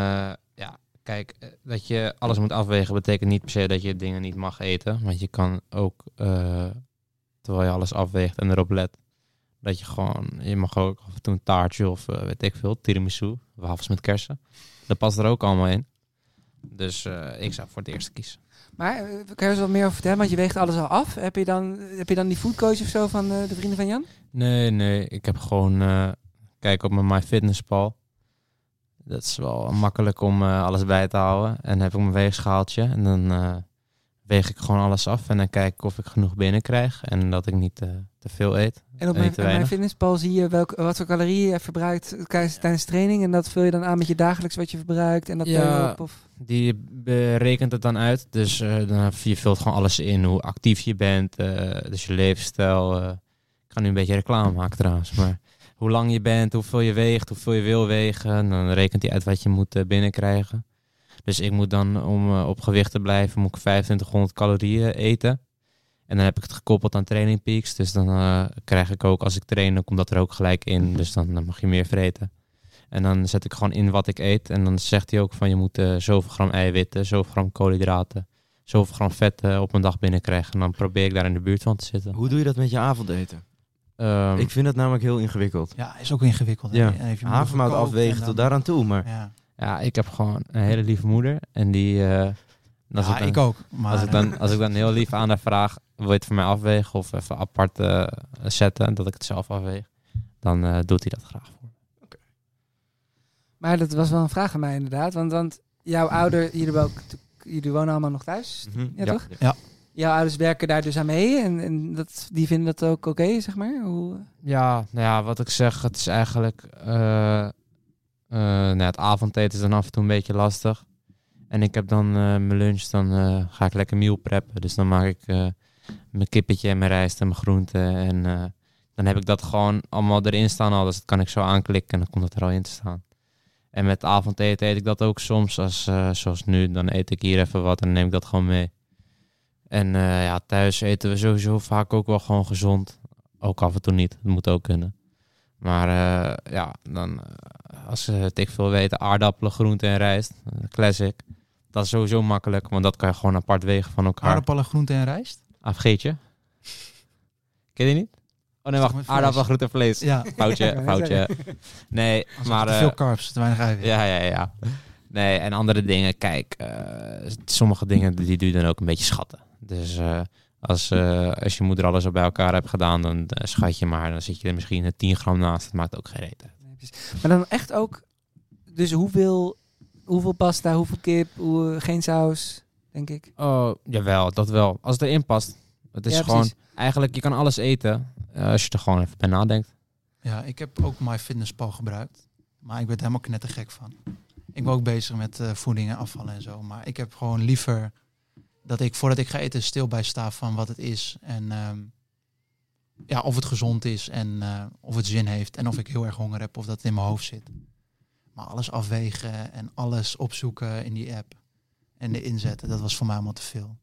S4: ja, kijk, eh, dat je alles moet afwegen betekent niet per se dat je dingen niet mag eten. Want je kan ook, eh, terwijl je alles afweegt en erop let, dat je gewoon, je mag ook af en toe een taartje of eh, weet ik veel, tiramisu, wafels met kersen. Dat past er ook allemaal in. Dus eh, ik zou voor het eerst kiezen.
S3: Maar eh, kan je er wat meer over vertellen? Want je weegt alles al af. Heb je dan, heb je dan die foodcoach of zo van eh, de vrienden van Jan?
S4: Nee, nee. Ik heb gewoon... eh, kijk op mijn MyFitnessPal. Dat is wel makkelijk om eh, alles bij te houden. En heb ik mijn weegschaaltje. En dan eh, weeg ik gewoon alles af. En dan kijk ik of ik genoeg binnenkrijg. En dat ik niet eh, te veel eet.
S3: En op mijn,
S4: niet te
S3: en mijn
S4: weinig.
S3: fitnesspal zie je welk, wat voor calorieën je verbruikt tijdens tijdens training. En dat vul je dan aan met je dagelijks wat je verbruikt. En dat tel je op. Of...
S4: die berekent het dan uit. Dus eh, dan, je vult gewoon alles in. Hoe actief je bent, eh, dus je levensstijl. eh. ik ga nu een beetje reclame maken trouwens. Maar hoe lang je bent, hoeveel je weegt, hoeveel je wil wegen. En Dan rekent hij uit wat je moet eh, binnenkrijgen. Dus ik moet dan, om eh, op gewicht te blijven, moet ik 2500 calorieën eten. En dan heb ik het gekoppeld aan training peaks. Dus dan eh, krijg ik ook, als ik train, dan komt dat er ook gelijk in. Dus dan eh, mag je meer vreten. En dan zet ik gewoon in wat ik eet. En dan zegt hij ook van je moet eh, zoveel gram eiwitten, zoveel gram koolhydraten, zoveel gram vet eh, op een dag binnenkrijgen. En dan probeer ik daar in de buurt van te zitten.
S1: Hoe doe je dat met je avondeten? ik vind dat namelijk heel ingewikkeld.
S2: Ja, is ook ingewikkeld. hè.
S1: Ja.
S2: En even
S1: Havermout
S2: gekookt en
S1: afwegen
S2: dan-
S1: tot daaraan toe, maar...
S2: Ja.
S4: Ja, ik heb gewoon een hele lieve moeder. En die. eh, als
S2: Ja, ik ook, maar-
S4: Als ik, dan, als ik dan heel lief aan haar vraag: wil je het voor mij afwegen of even apart eh, zetten, dat ik het zelf afweeg, dan eh, doet hij dat graag.
S3: Maar dat was wel een vraag aan mij inderdaad. Want, want jouw ouder, jullie, hebben ook, jullie wonen allemaal nog thuis,
S1: Mhm,
S3: ja,
S1: ja.
S3: toch?
S2: Ja.
S3: Jouw ouders werken daar dus aan mee en, en dat, die vinden dat ook oké, zeg maar? Hoe,
S4: Ja, nou ja, wat ik zeg, het is eigenlijk. eh, eh, nou ja, het avondeten is dan af en toe een beetje lastig. En ik heb dan eh, mijn lunch, dan eh, ga ik lekker meal preppen. Dus dan maak ik eh, mijn kippetje en mijn rijst en mijn groenten. En eh, dan heb ik dat gewoon allemaal erin staan al. Dus dat kan ik zo aanklikken en dan komt dat er al in te staan. En met avondeten eet ik dat ook soms. Als, eh, zoals nu, dan eet ik hier even wat en dan neem ik dat gewoon mee. En eh, ja, thuis eten we sowieso vaak ook wel gewoon gezond. Ook af en toe niet. Dat moet ook kunnen. Maar eh, ja, dan eh, als ze dik veel weten, aardappelen, groente en rijst. eh, classic. Dat is sowieso makkelijk, want dat kan je gewoon apart wegen van elkaar.
S2: Aardappelen, groente en rijst.
S4: Afgeetje. Ah, Ken je die niet? Oh nee,
S2: Is toch met
S4: wacht.
S2: vlees?
S4: Aardappel, groente en vlees.
S2: Ja. Ik
S4: Foutje,
S2: wou net
S4: foutje.
S2: zeggen.
S4: Nee,
S2: Als het
S4: maar...
S2: te
S4: eh,
S2: veel carbs, te weinig eiwit.
S4: Ja, ja, ja. Nee, en andere dingen. Kijk, eh, sommige dingen die doe je dan ook een beetje schatten. Dus eh, als, eh, als je moeder alles al bij elkaar hebt gedaan, dan eh, schat je maar. Dan zit je er misschien eh, 10 gram naast. Dat maakt ook geen reet uit.
S3: Maar dan echt ook, dus hoeveel, hoeveel pasta, hoeveel kip, hoe, geen saus, denk ik.
S4: Oh, jawel, dat wel. Als het erin past. Het is
S3: Ja,
S4: gewoon...
S3: precies.
S4: Eigenlijk, je kan alles eten. eh, als je er gewoon even bij nadenkt.
S2: Ja, ik heb ook MyFitnessPal gebruikt. Maar ik werd helemaal knettergek van. Ik ben ook bezig met eh, voeding en afvallen en zo. Maar ik heb gewoon liever dat ik voordat ik ga eten stil bij sta van wat het is. En ehm, ja, of het gezond is en eh, of het zin heeft. En of ik heel erg honger heb of dat het in mijn hoofd zit. Maar alles afwegen en alles opzoeken in die app. En de inzetten, dat was voor mij allemaal te veel.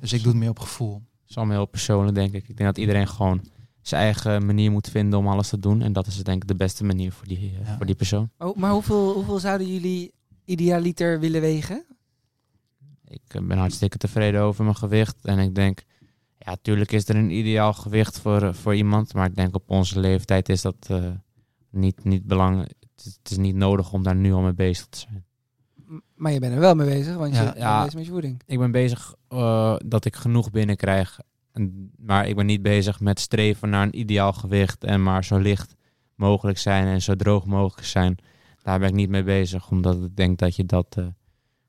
S2: Dus ik doe het meer op gevoel.
S4: Het is allemaal heel persoonlijk, denk ik. Ik denk dat iedereen gewoon zijn eigen manier moet vinden om alles te doen. En dat is denk ik de beste manier voor die, eh, voor die persoon.
S3: Oh, maar hoeveel, hoeveel zouden jullie idealiter willen wegen?
S4: Ik eh, ben hartstikke tevreden over mijn gewicht. En ik denk, ja, tuurlijk is er een ideaal gewicht voor, eh, voor iemand. Maar ik denk op onze leeftijd is dat eh, niet, niet belangrijk. Het is- het is niet nodig om daar nu al mee bezig te zijn.
S3: M- Maar je bent er wel mee bezig, want je
S4: Ja,
S3: bent
S4: ja.
S3: bezig met je voeding.
S4: Ik ben bezig eh, dat ik genoeg binnenkrijg. En, maar ik ben niet bezig met streven naar een ideaal gewicht. En maar zo licht mogelijk zijn en zo droog mogelijk zijn. Daar ben ik niet mee bezig. Omdat ik denk dat je dat. eh,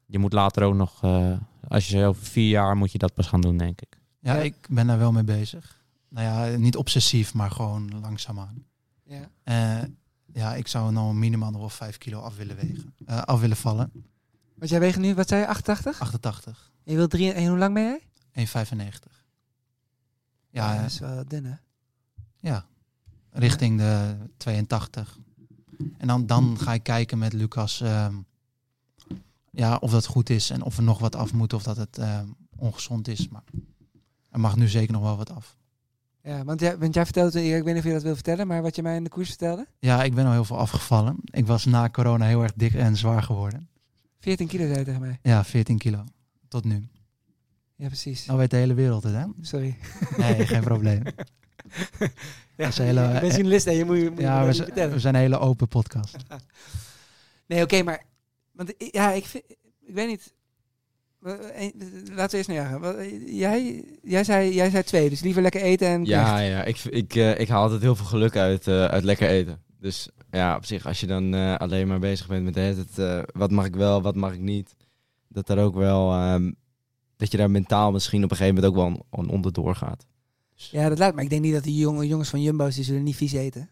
S4: je moet later ook nog. eh, als je over vier jaar moet je dat pas gaan doen, denk ik.
S2: Ja, ik ben daar wel mee bezig. Nou ja, niet obsessief, maar gewoon langzaamaan.
S3: Ja.
S2: Eh, ja, ik zou nou minimaal nog wel 5 kilo af willen wegen. Eh, af willen vallen.
S3: Want jij weegt nu, wat zei je, 88?
S2: 88.
S3: En je wilt drie, en hoe lang ben jij?
S2: 1,95. Ja,
S3: dat
S2: eh,
S3: is wel dun, hè?
S2: ja, richting de 82. En dan, dan ga ik kijken met Lucas ehm, ja, of dat goed is en of er nog wat af moet of dat het ehm, ongezond is. Maar er mag nu zeker nog wel wat af.
S3: Ja, want jij, want jij vertelde, Erik, ik weet niet of je dat wil vertellen, maar wat je mij in de koers vertelde?
S2: Ja, ik ben al heel veel afgevallen. Ik was na corona heel erg dik en zwaar geworden.
S3: 14 kilo zei je tegen mij.
S2: Ja, 14 kilo. Tot nu.
S3: Ja, precies.
S2: Nou weet de hele wereld het, hè?
S3: Sorry.
S2: Nee, geen probleem. Dat is een hele-
S3: ik ben journalist en je moet, je moet
S2: ja,
S3: me
S2: we,
S3: niet
S2: zijn-
S3: vertellen.
S2: we zijn een hele open podcast.
S3: Nee, oké, maar... Want i- ja, ik, vind, ik weet niet... Wa- eh, Laten we eerst naar jou gaan. Wat- eh, Jij, jij, zei, jij zei twee, dus liever lekker eten en
S1: Ja,
S3: kracht.
S1: ja ik, ik, eh, ik haal altijd heel veel geluk uit, eh, uit lekker eten. Dus ja, op zich, als je dan eh, alleen maar bezig bent met de hele tijd, eh, wat mag ik wel, wat mag ik niet. Dat daar ook wel, ehm, dat je daar mentaal misschien op een gegeven moment ook wel aan- aan onderdoor gaat.
S3: Ja, dat laat. Maar ik denk niet dat die jonge, jongens van Jumbo's, die zullen niet vies eten.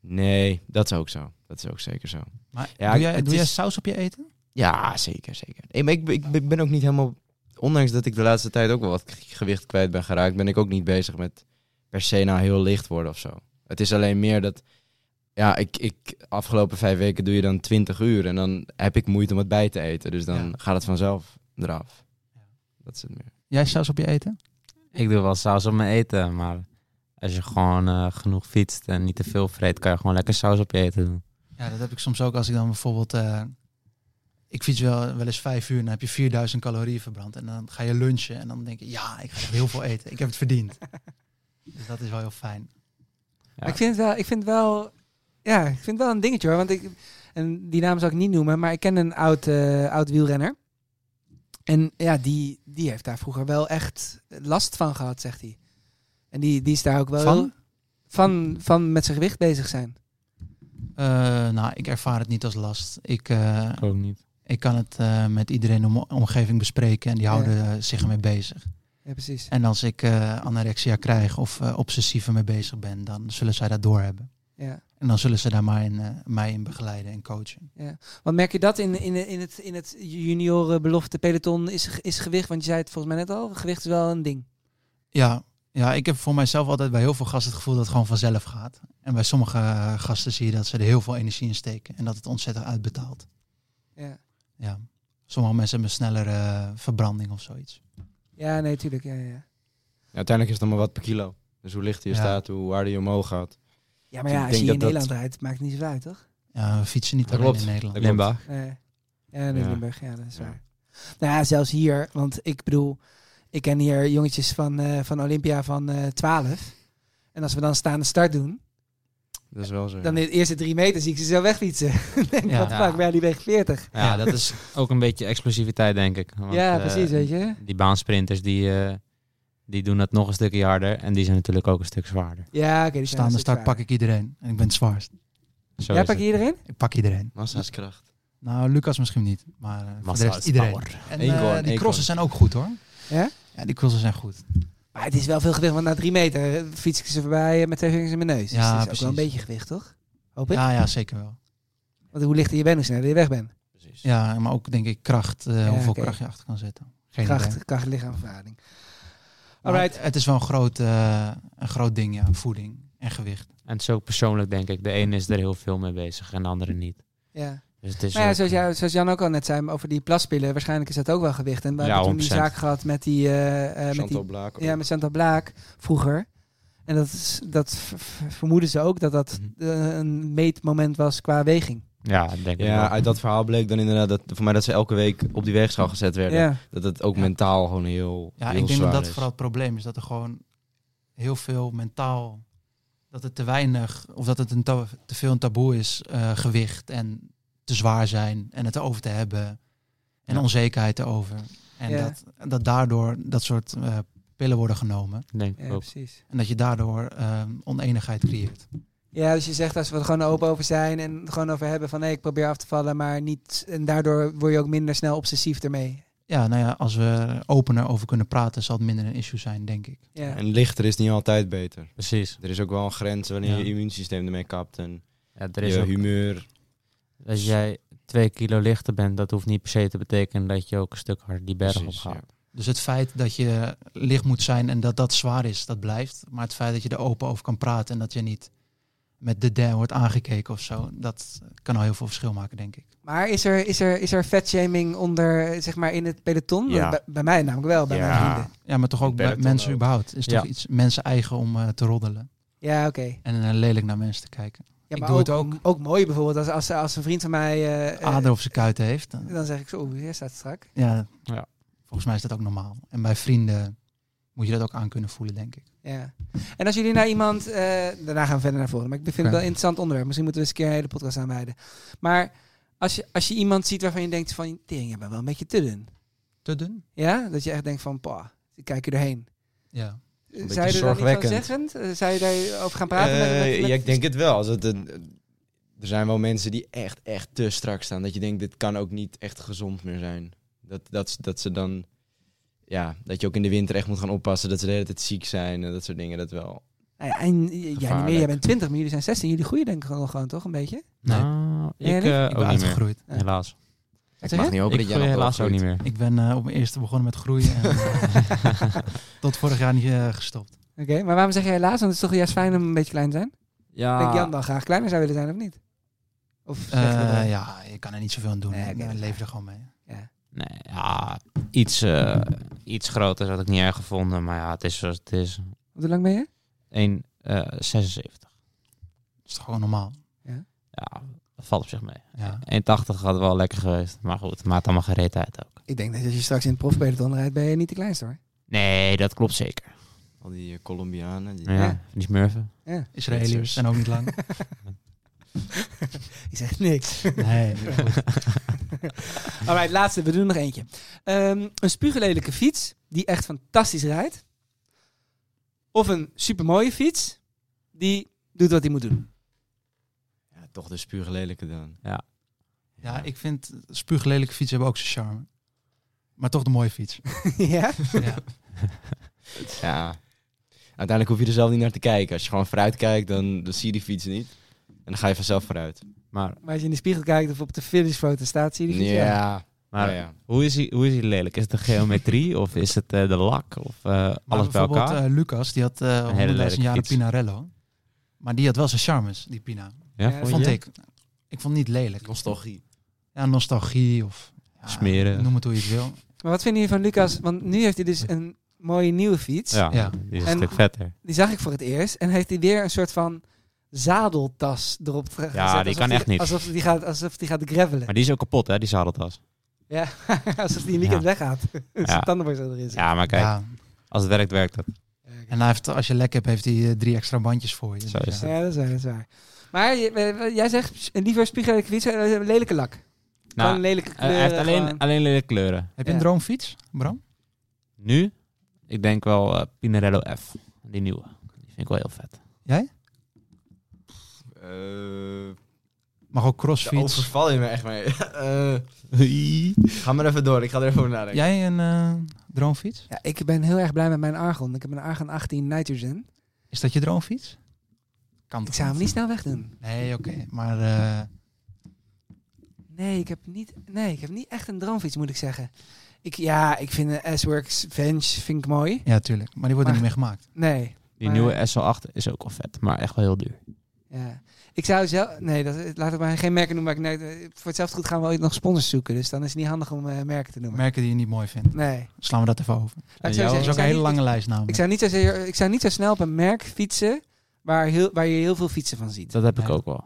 S1: Nee, dat is ook zo. Dat is ook zeker zo.
S2: Maar
S1: Ja,
S2: doe, jij,
S1: het
S2: doe jij
S1: is-
S2: saus op je eten?
S1: Ja, zeker, zeker. Nee, maar ik, ben- ik ben- ik ben ook niet helemaal... Ondanks dat ik de laatste tijd ook wel wat k- gewicht kwijt ben geraakt... ben ik ook niet bezig met per se nou heel licht worden of zo. Het is alleen meer dat... Ja, ik, ik, afgelopen vijf weken doe je dan 20 uur... en dan heb ik moeite om het bij te eten. Dus dan gaat het vanzelf eraf. Dat is het meer.
S2: Jij saus op je eten?
S4: Ik doe wel saus op mijn eten, maar als je gewoon eh, genoeg fietst en niet te veel vreet, kan je gewoon lekker saus op je eten doen.
S2: Ja, dat heb ik soms ook als ik dan bijvoorbeeld... eh, ik fiets wel, wel eens vijf uur en dan heb je 4000 calorieën verbrand. En dan ga je lunchen en dan denk je, ja, ik ga echt heel veel eten. Ik heb het verdiend. dus dat is wel heel fijn.
S3: Maar ik vind het wel, ik vind het wel, ja, ik vind het wel een dingetje hoor. Want ik, en die naam zal ik niet noemen, maar ik ken een oud, eh, oud wielrenner. En ja, die, die heeft daar vroeger wel echt last van gehad, zegt hij. En die, die is daar ook wel
S2: Van?
S3: heel- van, van met zijn gewicht bezig zijn.
S2: Eh, nou, ik ervaar het niet als last. Ik, eh,
S4: ook niet.
S2: Ik kan het eh, met iedereen in de om- omgeving bespreken en die
S3: Ja.
S2: houden eh, zich ermee bezig.
S3: Ja, precies.
S2: En als ik eh, anorexia krijg of eh, obsessief ermee bezig ben, dan zullen zij dat doorhebben.
S3: Ja.
S2: En dan zullen ze daar maar in, eh, mij in begeleiden en coachen.
S3: Ja. Want merk je dat in, in, in het, in het junioren belofte peloton is, is gewicht? Want je zei het volgens mij net al, gewicht is wel een ding.
S2: Ja, ja, ik heb voor mijzelf altijd bij heel veel gasten het gevoel dat het gewoon vanzelf gaat. En bij sommige eh, gasten zie je dat ze er heel veel energie in steken en dat het ontzettend uitbetaalt.
S3: Ja,
S2: Ja. Sommige mensen hebben sneller eh, verbranding of zoiets.
S3: ja nee, tuurlijk. Ja, ja, ja.
S1: Ja, uiteindelijk is het dan maar wat per kilo. Dus hoe lichter je
S2: Ja.
S1: staat, hoe harder je omhoog gaat.
S3: ja maar
S1: Dus
S3: ja,
S1: ik
S3: als
S1: denk
S3: je hier in
S1: dat dat-
S3: Nederland rijdt, maakt het niet zoveel uit, toch?
S2: Ja, we fietsen niet
S1: Dat
S2: alleen
S1: klopt.
S2: in Nederland.
S1: Dat klopt. Limburg.
S3: Nee. Ja, in
S1: Ja.
S3: Limburg, ja, dat is waar. Nou ja, zelfs hier, want ik bedoel, ik ken hier jongetjes van, eh, van Olympia van eh 12. En als we dan staande start doen,
S1: Dat is wel zo.
S3: dan in de eerste drie meter zie ik ze zo wegfietsen. en
S4: Ja.
S3: wat vaak bij die weg 40.
S4: Ja, dat is ook een beetje explosiviteit, denk ik. Want,
S3: Ja,
S4: eh,
S3: precies, weet je.
S4: Die baansprinters, die, eh, die doen dat nog een stukje harder en die zijn natuurlijk ook een stuk zwaarder.
S3: Ja, oké. die zijn
S2: Staande
S3: een stuk
S2: start pak ik iedereen en ik ben het zwaarst.
S4: Zo
S3: Jij
S4: is
S3: pak je
S4: het.
S3: iedereen?
S2: Ik pak iedereen.
S1: Massa's kracht.
S2: Nou, Lucas misschien niet, maar eh, voor
S4: Massa
S2: de rest
S4: is
S2: iedereen.
S4: power.
S2: En
S4: Eén
S2: eh,
S4: goal, één
S2: die
S4: goal.
S2: crossen zijn ook goed hoor.
S3: Ja?
S2: Ja, die crossen zijn goed.
S3: Maar het is wel veel gewicht, want na drie meter eh, fiets ik ze voorbij eh, met twee vingers in mijn neus. dus
S2: Ja,
S3: het is
S2: precies.
S3: ook wel een beetje gewicht, toch? Hoop ik.
S2: Ja, ja, zeker wel.
S3: Want hoe lichter je bent, hoe sneller je weg bent.
S2: Ja, maar ook denk ik kracht, eh,
S3: Ja,
S2: hoeveel
S3: oké.
S2: kracht je achter kan zetten. Geen idee.
S3: kracht, kracht, lichaamverhouding.
S2: Maar het- Het is wel een groot, eh, een groot ding, ja. Voeding en gewicht.
S4: En het is ook persoonlijk, denk ik. De ene is er heel veel mee bezig en de andere niet.
S3: Ja.
S4: Dus het is
S3: Maar ja,
S4: ook-
S3: zoals, jou- zoals Jan ook al net zei over die plaspillen, waarschijnlijk is dat ook wel gewicht. En we
S4: Ja,
S3: hebben toen die
S4: 100%.
S3: zaak gehad met die... eh, eh, met
S1: Chantal
S3: die
S1: Blaak of
S3: Ja, met Chantal Blaak vroeger. En dat, is, dat v- v- vermoeden ze ook dat dat
S1: Mhm.
S3: eh, een meetmoment was qua weging.
S4: Ja, denk ik
S1: ja
S4: wel.
S1: uit dat verhaal bleek dan inderdaad dat, voor mij dat ze elke week op die weegschaal gezet werden.
S3: Ja.
S1: Dat het ook mentaal gewoon heel
S2: Ja,
S1: heel
S2: ik denk dat
S1: zwaar
S2: dat
S1: is.
S2: vooral het probleem is. Dat er gewoon heel veel mentaal... Dat het te weinig, of dat het een ta- te veel een taboe is, eh, gewicht en te zwaar zijn en het erover te hebben. En
S4: Ja.
S2: onzekerheid erover. En
S4: Ja.
S2: dat, dat daardoor dat soort eh, pillen worden genomen.
S4: Denk ik
S3: Ja, ook. precies.
S2: En dat je daardoor eh, oneenigheid creëert.
S3: Ja, dus je zegt als we er gewoon open over zijn en het gewoon over hebben van hé, ik probeer af te vallen, maar niet... En daardoor word je ook minder snel obsessief ermee.
S2: Ja, nou ja, als we er opener over kunnen praten, zal het minder een issue zijn, denk ik.
S3: Ja.
S1: En lichter is niet altijd beter.
S4: Precies.
S1: Er is ook wel een grens wanneer
S4: Ja.
S1: je immuunsysteem ermee kapt en
S4: er is
S1: je
S4: ook-
S1: humeur.
S4: Als jij twee kilo lichter bent, dat hoeft niet per se te betekenen dat je ook een stuk harder die berg op
S2: Precies,
S4: gaat.
S2: Dus het feit dat je licht moet zijn en dat dat zwaar is, dat blijft. Maar het feit dat je er open over kan praten en dat je niet met de der wordt aangekeken of zo. Dat kan al heel veel verschil maken, denk ik.
S3: Maar is er, is er, is er vetshaming onder, zeg maar, in het peloton?
S2: Ja.
S3: Bij, bij mij namelijk wel, bij mijn vrienden.
S2: Ja, maar toch ook bij
S3: Peloton
S2: mensen
S3: ook.
S2: überhaupt. Is toch
S3: Ja.
S2: iets mensen eigen om eh, te roddelen.
S3: Ja, oké.
S2: En eh, lelijk naar mensen te kijken.
S3: Ja,
S2: ik
S3: maar
S2: doe
S3: ook,
S2: het ook.
S3: ook mooi bijvoorbeeld, als, als, als een vriend van mij... eh, eh,
S2: Ader op zijn kuiten heeft. Dan,
S3: Dan zeg ik zo, oeh, hier staat strak.
S2: ja, volgens mij is dat ook normaal. En bij vrienden moet je dat ook aan kunnen voelen, denk ik.
S3: Ja. En als jullie naar iemand... eh, daarna gaan we verder naar voren. Maar ik vind het
S2: Oké.
S3: wel een interessant onderwerp. Misschien moeten we eens een keer een hele podcast aanwijden. Maar als je, als je iemand ziet waarvan je denkt van... Tering, je bent wel een beetje te dun.
S2: Te dun?
S3: Ja, dat je echt denkt van... Pa, ik kijk je erheen.
S2: Ja.
S3: Eh, Zou je er dan iets van zeggen? Eh, Zou je daarover gaan praten? met- met-
S1: Eh,
S3: met-
S1: ja, ik denk het wel. Als het een- er zijn wel mensen die echt, echt te strak staan. Dat je denkt, dit kan ook niet echt gezond meer zijn. Dat, dat, dat ze dan... Ja, dat je ook in de winter echt moet gaan oppassen. Dat ze de hele tijd ziek zijn en dat soort dingen. Dat wel.
S3: Nou ja, en eh, jij niet meer, jij
S1: Gevaarlijk.
S3: bent 20, maar jullie zijn 16. Jullie groeien denk ik gewoon, gewoon toch een beetje?
S4: Nee. Nou,
S3: Jij
S4: ik,
S3: niet?
S4: eh, Ik ben ook niet meer. uitgegroeid.
S3: Ja.
S4: Helaas.
S3: Wat
S1: Ik
S3: zeg
S1: mag
S3: je?
S1: niet hopen
S4: Ik
S1: dat jij nog
S4: groei helaas ook
S1: doorgroeit.
S4: niet meer.
S2: Ik ben eh, op mijn eerste begonnen met groeien. En, eh, tot vorig jaar niet eh, gestopt.
S3: Oké, maar waarom zeg je helaas? Want het is toch juist fijn om een beetje klein te zijn?
S1: Ja.
S3: Denk Jan dan graag kleiner zou willen zijn of niet? Of zegt dat
S2: Eh,
S3: wel?
S2: ja, je kan er niet zoveel aan doen. hè. Ja, leef er gewoon mee.
S4: Nee, ja, iets, eh, iets groter had ik niet erg gevonden. Maar ja, het is zoals het is.
S3: Hoe lang ben je?
S4: 1, eh 76.
S2: Dat is toch gewoon normaal?
S3: Ja.
S4: Ja, dat valt op zich mee.
S2: Ja.
S4: 1,80 had wel lekker geweest. Maar goed, het maakt allemaal geen reet uit ook.
S3: Ik denk dat als je straks in het profpeloton rijdt, ben je niet de kleinste hoor.
S4: Nee, dat klopt zeker.
S1: Al die eh, Colombianen. Die,
S4: Ja, die smurfen.
S3: Ja.
S2: Israëliërs zijn ook niet lang.
S3: Je zegt niks.
S2: Nee.
S3: Alright, laatste. We doen er nog eentje. Ehm, een spuuglelijke fiets die echt fantastisch rijdt. Of een supermooie fiets die doet wat hij moet doen.
S1: Ja, toch de spuuglelijke dan.
S4: Ja.
S2: Ja, ik vind spuuglelijke fietsen hebben ook zijn charme. Maar toch de mooie fiets.
S3: ja?
S2: ja.
S1: Ja. Uiteindelijk hoef je er zelf niet naar te kijken. Als je gewoon vooruit kijkt, dan, dan zie je die fiets niet. En dan ga je vanzelf vooruit.
S4: Maar,
S3: Maar als je in de spiegel kijkt of op de finishfoto staat, zie je die fiets.
S1: ja.
S4: maar
S1: Ja, ja.
S4: Hoe, is hij, hoe is hij lelijk? Is het de geometrie of is het eh, de lak of eh,
S2: Maar
S4: alles bij
S2: bijvoorbeeld
S4: elkaar?
S2: eh, Lucas, die had
S4: Een
S2: eh
S4: hele
S2: honderdduizend
S4: lelijke
S2: jaren
S4: fiets.
S2: Pinarello. Maar die had wel zijn charmes, die Pina.
S4: Ja, vond je?
S2: vond ik. Ik vond het niet lelijk.
S1: Nostalgie.
S2: Ja, nostalgie of... ja,
S4: Smeren.
S2: Noem het hoe je het wil.
S3: Maar wat vinden jullie van Lucas? Want nu heeft hij dus een mooie nieuwe fiets.
S4: Ja, Ja. die is een
S3: eh, En
S4: stuk vetter.
S3: Die zag ik voor het eerst. En heeft hij weer een soort van zadeltas erop gezet.
S4: die
S3: Alsof
S4: kan echt niet.
S3: Alsof die gaat, alsof die gaat gravelen.
S4: Maar die is ook kapot, hè, die zadeltas.
S3: Ja, alsof die een weekend
S4: Ja.
S3: weggaat. Als
S4: Ja.
S3: zijn tandenborstel erin zit.
S4: Ja, maar kijk,
S2: Ja.
S4: als het werkt, werkt het.
S2: En hij heeft, als je lek hebt, heeft hij eh, drie extra bandjes voor je.
S4: Zo
S2: Dus
S4: is
S2: ja.
S3: Ja, dat is waar, dat is waar. Maar je- eh, jij zegt eh, liever spiegelijke fiets, eh, lelijke lak. Gewoon
S4: Nou,
S3: lelijke
S4: eh,
S3: kleuren.
S4: hij heeft alleen,
S3: gewoon-
S4: alleen lelijke kleuren.
S2: Heb je een droomfiets, Bram?
S4: Nu? Ik denk wel eh, Pinarello F. Die nieuwe. Die vind ik wel heel vet.
S2: Jij? Mag ook crossfiets.
S1: overval je me echt mee. Eh, ga maar even door. Ik ga er even over nadenken.
S2: Jij een eh, droomfiets?
S3: Ja, ik ben heel erg blij met mijn Argon. Ik heb een Argon 18 Nitrogen.
S2: Is dat je droomfiets? Kan
S3: Ik zou hem niet snel wegdoen.
S2: Nee, oké. Maar eh,
S3: Nee, ik heb niet, nee, ik heb niet echt een droomfiets, moet ik zeggen. Ik, ja, ik vind een S-Works Venge vind ik mooi.
S2: ja, tuurlijk. Maar die worden niet meer gemaakt.
S3: Nee.
S4: Die
S3: maar-
S4: nieuwe SL8 is ook wel vet, maar echt wel heel duur.
S3: Ja. Ik zou zelf... Nee, dat, laat ik maar geen merken noemen. Maar ik, nee, voor hetzelfde goed gaan we ooit nog sponsors zoeken. Dus dan is het niet handig om eh, merken te noemen.
S2: Merken die je niet mooi vindt.
S3: Nee.
S2: Slaan we dat even over.
S3: En
S2: Dat
S3: jou?
S2: is ook een
S3: Ik-
S2: hele lange lijst namelijk.
S3: Ik zou niet zo, zeer- ik zou niet zo snel op een merk fietsen waar, heel, waar je heel veel fietsen van ziet.
S4: Dat heb ik
S2: Nee.
S4: ook wel.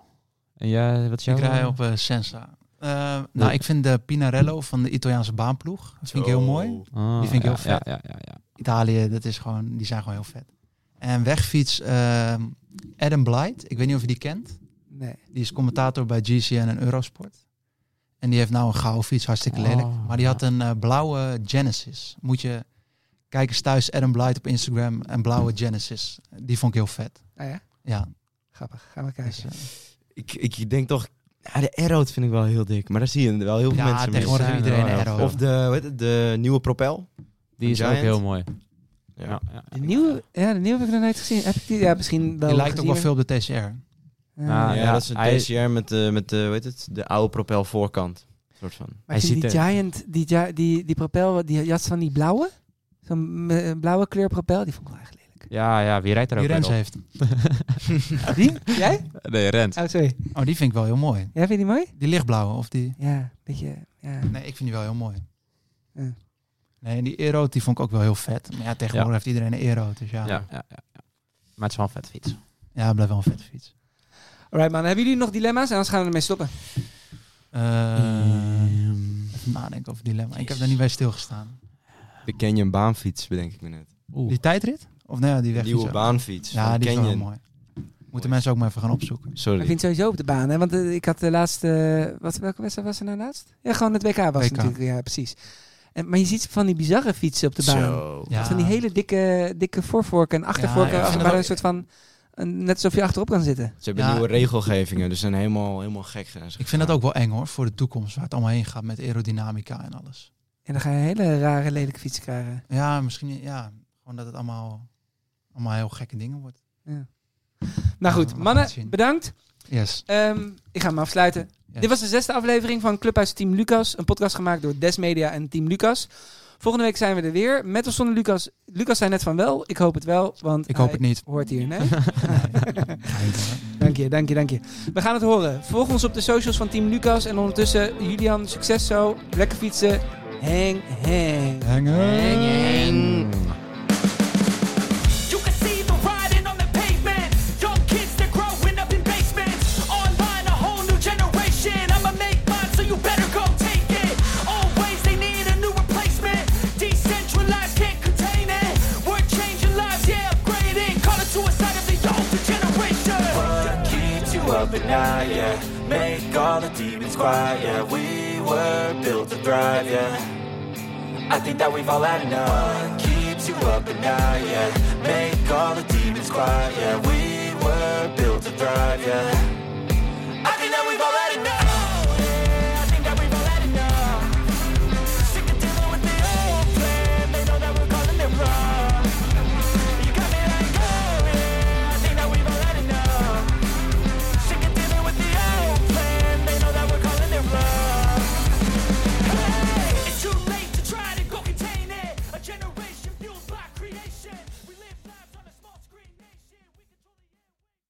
S4: En jij, wat is jouw...
S2: Ik rij op eh, Sensa. Eh, nou, ik vind de Pinarello van de Italiaanse baanploeg. Dat vind ik heel mooi.
S4: Ah,
S2: die vind ik
S4: ja,
S2: heel vet.
S4: Ja, ja, ja, ja.
S2: Italië, dat is gewoon, die zijn gewoon heel vet. En wegfiets, ehm, Adam Blight. Ik weet niet of je die kent.
S3: Nee.
S2: Die is commentator bij GCN en Eurosport. En die heeft nou een gouden fiets, hartstikke lelijk.
S4: Oh,
S2: maar die had een eh, blauwe Genesis. Moet je kijkers thuis Adam Blight op Instagram. Een blauwe Genesis. Die vond ik heel vet.
S3: Ah ja?
S2: Ja.
S3: Grappig. Gaan we kijken.
S2: Dus, eh,
S1: Ik, ik denk toch... Ja, de Arrow vind ik wel heel dik. Maar daar zie je wel heel veel
S2: Ja,
S1: mensen mee.
S2: tegenwoordig
S1: Ja,
S2: heeft iedereen een
S1: ja.
S2: Arrow.
S1: Of de, hoe heet het, de nieuwe Propel.
S4: Die is ook
S1: Giant.
S4: heel mooi.
S1: Ja.
S4: Ja, ja.
S3: De nieuwe, ja, de nieuwe heb ik nog nooit gezien. Heb ik die, ja, misschien wel
S2: die lijkt ook
S3: Nou, gezien,
S2: wel
S3: maar-
S2: veel op de TCR.
S3: Ja.
S1: Ja,
S4: Ja,
S1: dat is een
S4: hij-
S1: TCR met, de met de, hoe heet het, de oude Propel voorkant. soort van.
S3: Maar ik
S4: Hij
S3: vind die
S4: ziet
S3: Giant, die, ja- die, die propel, die jas van die blauwe, zo'n eh, blauwe kleur propel, die vond ik wel eigenlijk lelijk.
S4: Ja, ja, wie rijdt er
S2: Die
S4: ook
S2: Rens
S4: weer
S2: heeft.
S4: op?
S3: Die? Jij?
S4: Nee, Rens.
S3: Oh, sorry.
S2: Oh, die vind ik wel heel mooi.
S3: Jij vindt die mooi?
S2: Die lichtblauwe of die...
S3: Ja, beetje... Ja.
S2: Nee, ik vind die wel heel mooi.
S3: Ja.
S2: Nee, en die Aero die vond ik ook wel heel vet. Maar ja, tegenwoordig
S4: Ja.
S2: heeft iedereen een Aero, dus ja.
S4: Ja, ja, ja, ja. Maar het is wel een vet fiets.
S2: Ja, het blijft wel een vette fiets.
S3: Alright man, hebben jullie nog dilemma's? En anders gaan we ermee stoppen.
S2: Eh,
S4: Ehm.
S2: even nadenken over dilemma. Ik heb daar niet bij stilgestaan.
S1: De Canyon baanfiets, bedenk ik me net.
S2: Die tijdrit? Of nou ja, die weg.
S1: Nieuwe baanfiets
S2: Ja,
S1: van
S2: die is wel heel
S1: Canyon.
S2: mooi. Moeten mensen ook maar even gaan opzoeken.
S1: Sorry.
S3: Ik vind het sowieso op de baan, hè? Want eh, ik had de laatste... eh, wat, welke wedstrijd was er nou laatst? Ja, gewoon het WK was
S2: WK.
S3: natuurlijk. Ja, precies. En, maar je ziet van die bizarre fietsen op de baan.
S2: Zo. Ja.
S3: Van die hele dikke, dikke voorvorken en achtervorken.
S2: Ja, ja.
S3: als het
S2: Ja.
S3: maar een soort van... een- net alsof je achterop kan zitten.
S1: Ze hebben
S2: Ja.
S1: nieuwe regelgevingen, dus ze zijn helemaal, helemaal gek. zijn ze
S2: Ik vind dat ook wel eng hoor, voor de toekomst. Waar het allemaal heen gaat met aerodynamica en alles.
S3: En dan ga je hele rare, lelijke fietsen krijgen.
S2: Ja, misschien ja, gewoon dat het allemaal, allemaal heel gekke dingen wordt.
S3: Nou
S2: Ja,
S3: goed,
S2: we gaan het
S3: mannen,
S2: zien.
S3: bedankt.
S2: Yes.
S3: Ehm, ik ga hem afsluiten.
S2: Yes.
S3: Dit was de zesde aflevering van Clubhuis Team Lucas. Een podcast gemaakt door Des Media en Team Lucas. Volgende week zijn we er weer. Met of zonder Lucas. Lucas zei net van wel. Ik hoop het wel, want
S2: Ik hoop
S3: hij
S2: het niet.
S3: hoort hier. Nee? dank je, dank je, dank je. We gaan het horen. Volg ons op de socials van Team Lucas. En ondertussen, Julian, succes zo. Lekker fietsen. Hang, hang.
S2: Hang,
S3: hang.
S5: You can see the riding on the pavement. Young kids, they're growing up in basements. Online, a whole new generation. I'ma make mine, so you better go take it. Always, they need a new replacement. Decentralized, can't contain it. We're changing lives, yeah, upgrading. Call it suicide of the older generation.
S6: What keeps you up at night, yeah? Make all the demons quiet, yeah. We were built to thrive, yeah. I think that we've all had enough. What keeps you up at night, yeah? Make all the demons quiet, yeah. We oh,